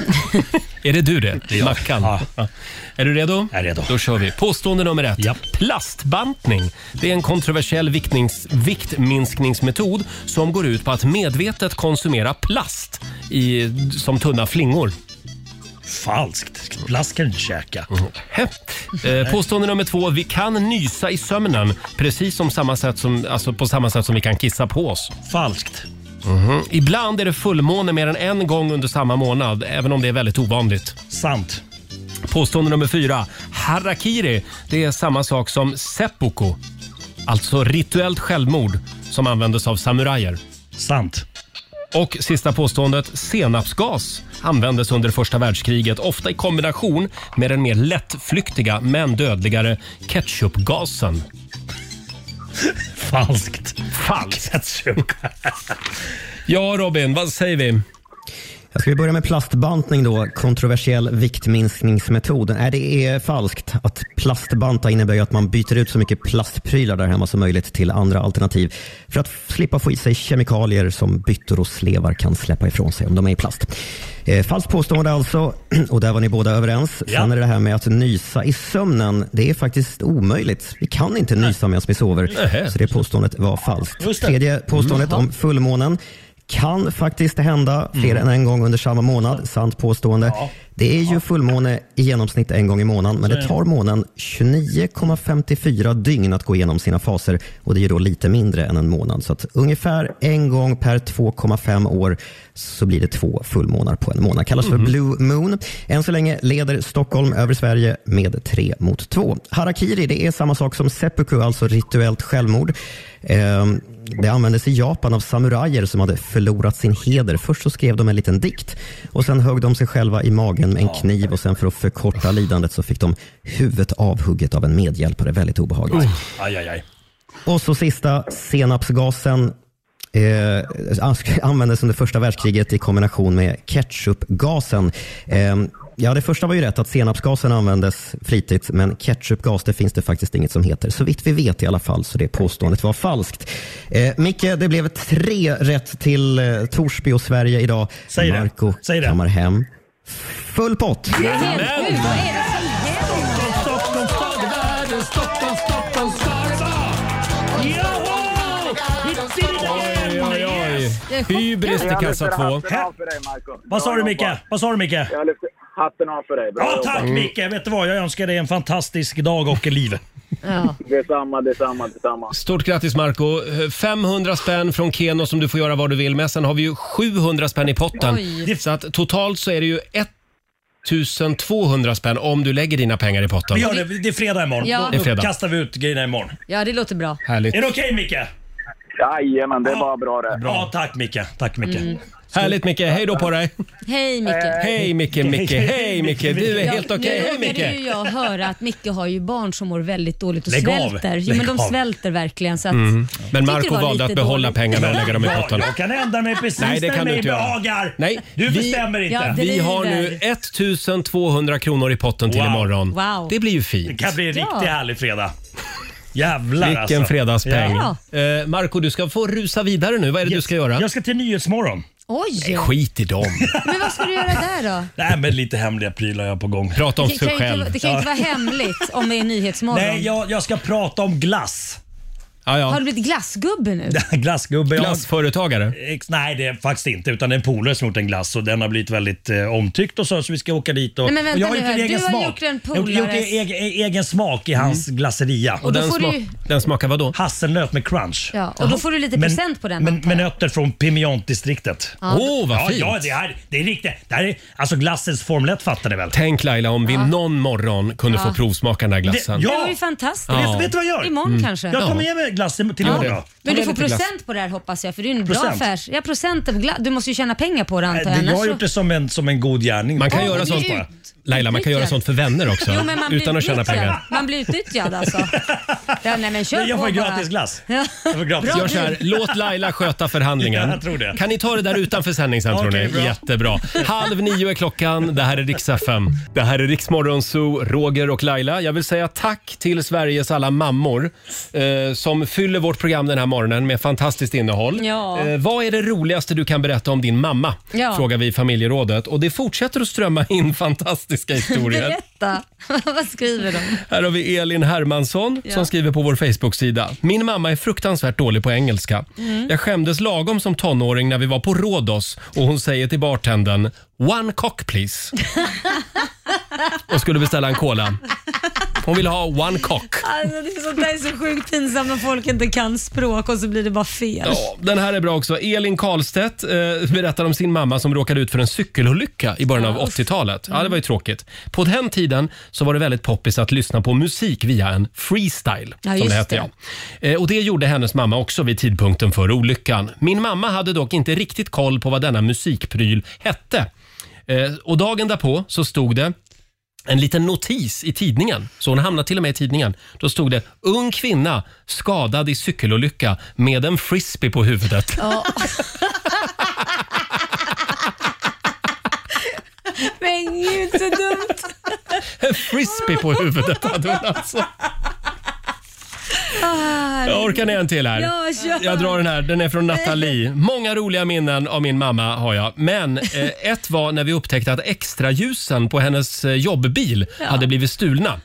Speaker 1: Är det du det? Mackan? Ja. Är du redo? Jag är redo. Då kör vi. Påstående nummer ett. Plastbantning. Det är en kontroversiell viktnings, viktminskningsmetod som går ut på att medvetet konsumera plast i, som tunna flingor. Falskt. Plast kan du inte käka. Mhm. Eh, påstående nummer två. Vi kan nysa i sömnen precis som samma sätt som, alltså på samma sätt som vi kan kissa på oss. Falskt. Ibland är det fullmåne mer än en gång under samma månad, även om det är väldigt ovanligt. Sant. Påstående nummer fyra. Harakiri, det är samma sak som seppuku. Alltså rituellt självmord som användes av samurajer. Sant. Och sista påståendet. Senapsgas användes under första världskriget, ofta i kombination med den mer lättflyktiga men dödligare ketchupgasen. Falskt. Falskt. ja, Robin, vad säger vi?
Speaker 20: Jag ska vi börja med plastbantning då, kontroversiell viktminskningsmetod. Nej, det är falskt. Att plastbanta innebär ju att man byter ut så mycket plastprylar där hemma som möjligt till andra alternativ för att slippa få i sig kemikalier som byttor och slevar kan släppa ifrån sig om de är i plast. Eh, falskt påstående alltså, och där var ni båda överens. Sen är det det här med att nysa i sömnen. Det är faktiskt omöjligt. Vi kan inte nysa medan vi sover,
Speaker 1: Nej.
Speaker 20: så det påståendet var falskt.
Speaker 1: Just det. Mm.
Speaker 20: Tredje påståendet
Speaker 1: Jaha.
Speaker 20: om fullmånen kan faktiskt hända fler
Speaker 1: Mm.
Speaker 20: än en gång under samma månad. Sant påstående. Det är ju fullmåne i genomsnitt en gång i månaden, men
Speaker 1: Så är
Speaker 20: det
Speaker 1: det.
Speaker 20: tar månen 29,54 dygn att gå igenom sina faser och det är ju då lite mindre än en månad. Så att ungefär en gång per 2,5 år så blir det två fullmånar på en månad. Kallas för
Speaker 12: Mhm.
Speaker 20: Blue Moon. Än så länge leder Stockholm över Sverige med 3 mot 2. Harakiri, det är samma sak som seppuku, alltså rituellt självmord. Ehm, Det användes i Japan av samurajer som hade förlorat sin heder. Först så skrev de en liten dikt och sen högg de sig själva i magen med en kniv och sen för att förkorta lidandet så fick de huvudet avhugget av en medhjälpare. Väldigt obehagligt.
Speaker 1: Oh.
Speaker 3: Aj, aj, aj.
Speaker 20: Och så sista, senapsgasen. Eh, användes under första världskriget i kombination med ketchupgasen. Eh, Ja, det första var ju rätt att senapsgasen användes flitigt, men ketchupgas det finns det faktiskt inget som heter. Så vitt vi vet i alla fall, så det påståendet var falskt. Eh, Micke, det blev tre rätt till eh, Torsby och Sverige idag.
Speaker 3: Säg det.
Speaker 20: Marco kammar hem full pott.
Speaker 12: Stockholm, stad i världen, Stockholm, Stockholm, Skara.
Speaker 1: Oj, oj, oj. Hybris till kassa två.
Speaker 3: Vad sa du Micke? Vad sa du Micke?
Speaker 21: Jag lyfter hatten av för dig. Bra
Speaker 3: Ja,
Speaker 21: jobbat.
Speaker 1: Mm.
Speaker 3: tack Micke! Vet du vad? Jag önskar dig en fantastisk dag och liv.
Speaker 21: Detsamma, detsamma, detsamma.
Speaker 1: Stort grattis Marco 500 spänn från Keno som du får göra vad du vill med. Sen har vi ju 700 spänn i potten.
Speaker 3: Oj.
Speaker 1: Så att totalt så är det ju 1200 spänn om du lägger dina pengar i potten.
Speaker 3: Vi gör det. Det är fredag imorgon.
Speaker 2: Ja.
Speaker 1: Det är
Speaker 3: Då
Speaker 1: fredag.
Speaker 3: kastar vi ut grejerna imorgon.
Speaker 2: Ja, det låter bra.
Speaker 1: Härligt.
Speaker 3: Är det okej Micke?
Speaker 21: Jajamän, det var bra det.
Speaker 3: Ja, tack Micke. Tack Micke.
Speaker 2: Mm.
Speaker 1: Härligt Micke, hej då på dig!
Speaker 2: Hej Micke.
Speaker 3: Eh,
Speaker 1: Hej Micke, Micke, hej Micke! Du är
Speaker 2: Ja,
Speaker 1: helt okej,
Speaker 2: Nu
Speaker 1: hej
Speaker 2: råkade ju
Speaker 1: Micke!
Speaker 2: jag höra att Micke har ju barn som mår väldigt dåligt och
Speaker 1: Lägg av.
Speaker 2: svälter. Jo,
Speaker 1: Lägg
Speaker 2: men de
Speaker 1: av.
Speaker 2: svälter verkligen. Så att,
Speaker 1: Mm.
Speaker 2: Tycker
Speaker 1: Men
Speaker 2: det
Speaker 1: Marco
Speaker 2: var
Speaker 1: valde
Speaker 2: lite
Speaker 1: att behålla
Speaker 2: dåligt.
Speaker 1: pengarna och lägga dem i
Speaker 3: Ja,
Speaker 1: potten.
Speaker 3: jag kan ändra mig precis
Speaker 1: Nej, det
Speaker 3: när
Speaker 1: kan du
Speaker 3: mig
Speaker 1: inte göra.
Speaker 3: behagar.
Speaker 1: Nej,
Speaker 3: Du
Speaker 1: vi-
Speaker 3: bestämmer inte.
Speaker 1: Vi har nu 1200 kronor i potten till
Speaker 3: Wow.
Speaker 1: imorgon.
Speaker 3: Wow.
Speaker 1: Det blir ju fint.
Speaker 3: Det kan bli en riktigt
Speaker 2: Ja.
Speaker 3: härlig fredag. Jävlar
Speaker 1: Vilken
Speaker 3: alltså.
Speaker 1: fredagspeng.
Speaker 3: Ja.
Speaker 1: Eh, Marco, du ska få rusa vidare nu. Vad är det du ska göra?
Speaker 3: Jag ska till Nyhetsmorgon.
Speaker 2: Oj!
Speaker 1: Skit i dem.
Speaker 2: Men vad ska du göra där då?
Speaker 3: Nej, men lite hemliga prylar jag har på gång.
Speaker 1: Prata
Speaker 2: Det kan, ju inte, det kan ju inte vara hemligt om det är Nyhetsmorgon.
Speaker 3: Nej, jag, jag ska prata om glass.
Speaker 1: Ja,
Speaker 2: Har du blivit glassgubbe nu?
Speaker 3: Glassgubbe.
Speaker 1: Glassföretagare?
Speaker 3: Nej, det är faktiskt inte. Utan det är en polare som gjort en glass och den har blivit väldigt eh, omtyckt och så. Så vi ska åka dit och...
Speaker 2: Nej, men vänta
Speaker 3: och jag har gjort
Speaker 2: nu
Speaker 3: en
Speaker 2: här.
Speaker 3: egen
Speaker 2: Du har
Speaker 3: smak.
Speaker 2: gjort en
Speaker 3: Jag har gjort- Jag har gjort
Speaker 2: polares-
Speaker 3: egen, e- egen smak i hans glasseria.
Speaker 2: Och då Den får du smak- ju-
Speaker 1: Mm. den smakar vad då?
Speaker 3: Hasselnöt med crunch.
Speaker 2: Ja, och då får du lite
Speaker 3: Men-
Speaker 2: present på den.
Speaker 3: Men, med nötter från Pimientdistriktet.
Speaker 2: Ja. Åh, vad
Speaker 3: ja,
Speaker 1: fint.
Speaker 3: Ja, det här det är riktigt. Det här är alltså glassens Formel 1 fattar ni väl?
Speaker 1: Tänk Laila om vi
Speaker 2: Ja.
Speaker 1: någon morgon kunde
Speaker 2: Ja.
Speaker 1: få provsmaka den där glassen.
Speaker 3: Det- ja.
Speaker 2: Det var ju fantastiskt.
Speaker 1: Ja. Vet- vet du
Speaker 3: vad jag gör?
Speaker 2: Imorgon
Speaker 1: Mm.
Speaker 2: kanske.
Speaker 1: Jag tar med
Speaker 3: mig glass till
Speaker 1: Ja. imorgon, ja.
Speaker 2: Men
Speaker 1: Ta
Speaker 2: du
Speaker 1: med
Speaker 2: får
Speaker 1: lite glass.
Speaker 2: procent på det här hoppas jag, för det är ju en bra
Speaker 3: Procent.
Speaker 2: affär. Ja, procent av glass. Du måste ju tjäna pengar på det antar
Speaker 3: Det,
Speaker 2: jag.
Speaker 3: jag har
Speaker 2: annars
Speaker 3: gjort det som en, som en god gärning.
Speaker 1: Man kan göra sånt
Speaker 2: bara.
Speaker 1: Laila, man kan göra sånt för vänner också.
Speaker 2: Jo, men man blir
Speaker 1: utan att tjäna
Speaker 2: utnyttjad.
Speaker 1: pengar.
Speaker 2: Man blir utnyttjad alltså. Ja, nej, men kör
Speaker 3: Nej, jag
Speaker 2: på
Speaker 3: får
Speaker 2: bara.
Speaker 3: gratis glass.
Speaker 2: Ja.
Speaker 3: Jag får gratis.
Speaker 1: Gör så här, låt Laila sköta förhandlingen.
Speaker 3: Ja, jag tror det.
Speaker 1: Kan ni ta det där utanför sändning sen tror
Speaker 3: Okej,
Speaker 1: ni?
Speaker 3: bra.
Speaker 1: Jättebra. Halv nio är klockan. Det här är Rix FM. Det här är Rix Morgon Zoo, Roger och Laila. Jag vill säga tack till Sveriges alla mammor eh, som fyller vårt program den här morgonen med fantastiskt innehåll.
Speaker 2: Ja.
Speaker 1: Eh, vad är det roligaste du kan berätta om din mamma?
Speaker 2: Ja.
Speaker 1: Frågar vi i familjerådet. Och det fortsätter att strömma in fantastiska historier.
Speaker 2: Berätta. Vad skriver de?
Speaker 1: Här har vi Elin Hermansson
Speaker 2: Ja.
Speaker 1: som skriver på vår Facebook-sida. Min mamma är fruktansvärt dålig på engelska.
Speaker 2: Mm.
Speaker 1: Jag skämdes lagom som tonåring när vi var på Rhodos och hon säger till bartendern “One cock please” och skulle beställa en cola. Hon vill ha “one cock”.
Speaker 2: Alltså, det är sånt där är så sjukt pinsamt när folk inte kan språk och så blir det bara fel.
Speaker 1: Ja, den här är bra också. Elin Karlstedt eh, berättar om sin mamma som råkade ut för en cykelolycka i början av 80-talet. Ja, det
Speaker 2: Mm.
Speaker 1: var ju tråkigt. På den tiden så var det väldigt poppis att lyssna på musik via en freestyle.
Speaker 12: Ja,
Speaker 1: som
Speaker 12: just
Speaker 1: det hette,
Speaker 12: det.
Speaker 1: Ja. Eh, och det gjorde hennes mamma också vid tidpunkten för olyckan. Min mamma hade dock inte riktigt koll på vad denna musikpryl hette. Eh, och dagen därpå så stod det en liten notis i tidningen, så hon hamnade till och med i tidningen. Då stod det “Ung kvinna skadad i cykelolycka med en frisbee på huvudet”.
Speaker 2: Ja. Men gud så dumt.
Speaker 1: En frisbee på huvudet hade hon alltså.
Speaker 2: Ah,
Speaker 1: Jag orkar ni en till här?
Speaker 12: Ja, kör.
Speaker 1: Jag drar den här. Den är från Nathalie. Många roliga minnen av min mamma har jag. Men eh, ett var när vi upptäckte att extraljusen på hennes eh, jobbbil
Speaker 12: Ja.
Speaker 1: hade blivit stulna.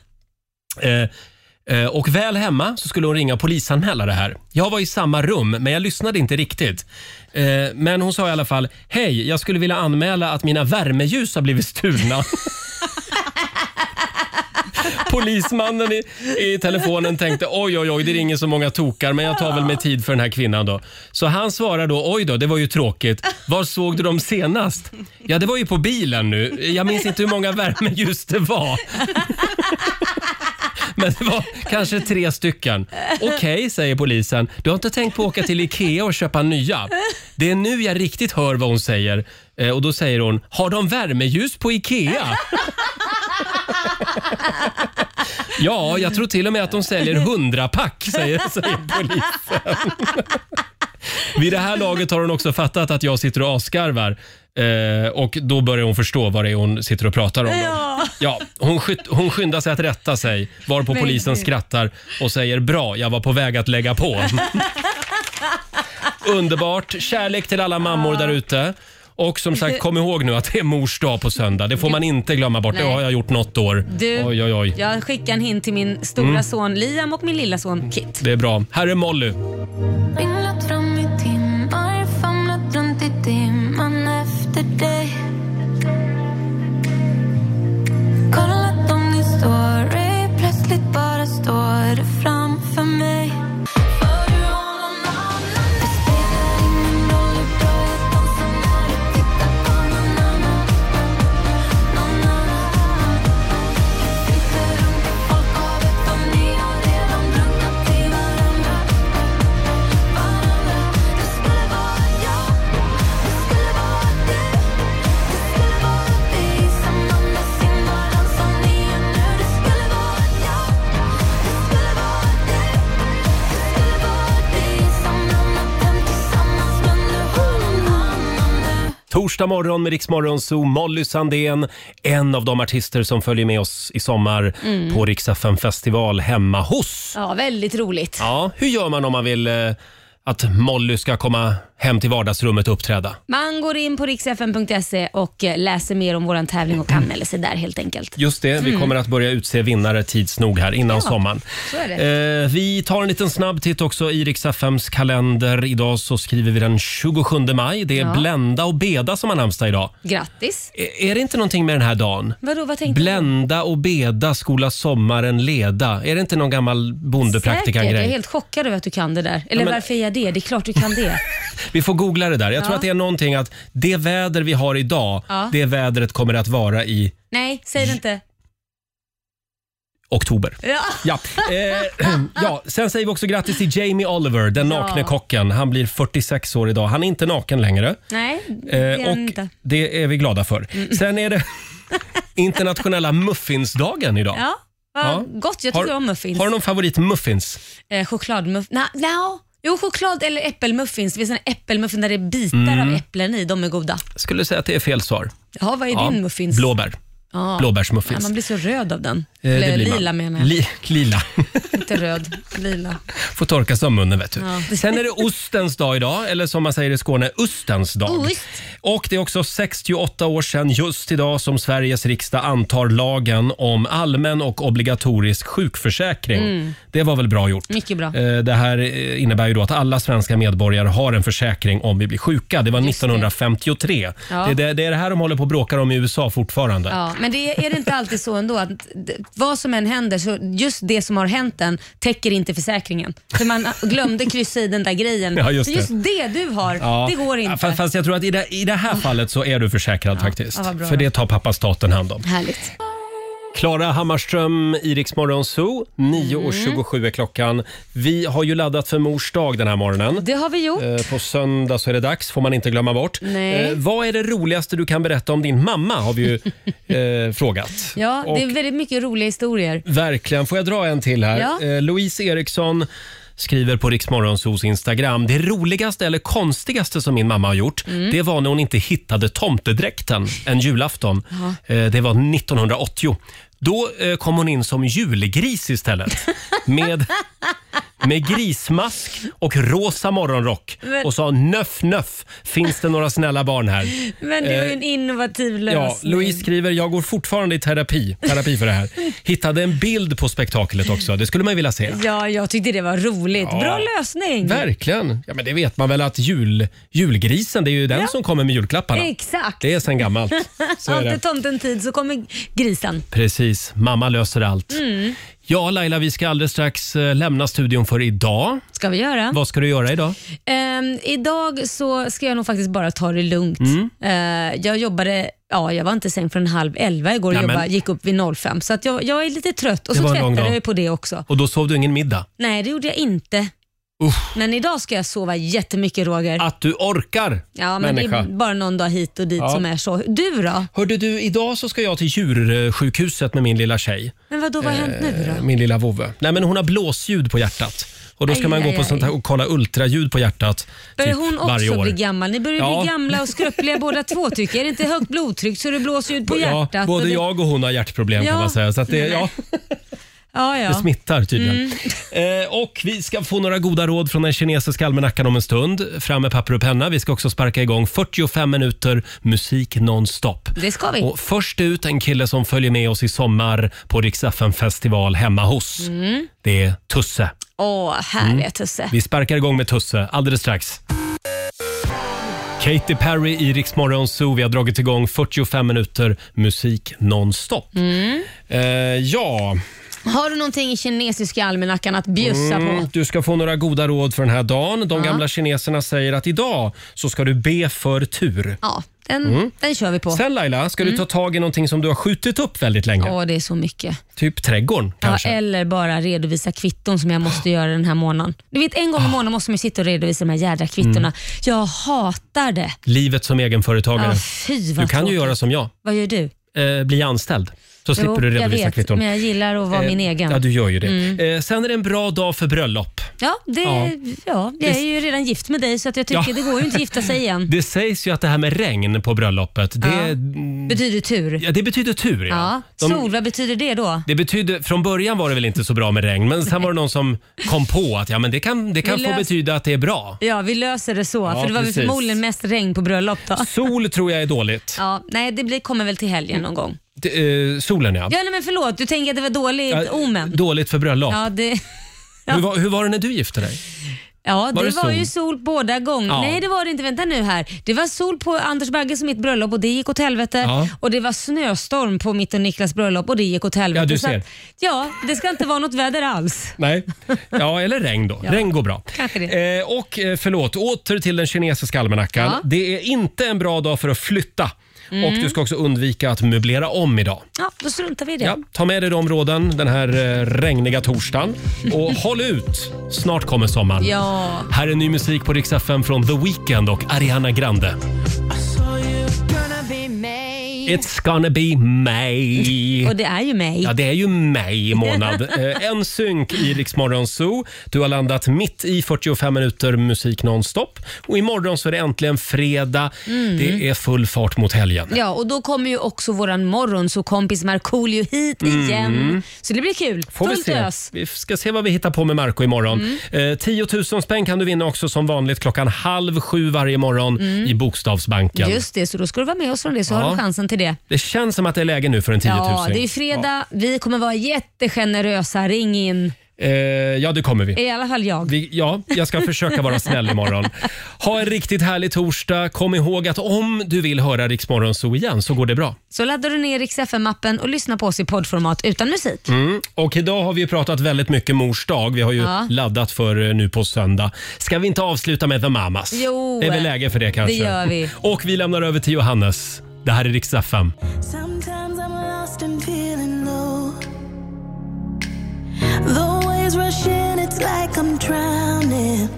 Speaker 1: Eh, eh, och väl hemma så skulle hon ringa och polisanmäla det här. Jag var i samma rum, men jag lyssnade inte riktigt. Eh, men hon sa i alla fall, hej, jag skulle vilja anmäla att mina värmeljus har blivit stulna. Polismannen i, i telefonen tänkte oj, oj, oj, det ringer så många tokar men jag tar väl med tid för den här kvinnan då. Så han svarar då oj då, det var ju tråkigt. Var såg du dem senast? Ja, det var ju på bilen nu. Jag minns inte hur många värmeljus det var. Men det var kanske tre stycken. Okej, säger polisen. Du har inte tänkt på att åka till Ikea och köpa nya? Det är nu jag riktigt hör vad hon säger. Eh, Och då säger hon, har de värmeljus på Ikea? Ja, jag tror till och med att de säljer hundrapack, säger, säger polisen. Vid det här laget har hon också fattat att jag sitter och askarvar. Eh, och då börjar hon förstå vad det är hon sitter och pratar om. då.
Speaker 12: Ja.
Speaker 1: Ja, hon, skyt, hon skyndar sig att rätta sig, varpå
Speaker 12: Men
Speaker 1: polisen
Speaker 12: gud.
Speaker 1: skrattar och säger “Bra, jag var på väg att lägga på”. Underbart! Kärlek till alla mammor där ute. Och som sagt, kom ihåg nu att det är mors dag på söndag. Det får man inte glömma bort. Det
Speaker 2: Nej.
Speaker 1: har jag gjort något år.
Speaker 2: Du,
Speaker 1: Oj, oj, oj.
Speaker 2: jag skickar en hint till min stora
Speaker 1: Mm.
Speaker 2: son Liam och min lilla son Kit.
Speaker 1: Det är bra. Här är Molly.
Speaker 11: Ringlat fram i timmar, famlat runt i dimman efter dig Kollat om din story, plötsligt bara står det framför mig För du har någon annan Det spelar ingen roll hur bra jag dansar när du tittar på någon annan Någon annan Jag flyttar runt i folk och vet vad ni har redan drunknat i varandra
Speaker 1: Torsdag morgon med Riksmorgon Zoo, Molly Sandén, en av de artister som följer med oss i sommar
Speaker 2: Mm.
Speaker 1: på Rix FM festival hemma hos.
Speaker 2: Ja, väldigt roligt.
Speaker 1: Ja, hur gör man om man vill eh, att Molly ska komma hem till vardagsrummet och uppträda?
Speaker 2: Man går in på riksfn.se och eh, läser mer om vår tävling och anmäler sig där helt enkelt.
Speaker 1: Just det, vi
Speaker 2: Mm.
Speaker 1: kommer att börja utse vinnare tids nog här innan
Speaker 2: Ja,
Speaker 1: sommaren.
Speaker 2: så är
Speaker 1: Eh, vi tar en liten snabb titt också i Rix FMs kalender. Idag så skriver vi den 27 maj. Det är
Speaker 2: Ja.
Speaker 1: Blenda och Beda som har namnsdag idag.
Speaker 2: Grattis!
Speaker 1: E- är det inte någonting med den här dagen?
Speaker 2: Vadå, vad tänkte
Speaker 1: Blända och beda, skola sommaren leda. Är det inte någon gammal
Speaker 2: du? Säkert, jag är
Speaker 1: bondepraktikan-grej?
Speaker 2: helt chockad över att du kan det där. Eller
Speaker 1: Ja, men-
Speaker 2: varför är jag det? Det är klart du kan det.
Speaker 1: Vi får googla det där. Jag tror
Speaker 2: Ja.
Speaker 1: att det är någonting att det väder vi har idag,
Speaker 2: Ja.
Speaker 1: det vädret kommer att vara i
Speaker 2: Nej, säg det inte.
Speaker 1: oktober.
Speaker 2: Ja.
Speaker 1: Ja. Eh, ja, sen säger vi också grattis till Jamie Oliver, den
Speaker 2: Ja.
Speaker 1: nakne kocken. Han blir 46 år idag. Han är inte naken längre.
Speaker 2: Nej, det är
Speaker 1: Eh,
Speaker 2: den
Speaker 1: och
Speaker 2: inte.
Speaker 1: det är vi glada för.
Speaker 2: Mm.
Speaker 1: Sen är det internationella muffinsdagen idag.
Speaker 2: Ja, vad
Speaker 1: Ja.
Speaker 2: gott. Jag
Speaker 1: Har-
Speaker 2: tycker om muffins.
Speaker 1: Har du någon favorit muffins?
Speaker 2: Eh, chokladmuffins. Nej, no. Jo, choklad eller äppelmuffins. Det finns en äppelmuffin där det är bitar
Speaker 1: Mm.
Speaker 2: av äpplen i. De är goda.
Speaker 1: Skulle säga att det är fel svar.
Speaker 2: Ja, vad är din muffins?
Speaker 1: Blåbär.
Speaker 2: Ja.
Speaker 1: Blåbärsmuffins.
Speaker 2: Ja, man blir så röd av den.
Speaker 1: Eh,
Speaker 2: eller
Speaker 1: blir man.
Speaker 2: lila menar jag.
Speaker 1: Li, lila.
Speaker 2: Inte röd, lila.
Speaker 1: Får torka sig om munnen vet du.
Speaker 2: Ja.
Speaker 1: Sen är det ostens dag idag, eller som man säger i Skåne, ostens dag.
Speaker 2: Ost.
Speaker 1: Och det är också 68 år sedan just idag som Sveriges riksdag antar lagen om allmän och obligatorisk sjukförsäkring.
Speaker 2: Mm.
Speaker 1: Det var väl bra gjort?
Speaker 2: Mycket bra.
Speaker 1: Eh, Det här eh, innebär ju då att alla svenska medborgare har en försäkring om vi blir sjuka. Det var 1953.
Speaker 2: Ja.
Speaker 1: Det, det, det är det här de håller på och bråkar om i USA fortfarande.
Speaker 2: Ja, men det är det inte alltid så ändå att d- vad som än händer, så just det som har hänt en täcker inte försäkringen. För man glömde kryssa i den där grejen.
Speaker 1: Ja, just
Speaker 2: För just det du har,
Speaker 1: Ja.
Speaker 2: det går
Speaker 1: Ja,
Speaker 2: inte.
Speaker 1: Fast, fast jag tror att i det, i det här fallet så är du försäkrad faktiskt.
Speaker 2: ja, vad bra
Speaker 1: För
Speaker 2: då.
Speaker 1: det tar pappa staten hand om.
Speaker 2: Härligt.
Speaker 1: Klara Hammarström, Iriks Zoo. 9.27 är klockan. Vi har ju laddat för mors dag den här morgonen.
Speaker 2: Det har vi gjort.
Speaker 1: Eh, På söndag så är det dags, får man inte glömma bort.
Speaker 2: Nej.
Speaker 1: Eh, vad är det roligaste du kan berätta om din mamma? Har vi ju eh, frågat.
Speaker 2: Ja,
Speaker 1: Och-
Speaker 2: det är väldigt mycket roliga historier.
Speaker 1: Verkligen. Får jag dra en till här?
Speaker 2: Ja.
Speaker 1: Eh, Louise Eriksson skriver på Riksmorgonsos Instagram. Det roligaste eller konstigaste som min mamma har gjort,
Speaker 2: Mm.
Speaker 1: det var när hon inte hittade tomtedräkten en julafton.
Speaker 2: Ja.
Speaker 1: Eh, det var 1980. Då eh, kom hon in som julgris istället. Med, med grismask och rosa morgonrock.
Speaker 2: Men-
Speaker 1: Och sa nöff nöff, finns det några snälla barn här?
Speaker 2: Men det var ju
Speaker 1: Eh,
Speaker 2: en innovativ
Speaker 1: Ja,
Speaker 2: lösning.
Speaker 1: Louise skriver, jag går fortfarande i terapi, terapi för det här. Hittade en bild på spektaklet också, det skulle man ju vilja se.
Speaker 2: Ja, jag tyckte det var roligt.
Speaker 1: Ja.
Speaker 2: Bra lösning.
Speaker 1: Verkligen. Ja, men det vet man väl att jul, julgrisen, det är ju den som kommer med julklapparna.
Speaker 2: Exakt.
Speaker 1: Det är sen gammalt. Så är
Speaker 2: Har inte
Speaker 1: det.
Speaker 2: tomten tid så kommer grisen.
Speaker 1: Precis, mamma löser allt.
Speaker 2: Mm.
Speaker 1: Ja, Laila, vi ska alldeles strax eh, lämna studion för idag.
Speaker 2: Ska vi göra?
Speaker 1: Vad ska du göra idag?
Speaker 2: Ehm, idag så ska jag nog faktiskt bara ta det lugnt.
Speaker 1: Mm.
Speaker 2: Eh, jag jobbade, ja jag var inte i säng förrän halv elva igår och
Speaker 1: Nämen.
Speaker 2: jobba, gick upp vid 05. Så att jag, jag är lite trött och
Speaker 1: Det
Speaker 2: så
Speaker 1: var en lång
Speaker 2: tvättade
Speaker 1: dag.
Speaker 2: jag ju på det också.
Speaker 1: Och då sov du ingen middag?
Speaker 2: Nej, det gjorde jag inte. Men idag ska jag sova jättemycket Roger.
Speaker 1: Att du orkar,
Speaker 2: Ja, men
Speaker 1: människa.
Speaker 2: det är bara någon dag hit och dit
Speaker 1: Ja.
Speaker 2: som är så. Du då?
Speaker 1: Hörde du, idag så ska jag till djursjukhuset med min lilla tjej. Eh,
Speaker 2: Men vad då vad har hänt nu då?
Speaker 1: Min lilla vovve. Nej, men hon har blåsljud på hjärtat. Och då ska
Speaker 2: Aj,
Speaker 1: man gå
Speaker 2: aj,
Speaker 1: på sånt här
Speaker 2: aj.
Speaker 1: och kolla ultraljud på hjärtat
Speaker 2: Börjar
Speaker 1: typ
Speaker 2: hon
Speaker 1: varje
Speaker 2: också
Speaker 1: år.
Speaker 2: bli gammal? Ni börjar
Speaker 1: Ja.
Speaker 2: bli gamla och skröpliga båda två tycker jag. Är det inte högt blodtryck så det blåser ut på
Speaker 1: Ja,
Speaker 2: hjärtat? och
Speaker 1: både
Speaker 2: det...
Speaker 1: jag och hon har hjärtproblem kan
Speaker 2: Ja.
Speaker 1: man säga. Så att det,
Speaker 2: Nej, men-
Speaker 1: ja,
Speaker 2: Ja, ja. Mm.
Speaker 1: det smittar tydligen. Eh, och vi ska få några goda råd från den kinesiska almanackan om en stund. Fram med papper och penna. Vi ska också sparka igång 45 minuter musik nonstop.
Speaker 2: Det ska vi.
Speaker 1: Och först ut en kille som följer med oss i sommar på Rix FM festival hemma hos.
Speaker 2: Mm.
Speaker 1: Det är Tusse.
Speaker 2: Åh, härliga
Speaker 1: Mm.
Speaker 2: Tusse.
Speaker 1: Vi sparkar igång med Tusse alldeles strax. Katy Perry i Rix Morgon Zoo. Vi har dragit igång 45 minuter musik nonstop.
Speaker 2: Mm.
Speaker 1: Eh, ja.
Speaker 2: Har du någonting i kinesiska almanackan att bjussa
Speaker 1: Mm,
Speaker 2: på?
Speaker 1: Du ska få några goda råd för den här dagen. De
Speaker 2: Ja.
Speaker 1: gamla kineserna säger att idag så ska du be för tur.
Speaker 2: Ja, den,
Speaker 1: Mm.
Speaker 2: den kör vi på.
Speaker 1: Sen Laila, ska du
Speaker 2: Mm.
Speaker 1: ta tag i någonting som du har skjutit upp väldigt länge.
Speaker 2: Åh, det är så mycket.
Speaker 1: Typ trädgården
Speaker 2: Ja,
Speaker 1: kanske.
Speaker 2: eller bara redovisa kvitton som jag måste göra den här månaden. Du vet, en gång i månaden måste man ju sitta och redovisa de här jädra kvittona.
Speaker 1: Ah. Mm.
Speaker 2: Jag hatar det.
Speaker 1: Livet som egenföretagare.
Speaker 2: Ja, fy, vad
Speaker 1: du kan ju
Speaker 2: tråkigt.
Speaker 1: göra som jag,
Speaker 2: Vad gör du?
Speaker 1: eh, bli anställd. Så slipper du redovisa
Speaker 2: jag vet,
Speaker 1: kvitton.
Speaker 2: men jag gillar att vara
Speaker 1: Eh,
Speaker 2: min egen.
Speaker 1: Ja, du gör ju det.
Speaker 2: Mm.
Speaker 1: Eh, sen är det en bra dag för bröllop.
Speaker 2: Ja, det,
Speaker 1: Ja.
Speaker 2: ja. jag är ju redan gift med dig så att jag tycker
Speaker 1: Ja.
Speaker 2: det går ju inte att gifta sig igen.
Speaker 1: Det sägs ju att det här med regn på bröllopet, det,
Speaker 2: Betyder tur.
Speaker 1: ja, det betyder tur. Mm. Ja.
Speaker 2: Ja.
Speaker 1: De-
Speaker 2: Sol, vad betyder det då?
Speaker 1: Det betyder, från början var det väl inte så bra med regn, men sen var det någon som kom på att ja, men det kan, det kan
Speaker 2: Vi
Speaker 1: få
Speaker 2: lös-
Speaker 1: betyda att det är bra.
Speaker 2: Ja, vi löser det så.
Speaker 1: Ja,
Speaker 2: för det var väl
Speaker 1: precis.
Speaker 2: förmodligen mest regn på bröllop då.
Speaker 1: Sol tror jag är dåligt.
Speaker 2: Ja, nej, det blir, kommer väl till helgen någon gång.
Speaker 1: Det, eh, solen ja.
Speaker 2: Ja, nej, men förlåt. Du tänker att det var dåligt
Speaker 1: Ja,
Speaker 2: omen?
Speaker 1: Dåligt för bröllop.
Speaker 2: Ja, det,
Speaker 1: Hur, var, hur var det när du gifte dig?
Speaker 2: ja, det
Speaker 1: Var
Speaker 2: var,
Speaker 1: det sol?
Speaker 2: ju sol båda gångerna.
Speaker 1: Ja.
Speaker 2: Nej, det var det inte. Vänta nu här. Det var sol på Anders Bagges och mitt bröllop och det gick åt helvete.
Speaker 1: Ja.
Speaker 2: Och det var snöstorm på mitt och Niklas bröllop och det gick åt helvete.
Speaker 1: Ja, du
Speaker 2: Så
Speaker 1: ser.
Speaker 2: Att, ja, det ska inte vara något väder alls.
Speaker 1: Nej. Ja, eller regn då.
Speaker 2: Ja.
Speaker 1: Regn går bra.
Speaker 2: Kanske det.
Speaker 1: Eh, och eh, förlåt, åter till den kinesiska almanackan.
Speaker 2: Ja.
Speaker 1: Det är inte en bra dag för att flytta.
Speaker 2: Mm.
Speaker 1: Och du ska också undvika att möblera om idag.
Speaker 2: Ja, då struntar vi i det.
Speaker 1: Ja, ta med dig de råden den här eh, regniga torsdagen. Och håll ut! Snart kommer sommaren.
Speaker 2: Ja.
Speaker 1: Här är ny musik på Rix FM från The Weeknd och Ariana Grande. It's gonna be May.
Speaker 2: Och det är ju mig.
Speaker 1: Ja, det är ju maj månad. Eh, En synk i Rix Morgon Zoo. Du har landat mitt i 45 minuter musik nonstop. Och imorgon så är det äntligen fredag.
Speaker 2: Mm.
Speaker 1: Det är full fart mot helgen.
Speaker 2: Ja, och då kommer ju också våran morgonsåkompis Markoolio hit
Speaker 1: Mm.
Speaker 2: igen. Så det blir kul.
Speaker 1: Får vi
Speaker 2: Fullt
Speaker 1: se.
Speaker 2: ös. Mm.
Speaker 1: Vi ska se vad vi hittar på med Marco imorgon. Eh, 10 000 spänn kan du vinna också som vanligt klockan halv sju varje morgon
Speaker 2: Mm.
Speaker 1: i Bokstavsbanken.
Speaker 2: Just det, så då ska du vara med oss från det så
Speaker 1: Ja.
Speaker 2: har du chansen till det.
Speaker 1: Det känns som att det är läge nu för en 10 000.
Speaker 2: Ja, det är ju fredag. Vi kommer vara jättegenerösa. Ring in.
Speaker 1: Ja, eh, ja det kommer vi.
Speaker 2: I alla fall jag.
Speaker 1: Vi, ja, jag ska försöka vara snäll imorgon. Ha en riktigt härlig torsdag. Kom ihåg att om du vill höra Riksmorgon så igen så går det bra.
Speaker 2: Så laddar du ner Rix FM-appen och lyssnar på oss i poddformat utan musik.
Speaker 1: Mm. Och idag har vi ju pratat väldigt mycket mors dag. Vi har ju
Speaker 2: Ja.
Speaker 1: laddat för eh, nu på söndag. Ska vi inte avsluta med The Mamas?
Speaker 2: Jo. eh,
Speaker 1: det är väl läge för det kanske?
Speaker 2: Det gör vi.
Speaker 1: Och vi lämnar över till Johannes. Det här är Rix FM.
Speaker 18: Sometimes I'm lost and feeling low. The waves rush in, it's like I'm drowning.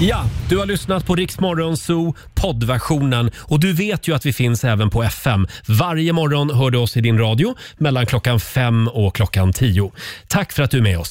Speaker 1: Ja, du har lyssnat på Rix Morgon Zoo poddversionen och du vet ju att vi finns även på FM. Varje morgon hör du oss i din radio mellan klockan fem och klockan tio. Tack för att du är med oss.